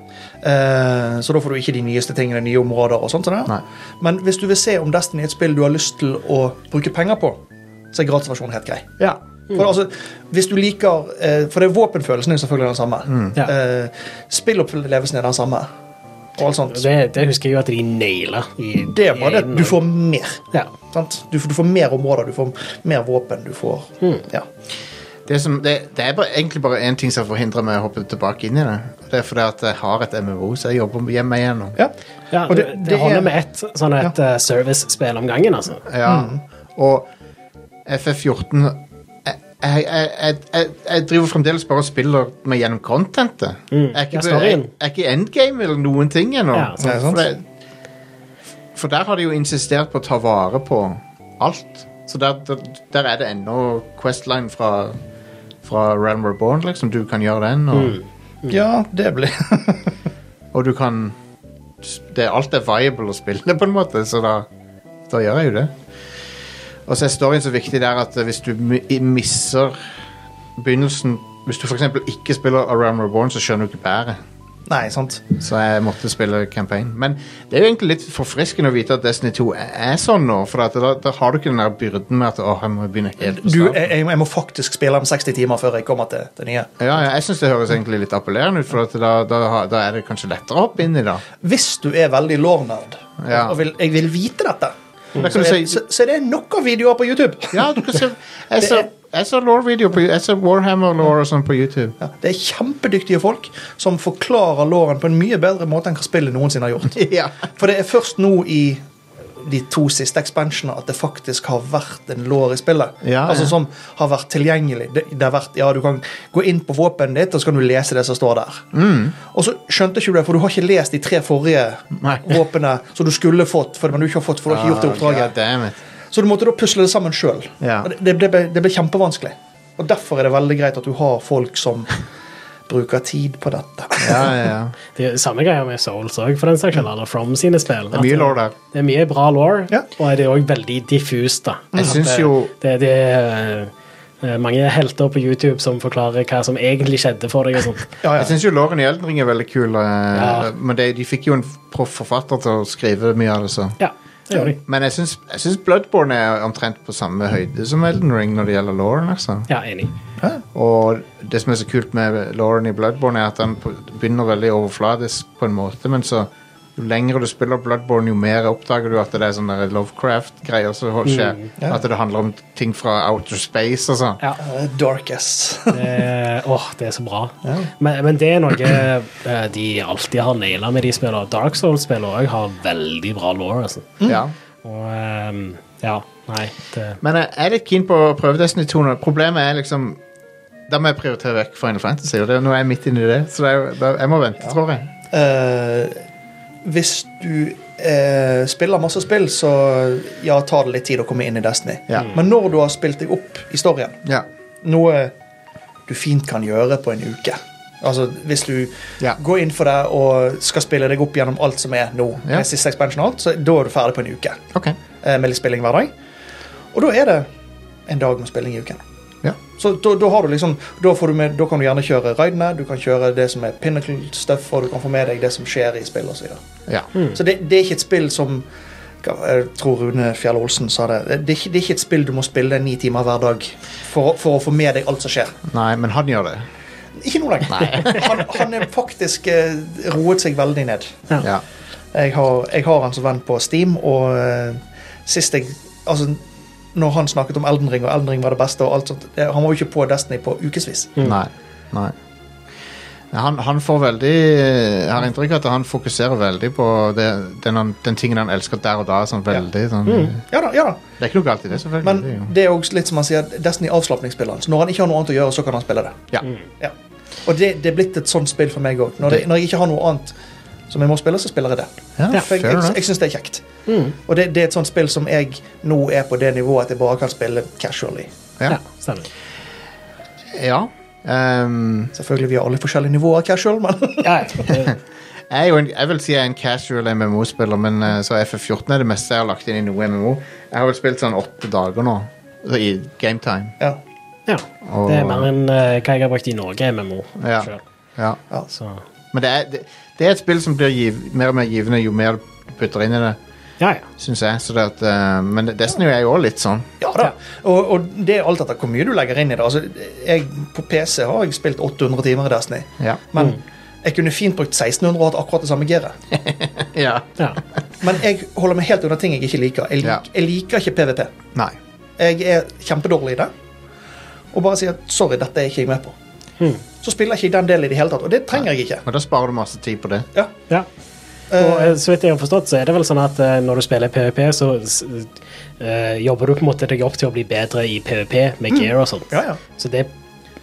Speaker 3: Eh, så da får du ikke de nyeste tingene, nye områder og sånt. Sånn
Speaker 1: Nei.
Speaker 3: der. Men hvis du vil se om Destiny er et spill du har lyst til å bruke penger på, så er gratisversjonen helt grei.
Speaker 1: Ja.
Speaker 3: For, altså, hvis du liker,
Speaker 1: Mm.
Speaker 3: eh, for det er våpenfølelsen er jo selvfølgelig den samme.
Speaker 2: Ja.
Speaker 3: Eh, spillopplevelsen er den samme. og alt sånt.
Speaker 2: Det, det husker jeg jo at de naila. i-
Speaker 3: Det er
Speaker 2: i
Speaker 3: bare det.
Speaker 2: en-
Speaker 3: at Du får mer.
Speaker 2: Ja.
Speaker 3: Sant? Du, får- du får mer områder, du får mer våpen, du får
Speaker 2: Mm.
Speaker 3: Ja.
Speaker 1: Det, som, det, det er bare, egentlig bare én ting som forhindrer meg å hoppe tilbake inn i det. Det er fordi at jeg har et MMO, så jeg jobber hjemme igjennom.
Speaker 3: ja.
Speaker 2: Ja,
Speaker 3: Og
Speaker 2: det,
Speaker 3: det-
Speaker 2: det,
Speaker 3: det
Speaker 2: holder
Speaker 3: er-
Speaker 2: med ett sånn et eh, service-spill om gangen, altså.
Speaker 1: Ja. Og FF14 jeg, jeg, jeg, jeg, jeg driver fremdeles bare og spiller meg gjennom contentet. Jeg, er
Speaker 2: Mm. Ja,
Speaker 1: ikke, jeg,
Speaker 2: storyen.
Speaker 1: jeg er ikke endgame eller noen ting ennå.
Speaker 2: Ja, sant.
Speaker 3: Nei, sant.
Speaker 1: for, det, for der har de jo insistert på å ta vare på alt. Så der, der, der er det ennå Questline fra, fra Realm Reborn, liksom. Du kan gjøre den, og,
Speaker 2: Mm.
Speaker 3: ja, det blir
Speaker 1: og du kan det, Alt er viable å spille, på en måte, så da, da gjør jeg jo det. Og så er storyen så viktig der at hvis du mi- i- misser begynnelsen Hvis du f.eks. ikke spiller Around Reborn, så skjønner du ikke bæret.
Speaker 3: Nei, sant.
Speaker 1: Så jeg måtte spille campaign. Men det er jo egentlig litt forfriskende å vite at Destiny 2 er er sånn nå, for at da, da har du ikke den der byrden med at å, jeg må begynne helt på
Speaker 3: Du,
Speaker 1: starten.
Speaker 3: jeg, jeg må faktisk spille om 60 timer før jeg kommer til det nye.
Speaker 1: Ja, ja, jeg syns det høres egentlig litt appellerende ut, for at da, da, har- da er det kanskje lettere å hoppe inn i det.
Speaker 3: Hvis du er veldig law-nerd
Speaker 1: Ja.
Speaker 3: og vil, jeg vil vite dette,
Speaker 1: Da
Speaker 3: så
Speaker 1: kan du
Speaker 3: er,
Speaker 1: si-
Speaker 3: så, så er det nok av videoer på YouTube.
Speaker 1: Ja, du kan se Jeg så, jeg så lore-video på Jeg så Warhammer-lore og sånn på YouTube.
Speaker 3: Ja, det er kjempedyktige folk som forklarer låren på en mye bedre måte enn hva spillet noensinne har gjort.
Speaker 1: Ja.
Speaker 3: For det er først nå i de to siste expansionene at det faktisk har vært en lår i spillet.
Speaker 1: Ja,
Speaker 3: altså
Speaker 1: ja.
Speaker 3: Som har vært tilgjengelig. Det, det har vært, ja, Du kan gå inn på våpenet ditt og så kan du lese det som står der.
Speaker 1: Mm.
Speaker 3: Og så skjønte ikke du det, for du har ikke lest de tre forrige
Speaker 1: Nei. Ah,
Speaker 3: våpene som du skulle fått, for, men du ikke har fått, for du har ikke gjort det oppdraget.
Speaker 1: God damn it.
Speaker 3: Så du måtte da pusle det sammen sjøl.
Speaker 1: Ja.
Speaker 3: Det, det, ble- det ble kjempevanskelig. Og Derfor er det veldig greit at du har folk som bruker tid på dette.
Speaker 1: Ja, ja, ja.
Speaker 2: Det er samme greia med Souls òg, for den saks skyld. Eller From sine spill.
Speaker 1: er mye
Speaker 2: At, eh,
Speaker 1: lore der.
Speaker 2: Det er mye bra law,
Speaker 3: Ja.
Speaker 2: og det er òg veldig diffust, da.
Speaker 1: Jeg
Speaker 2: At
Speaker 1: syns
Speaker 2: det-
Speaker 1: jo-
Speaker 2: Det, det er eh, mange helter på YouTube som forklarer hva som egentlig skjedde for deg. og sånt.
Speaker 3: Ja,
Speaker 1: Jeg
Speaker 3: ja.
Speaker 1: syns jo Lauren i Elden Ring er veldig kul, eh,
Speaker 2: Ja.
Speaker 1: men det, de fikk jo en proff forfatter til å skrive mye av det. så
Speaker 2: Ja, det gjør de.
Speaker 1: Men jeg syns, jeg syns Bloodborne er omtrent på samme høyde som Elden Ring når det gjelder Lauren. Altså.
Speaker 2: Ja, enig.
Speaker 1: Og det som er så kult med Lauren i Bloodborne, er at han på- begynner veldig overfladisk på en måte, men så jo lenger du spiller Bloodborne, jo mer oppdager du at det er sånne Lovecraft-greier som hol- skjer. At det handler om ting fra outer space og sånn.
Speaker 2: Ja.
Speaker 3: Eh, Darkest.
Speaker 2: Eh, Åh, det er så bra. Men, men det er noe eh, de alltid har naila med de spillene. Dark Souls-spillene òg har veldig bra law. Altså.
Speaker 1: Ja.
Speaker 2: Og ehm, ja, nei det,
Speaker 1: Men jeg er litt keen på å prøve Destiny 2 nå. Problemet er liksom Da må jeg prioritere vekk Final Fantasy, og det, nå er jeg midt inni det. Så det er, jo- da, jeg må vente, tror jeg.
Speaker 3: Eh, hvis du eh, spiller masse spill, så ja, tar det litt tid å komme inn i Destiny.
Speaker 1: Ja.
Speaker 3: Men når du har spilt deg opp i storyen,
Speaker 1: Ja.
Speaker 3: noe du fint kan gjøre på en uke. Altså, Hvis du
Speaker 1: Ja.
Speaker 3: går inn for det og skal spille deg opp gjennom alt som er nå,
Speaker 1: Ja.
Speaker 3: med siste expansion og alt, så da er du ferdig på en uke
Speaker 1: OK.
Speaker 3: eh, med litt spilling hver dag. Og da er det en dag med spilling i uken.
Speaker 1: Ja.
Speaker 3: Så da, da har du liksom, da, får du med, da kan du gjerne kjøre raidene, du kan kjøre det som er pinnacle stuff, og du kan få med deg det som skjer i spillet osv. Så, videre.
Speaker 1: ja.
Speaker 3: så det, det er ikke et spill som jeg tror Rune Fjell Olsen sa det. Det er, ikke, det er ikke et spill du må spille ni timer hver dag for, å- for å få med deg alt som skjer.
Speaker 1: Nei, men han gjør det.
Speaker 3: Ikke nå lenger. Han, han er faktisk eh, roet seg veldig ned.
Speaker 1: Ja.
Speaker 3: Jeg har, jeg har han som venn på Steam, og eh, sist jeg Altså, når han snakket om Elden Ring, og Elden Ring var det beste, og alt sånt det, Han var jo ikke på Destiny på ukevis.
Speaker 1: Nei. Nei. Han, han får veldig Jeg har inntrykk av at han fokuserer veldig på det, den, han- den tingen han elsker der og da. Sånn, veldig, sånn.
Speaker 3: Ja da, ja da.
Speaker 1: Det er ikke noe galt i det, selvfølgelig.
Speaker 3: Mm. Men
Speaker 1: det er jo-
Speaker 3: det er også litt som han sier, Destiny er avslapningsspilleren. Så når han ikke har noe annet å gjøre, så kan han spille det.
Speaker 1: ja.
Speaker 3: Ja. Og det, det er blitt et sånt spill for meg òg. Når, det- når jeg ikke har noe annet som jeg må spille, så spiller jeg det.
Speaker 1: Ja,
Speaker 3: for jeg
Speaker 1: fair
Speaker 3: jeg,
Speaker 1: enough.
Speaker 3: jeg syns det er kjekt. Og det, det er et sånt spill som jeg nå er på det nivået at jeg bare kan spille casually.
Speaker 1: Ja.
Speaker 2: ja, stemmer.
Speaker 1: ja. Ehm,
Speaker 3: Selvfølgelig vi har alle forskjellige nivåer casual, men
Speaker 2: Ja, ja.
Speaker 1: jeg, er jo en, jeg vil si jeg er en casual MMO-spiller, men eh, så FF14 er det meste jeg har lagt inn i noe MMO. Jeg har vel spilt sånn åtte dager nå, så i game time.
Speaker 3: ja.
Speaker 2: ja. Det er mer enn eh, hva jeg har brukt i Norge, MMO.
Speaker 1: Ja.
Speaker 2: selv.
Speaker 1: Ja.
Speaker 2: Så,
Speaker 1: Men det er, det, det er et spill som blir giv, mer og mer givende jo mer du putter inn i det,
Speaker 2: ja, ja.
Speaker 1: syns jeg. Så det at, eh, men Destiny er jo også litt sånn.
Speaker 3: Ja da. Og, og det er alt etter hvor mye du legger inn i det. Altså, jeg, på PC har jeg spilt 800 timer i Destiny.
Speaker 1: Ja.
Speaker 3: Men Jeg kunne fint brukt 1600 og hatt akkurat det samme gearet.
Speaker 1: Mm. Ja.
Speaker 2: Ja.
Speaker 3: Men jeg holder meg helt under ting jeg ikke liker. Jeg, lik,
Speaker 1: Ja.
Speaker 3: jeg liker ikke PVP.
Speaker 1: Nei.
Speaker 3: Jeg er kjempedårlig i det. Og bare sier at sorry, dette er ikke jeg med på.
Speaker 1: Mm.
Speaker 3: Så spiller jeg ikke den delen i det hele tatt, og det trenger jeg ikke.
Speaker 1: Men da sparer du masse tid på det.
Speaker 3: Ja.
Speaker 2: ja. Og eh, så vidt jeg har forstått, så er det vel sånn at eh, når du spiller PVP, så s- eh, jobber du på en måte deg opp til å bli bedre i PVP med gear og sånt.
Speaker 3: Ja, ja.
Speaker 2: Så det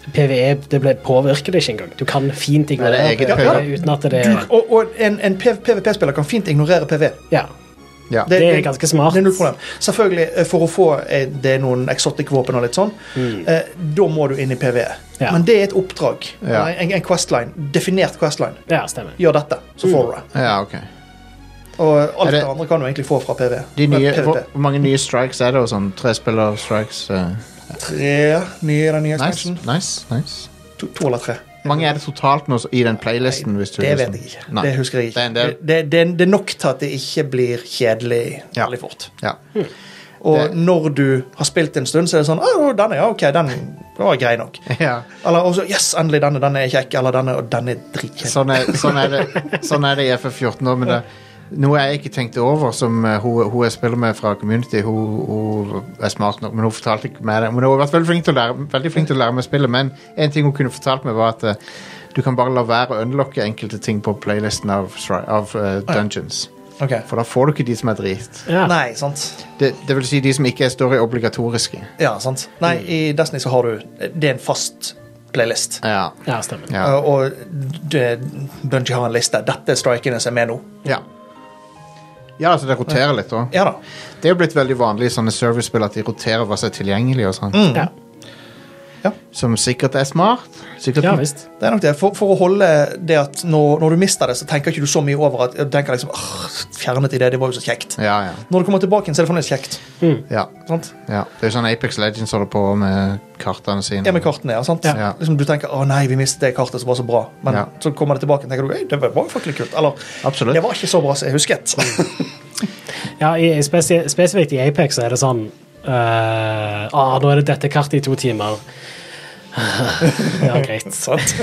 Speaker 2: PVE det ble påvirker det ikke engang. Du kan fint ignorere
Speaker 1: Nei, det er eget
Speaker 2: PvE
Speaker 1: PvE.
Speaker 2: uten at det
Speaker 3: Du, og, og en, en PVP-spiller kan fint ignorere PV.
Speaker 2: Ja.
Speaker 1: Ja.
Speaker 2: Det er ganske smart.
Speaker 3: Det er null problem. Selvfølgelig, eh, for å få eh, det er noen exotic våpen og litt sånn,
Speaker 1: Mm.
Speaker 3: eh, da må du inn i PV.
Speaker 2: Ja.
Speaker 3: Men det er et oppdrag. eh,
Speaker 1: Ja.
Speaker 3: En, en questline. Definert questline.
Speaker 2: Ja, stemmer.
Speaker 3: Gjør dette, så får du det.
Speaker 1: ja, ok. Mm.
Speaker 3: Og
Speaker 1: Er
Speaker 3: alt
Speaker 1: det-
Speaker 3: det andre kan du egentlig få fra E. PV.
Speaker 1: De
Speaker 3: Men
Speaker 1: nye,
Speaker 3: PvP.
Speaker 1: hvor, hvor mange nye strikes er det? og sånn? Trespiller-strikes?
Speaker 3: Tre nye i den nye
Speaker 1: nice,
Speaker 3: expansionen.
Speaker 1: nice, nice.
Speaker 3: To, to eller tre.
Speaker 1: Hvor mange er det totalt nå så- i den playlisten? Hvis du
Speaker 3: Det
Speaker 1: liksom-
Speaker 3: vet jeg ikke.
Speaker 1: Nei.
Speaker 3: Det husker jeg ikke.
Speaker 1: Det er en del.
Speaker 3: Det, det, det, det er nok til at det ikke blir kjedelig
Speaker 1: Ja.
Speaker 3: veldig fort.
Speaker 1: Ja.
Speaker 3: Og
Speaker 1: Det-
Speaker 3: når du har spilt en stund, så er det sånn Å, denne, ja, ok, den var grei nok.
Speaker 1: ja.
Speaker 3: Eller også, yes, endelig, denne, den er kjekk. Eller denne, og denne er dritkjekk.
Speaker 1: Sånn, er, sånn, er det, sånn er det i FF14 nå, men det noe jeg ikke tenkte over, som eh, hun, hun jeg spiller med fra Community Hun, hun er smart nok, men hun fortalte ikke meg det. Men hun har vært veldig flink til å lære, veldig flink til å lære meg å spille, men en ting hun kunne fortalt meg, var at eh, du kan bare la være å unlocke enkelte ting på playlisten av, stri- av eh, Dungeons.
Speaker 3: Ok.
Speaker 1: For da får du ikke de som er drit.
Speaker 2: Ja.
Speaker 3: Nei, sant.
Speaker 1: Det, det vil si de som ikke er story-obligatoriske.
Speaker 3: Ja, sant. Nei,
Speaker 1: Mm.
Speaker 3: i Destiny så har du Det er en fast playlist.
Speaker 1: Ja.
Speaker 2: Ja, stemmer.
Speaker 1: Ja.
Speaker 3: Uh, og det- Bungie har en liste. Dette er strikene som er med nå.
Speaker 1: ja. ja, altså det roterer litt òg.
Speaker 3: Ja da.
Speaker 1: Det er jo blitt veldig vanlig i sånne servicespill at de roterer hva som er tilgjengelig. og sånn.
Speaker 2: Ja,
Speaker 1: Som sikkert er smart. Sikkert
Speaker 2: ja visst.
Speaker 3: Det er nok det. For, for å holde det at når, når du mister det, så tenker ikke du så mye over at du tenker liksom, «Åh, fjernet i det, det var jo så kjekt.
Speaker 1: Ja, ja.
Speaker 3: Når du kommer tilbake igjen, så er det fremdeles kjekt.
Speaker 1: ja,
Speaker 3: Sant?
Speaker 1: ja. Det er jo sånn Apex Legends holder på med kartene sine.
Speaker 3: Ja, med kartene, ja, sant?
Speaker 1: Ja.
Speaker 3: Liksom, du tenker 'Å nei, vi mistet det kartet som var så bra', men
Speaker 1: Ja.
Speaker 3: så kommer det tilbake og tenker du, «Ei, det var var faktisk litt kult. Eller
Speaker 1: Absolutt. Mm.
Speaker 3: det var ikke så bra som jeg husket.
Speaker 2: Ja, i, i spesi spesifikt i Apex så er det sånn eh, ah, nå er det dette kartet i to timer. ja, greit.
Speaker 3: sant?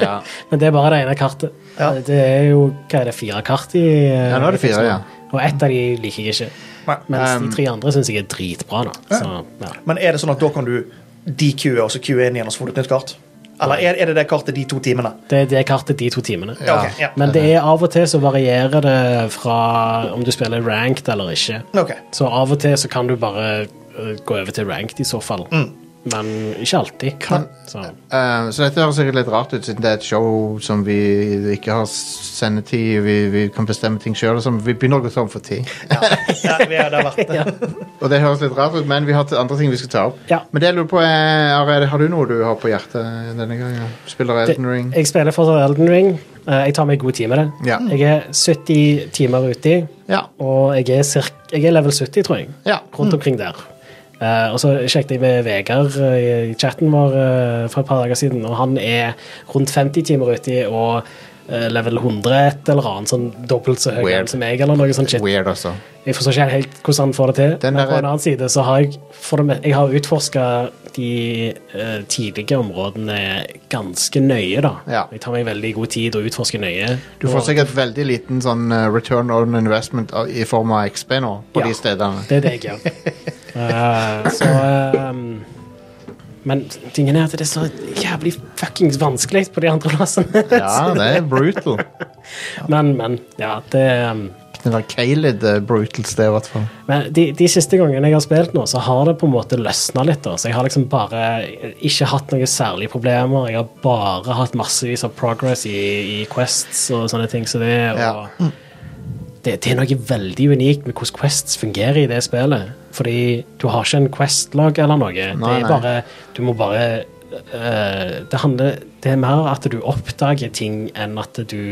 Speaker 1: Ja.
Speaker 2: Men det er bare det ene kartet.
Speaker 3: Ja.
Speaker 2: Det er jo hva er det, fire kart i eh,
Speaker 1: Ja, nå er det
Speaker 2: Apex
Speaker 1: fire, ja.
Speaker 2: Og ett av de liker jeg ikke.
Speaker 3: Nei.
Speaker 2: Mens
Speaker 1: Um,
Speaker 2: de tre andre syns jeg er dritbra. nå. Så, ja.
Speaker 3: Men er det sånn at da kan du DQ-e og så Q-e inn igjen og så får du et nytt kart? Eller er, er det det kartet de to timene?
Speaker 2: Det er det kartet de to timene.
Speaker 3: Ja, ok, ja.
Speaker 2: Men det er av og til så varierer det fra om du spiller ranked eller ikke.
Speaker 3: Ok.
Speaker 2: Så av og til så kan du bare eh, gå over til ranked i så fall.
Speaker 3: Mm.
Speaker 2: Men ikke alltid. så.
Speaker 1: Eh, så dette høres sikkert litt rart ut, siden det er et show som vi ikke har sendetid Vi, vi kan bestemme ting sjøl. Vi begynner å gå tom for tid.
Speaker 3: Ja, vi har, det har vært det.
Speaker 1: Og det høres litt rart ut, men vi har t- andre ting vi skal ta opp.
Speaker 2: Ja.
Speaker 1: Men det jeg lurer på er, Are, har du noe du har på hjertet denne gangen? Spiller Elden Ring?
Speaker 2: Jeg spiller fortsatt Elden Ring. Eh, Jeg tar meg god tid med det.
Speaker 1: Ja.
Speaker 2: Jeg er 70 timer uti,
Speaker 1: Ja.
Speaker 2: og jeg er, cirk, jeg er level 70, tror jeg.
Speaker 1: Ja. Mm.
Speaker 2: Rundt omkring der. Eh, og så sjekket jeg med Vegard eh, i chatten vår eh, for et par dager siden, og han er rundt 50 timer uti og eh, level 100 et eller annet, sånn dobbelt så høy
Speaker 1: Weird.
Speaker 2: som meg, eller noe sånt shit.
Speaker 1: Weird, altså.
Speaker 2: Jeg forstår ikke helt hvordan han får det til.
Speaker 1: Den
Speaker 2: men
Speaker 1: der-
Speaker 2: på en annen side så har jeg, for det, me- jeg har utforska de eh, tidlige områdene ganske nøye, da.
Speaker 1: Ja.
Speaker 2: Jeg tar meg veldig god tid å utforske nøye.
Speaker 1: Du får
Speaker 2: Og
Speaker 1: sikkert veldig liten sånn eh, return on investment av- i form av XP nå, på
Speaker 2: Ja.
Speaker 1: de stedene.
Speaker 2: Det er det jeg gjør. Eh, så ehm, Men tingen er at det er så jævlig fuckings vanskelig på de andre plassene.
Speaker 1: Ja, det er brutal.
Speaker 2: men, men. Ja, det ehm,
Speaker 1: Den der Caled er eh, brutal sted, i hvert fall.
Speaker 2: Men de, de siste gangene jeg har spilt nå, så har det på en måte løsna litt. da, så Jeg har liksom bare ikke hatt noen særlige problemer. Jeg har bare hatt massevis av progress i, i Quests og sånne ting. så Det og
Speaker 1: Ja.
Speaker 2: det, det er noe veldig unikt med hvordan Quests fungerer i det spillet. Fordi du har ikke en Quest-lag eller noe. det
Speaker 1: nei.
Speaker 2: er bare Du må bare øh, Det handler Det er mer at du oppdager ting enn at du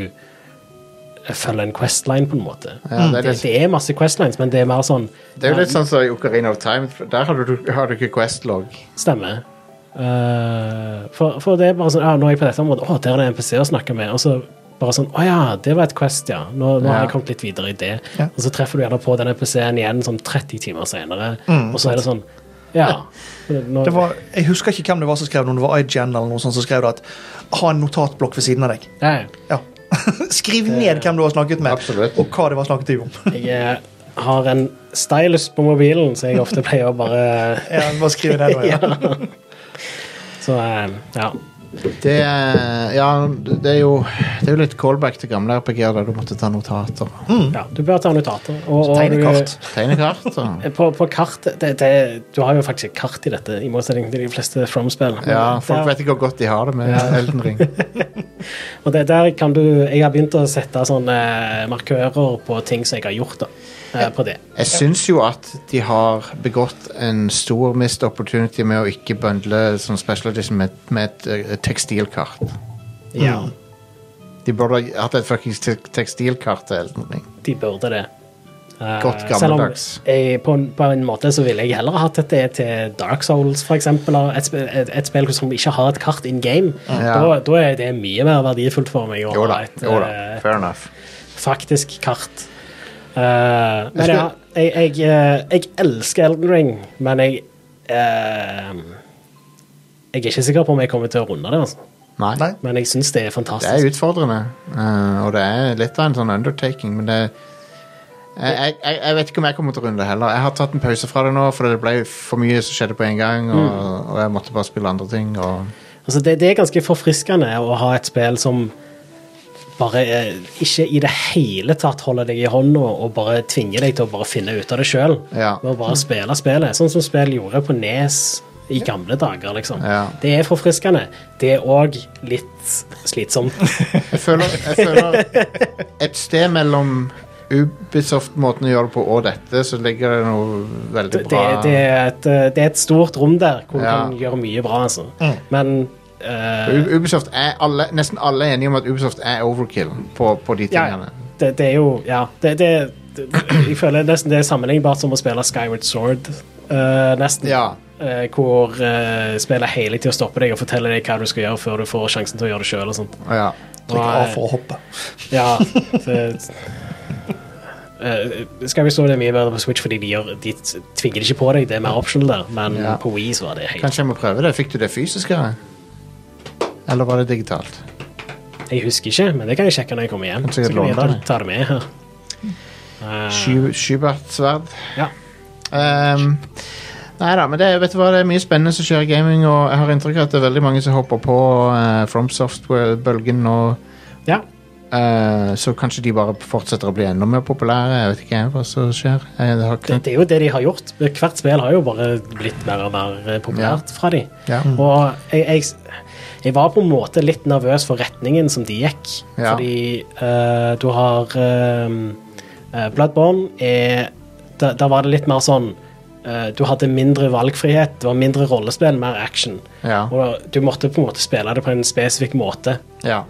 Speaker 2: følger en Quest-line, på en måte.
Speaker 1: Ja, det er
Speaker 2: det,
Speaker 1: litt-
Speaker 2: det, er masse Quest-lines, men det er mer sånn
Speaker 1: Det er jo litt sånn som i Ocarina of Time. for Der har du, har du ikke Questlog.
Speaker 2: Stemmer. Eh, for, for det er bare sånn ja, Nå er jeg på dette området, å, der er det NPC å snakke med. Og så bare sånn Å ja, det var et Quest, ja. Nå, nå har
Speaker 1: Ja.
Speaker 2: jeg kommet litt videre i det.
Speaker 3: Ja.
Speaker 1: Mm.
Speaker 2: Og så treffer du gjerne på den NPC-en igjen sånn 30 timer senere, og så er det sånn Ja. Nå,
Speaker 3: Det var, jeg husker ikke hvem det var som skrev det, om det var IGN eller noe sånt som skrev det at ha en notatblokk ved siden av deg.
Speaker 2: Nei,
Speaker 3: Ja. Skriv ned hvem du har snakket med,
Speaker 1: Absolutt.
Speaker 3: og hva det var snakket om.
Speaker 2: jeg eh, har en stylus på mobilen, så jeg ofte pleier å bare
Speaker 3: ja, bare skriv det nå, ja.
Speaker 2: Så eh, ja.
Speaker 1: Det er, ja, det er jo Det er jo litt callback til gamle RPG-er der du måtte ta notater.
Speaker 2: ja. Du bør ta notater. Og, og du,
Speaker 3: Tegnekart.
Speaker 1: Tegne kart og
Speaker 2: på, på kart det, det, Du har jo faktisk et kart i dette, i motsetning til de fleste From-spill.
Speaker 1: Ja, folk
Speaker 2: Der-
Speaker 1: vet ikke hvor godt de har det med Elden Ring.
Speaker 2: Og det, der kan du Jeg har begynt å sette sånne eh, markører på ting som jeg har gjort, da. eh, På det.
Speaker 1: Jeg syns jo at de har begått en stor missed opportunity med å ikke bundle sånn special edition med, med et eh, tekstilkart.
Speaker 2: Ja,
Speaker 1: Mm. De burde ha hatt et fuckings te tekstilkart til Elden Ring.
Speaker 2: de burde det. Eh,
Speaker 1: Godt
Speaker 2: selv om
Speaker 1: gammeldags.
Speaker 2: Jeg, på, en, på en måte så ville jeg heller ha hatt dette til Dark Souls, for eksempel. eller Et, sp- et, et spill som ikke har et kart in game.
Speaker 1: Ja.
Speaker 2: Da, da er det mye mer verdifullt for meg å
Speaker 1: Jo da.
Speaker 2: ha et
Speaker 1: Jo da.
Speaker 2: eh,
Speaker 1: Fair enough.
Speaker 2: faktisk kart. Eh, men
Speaker 1: Jeg skal-
Speaker 2: ja, jeg, jeg, eh, jeg elsker Elden Ring, men jeg eh, Jeg er ikke sikker på om jeg kommer til å runde det, altså.
Speaker 1: Nei.
Speaker 3: Nei.
Speaker 2: men jeg syns det er
Speaker 1: Det
Speaker 2: fantastisk.
Speaker 1: er utfordrende, eh, og det er litt av en sånn undertaking, men det jeg, jeg, jeg vet ikke om jeg kommer til å runde det heller. Jeg har tatt en pause fra det nå, for det ble for mye som skjedde på en gang, og, og jeg måtte bare spille andre ting. Og
Speaker 2: altså, det, det er ganske forfriskende å ha et spill som bare eh, ikke i det hele tatt holder deg i hånda og bare tvinger deg til å bare finne ut av det sjøl.
Speaker 1: Ja.
Speaker 2: Ved å bare spille spillet. Sånn som spill gjorde på Nes i gamle dager, liksom.
Speaker 1: Ja.
Speaker 2: Det er forfriskende. Det er òg litt slitsomt.
Speaker 1: jeg føler, jeg føler et sted mellom Ubisoft-måten å gjøre det på og dette, så ligger det noe veldig
Speaker 2: det,
Speaker 1: bra
Speaker 2: det, er et, eh, det er et stort rom der
Speaker 1: Ja.
Speaker 2: hvor
Speaker 1: Mm.
Speaker 2: man kan gjøre mye bra, altså. Men eh,
Speaker 1: U- Ubisoft er alle, Nesten alle er enige om at Ubisoft er overkill på, på de
Speaker 2: ja,
Speaker 1: tingene.
Speaker 2: det, det er jo Ja, det, det, det Jeg føler nesten det er sammenlignbart som å spille Skyward Sword, eh, nesten.
Speaker 1: Ja.
Speaker 2: Eh, hvor eh, spillet hele tida stopper deg og forteller deg hva du skal gjøre før du får sjansen til å gjøre det sjøl og sånt. eh,
Speaker 1: Ja.
Speaker 3: Trykk A for å hoppe.
Speaker 2: Ja, det, Eh, skal vi stå det er mye bedre på Switch, fordi de, gjør, de tvinger det ikke på deg, det er mer optional der, men
Speaker 1: Ja.
Speaker 2: på Wii så var det helt
Speaker 1: Kanskje jeg må prøve det. Fikk du det fysisk? eller? Eller var det digitalt?
Speaker 2: Jeg husker ikke, men det kan jeg sjekke når jeg kommer hjem.
Speaker 1: Sikkert
Speaker 2: Så kan jeg
Speaker 1: låne
Speaker 2: ta,
Speaker 1: det.
Speaker 2: ta det med her. Eh,
Speaker 1: Sky- Skybertsverd.
Speaker 2: ja.
Speaker 1: Um, nei da, men det, vet du hva, det er mye spennende som skjer i gaming, og jeg har inntrykk av at det er veldig mange som hopper på eh, From Software-bølgen nå.
Speaker 2: ja.
Speaker 1: eh, så kanskje de bare fortsetter å bli enda mer populære. Jeg vet ikke jeg, hva som skjer. Jeg, det har
Speaker 2: Eh, Det,
Speaker 1: ikke,
Speaker 2: det er jo det de har gjort. Hvert spill har jo bare blitt mer og mer eh, populært fra de.
Speaker 1: Ja.
Speaker 2: Og jeg, jeg, jeg var på en måte litt nervøs for retningen som de gikk.
Speaker 1: Ja.
Speaker 2: Fordi eh, du har eh, eh, Bloodborne er da, da var det litt mer sånn eh, Du hadde mindre valgfrihet, det var mindre rollespill, mer action.
Speaker 1: Ja.
Speaker 2: Og du måtte på en måte spille det på en spesifikk måte.
Speaker 1: ja.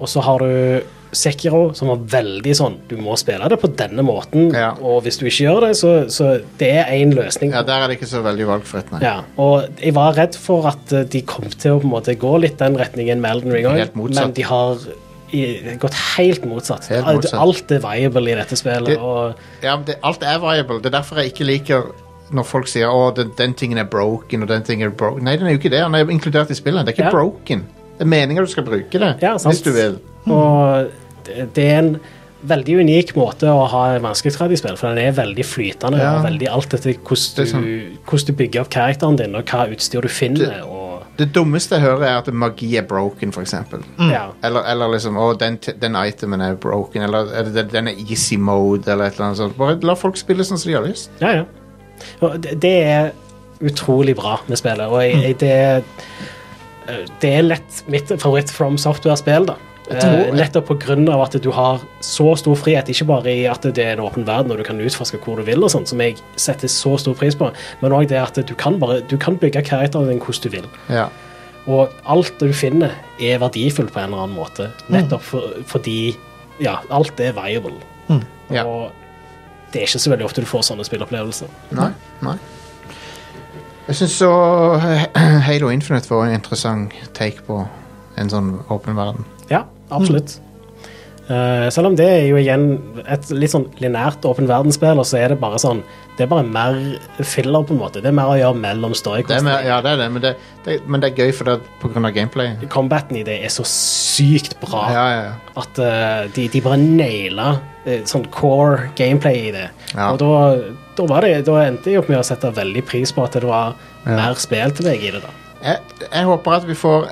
Speaker 2: Og så har du Sekiro, som var veldig sånn Du må spille det på denne måten,
Speaker 1: Ja.
Speaker 2: og hvis du ikke gjør det, så, så det er én løsning.
Speaker 1: ja, der er det ikke så veldig valgfritt, nei.
Speaker 2: Ja, og jeg var redd for at eh, de kom til å på en måte gå litt den retningen med Elden Ring også,
Speaker 1: Helt motsatt.
Speaker 2: men de har i, gått helt motsatt.
Speaker 1: Helt
Speaker 2: Alt-
Speaker 1: motsatt.
Speaker 2: Alt er viable i dette spillet,
Speaker 1: Det-
Speaker 2: og
Speaker 1: Ja, men det, alt er viable. Det er derfor jeg ikke liker når folk sier å, den, den tingen er broken og den tingen er broken. Nei, den er jo ikke det. Den er inkludert i spillet. Det er ikke
Speaker 2: Ja.
Speaker 1: broken. Det er meningen du skal bruke det,
Speaker 2: Ja, sant.
Speaker 1: hvis du vil.
Speaker 2: og det det er en veldig unik måte å ha en vanskelighetsgrad i spill, for den er veldig flytende
Speaker 1: Ja.
Speaker 2: og veldig alt etter
Speaker 1: Det er sånn-
Speaker 2: hvordan du, hvordan du bygger opp karakteren din, og hva utstyr du finner.
Speaker 1: Det-
Speaker 2: og
Speaker 1: Det dummeste jeg hører, er at magi er broken, for eksempel.
Speaker 2: ja.
Speaker 1: Eller, eller liksom Å, den, t- den itemen er broken, eller er det- den, den er easy mode, eller et eller annet sånt. Bare la folk spille sånn som de har lyst.
Speaker 2: Ja, ja. Og det, det er utrolig bra med spillet, og jeg, jeg, det, det er lett mitt favoritt From Software-spill, da. Eh, Nettopp på grunn av at du har så stor frihet, ikke bare i at det er en åpen verden og du kan utforske hvor du vil, og sånt, som jeg setter så stor pris på, men òg det at du kan, bare, du kan bygge karakteren din hvordan du vil.
Speaker 1: Ja.
Speaker 2: Og alt du finner, er verdifullt på en eller annen måte, nettopp for, fordi ja, alt er viable.
Speaker 1: Ja.
Speaker 2: Og det er ikke så veldig ofte du får sånne spillopplevelser.
Speaker 1: Nei. Nei. Jeg syns så Halo Infinite var en interessant take på en sånn åpen verden.
Speaker 2: Ja, absolutt. Eh, selv om det er jo igjen et litt sånn linært åpen verdensspill, og så er det bare sånn Det er bare mer filler, på en måte. Det er mer å gjøre mellom
Speaker 1: Det er
Speaker 2: storyquestene.
Speaker 1: mer, ja, det er det, men det, det, men det er gøy for det er på grunn av gameplay.
Speaker 2: Combaten i det er så sykt bra
Speaker 1: Ja, ja, ja.
Speaker 2: at eh, de, de bare naila eh, sånn core gameplay i det.
Speaker 1: Ja.
Speaker 2: Og da, da, var det, da endte jeg opp med å sette veldig pris på at det var mer spill til deg i det. da
Speaker 1: Jeg, jeg håper at vi får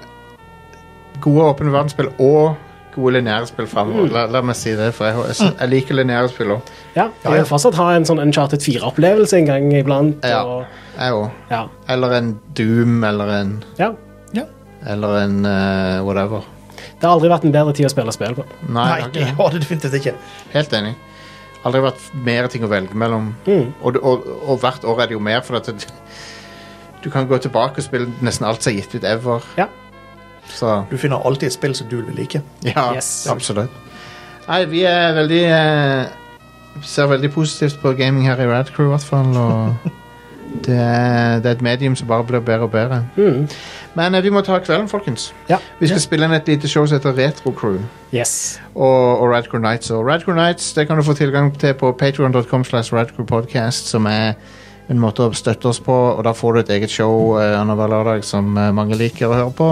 Speaker 1: gode åpne verdensspill og gode lineære spill fremover. La, la meg si det, for jeg, jeg, sy- jeg liker lineære spill òg.
Speaker 2: Ja, Jeg vil fortsatt ha en sånn Uncharted 4-opplevelse en gang iblant.
Speaker 1: Ja.
Speaker 2: Og,
Speaker 1: Jeg òg.
Speaker 2: ja.
Speaker 1: Eller en Doom, eller en
Speaker 2: ja.
Speaker 1: Eller en eh, whatever.
Speaker 2: Det har aldri vært en bedre tid å spille spill på.
Speaker 1: Nei, jeg
Speaker 3: Nei,
Speaker 1: har ikke
Speaker 3: det
Speaker 1: det.
Speaker 3: var det definitivt ikke.
Speaker 1: Helt enig. Aldri vært mer ting å velge mellom. Og, du- og, og hvert år er det jo mer, for at det, du kan gå tilbake og spille nesten alt som er gitt ut ever.
Speaker 2: Ja.
Speaker 1: Så
Speaker 3: Du finner alltid et spill som du vil like.
Speaker 1: Ja,
Speaker 2: Yes.
Speaker 1: absolutt. Nei, vi er veldig eh, Ser veldig positivt på gaming her i Rad Crew, i hvert fall. Og det, er, det er et medium som bare blir bedre og bedre. Men eh, vi må ta kvelden, folkens.
Speaker 2: Ja.
Speaker 1: Vi skal spille inn et lite show som heter Retro Crew.
Speaker 2: Yes.
Speaker 1: Og, og Radcrew Nights. Og Radcrew Nights det kan du få tilgang til på patreon.com slash radcrewpodcast, som er en måte å støtte oss på. Og da får du et eget show eh, annenhver lørdag som eh, mange liker å høre på.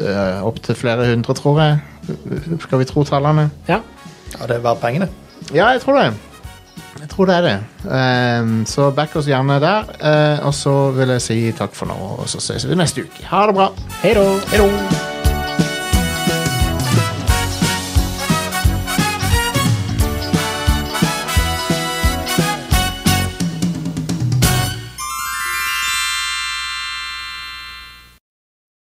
Speaker 1: Eh, Opptil flere hundre, tror jeg. Skal vi tro tallene?
Speaker 2: Ja.
Speaker 3: Ja, det er verdt pengene.
Speaker 1: Ja, jeg tror det. Jeg tror det er det. Ehm, så back oss gjerne der. eh, og så vil jeg si takk for nå, og så ses vi neste uke. Ha det bra.
Speaker 2: Hei da.
Speaker 3: Hei da!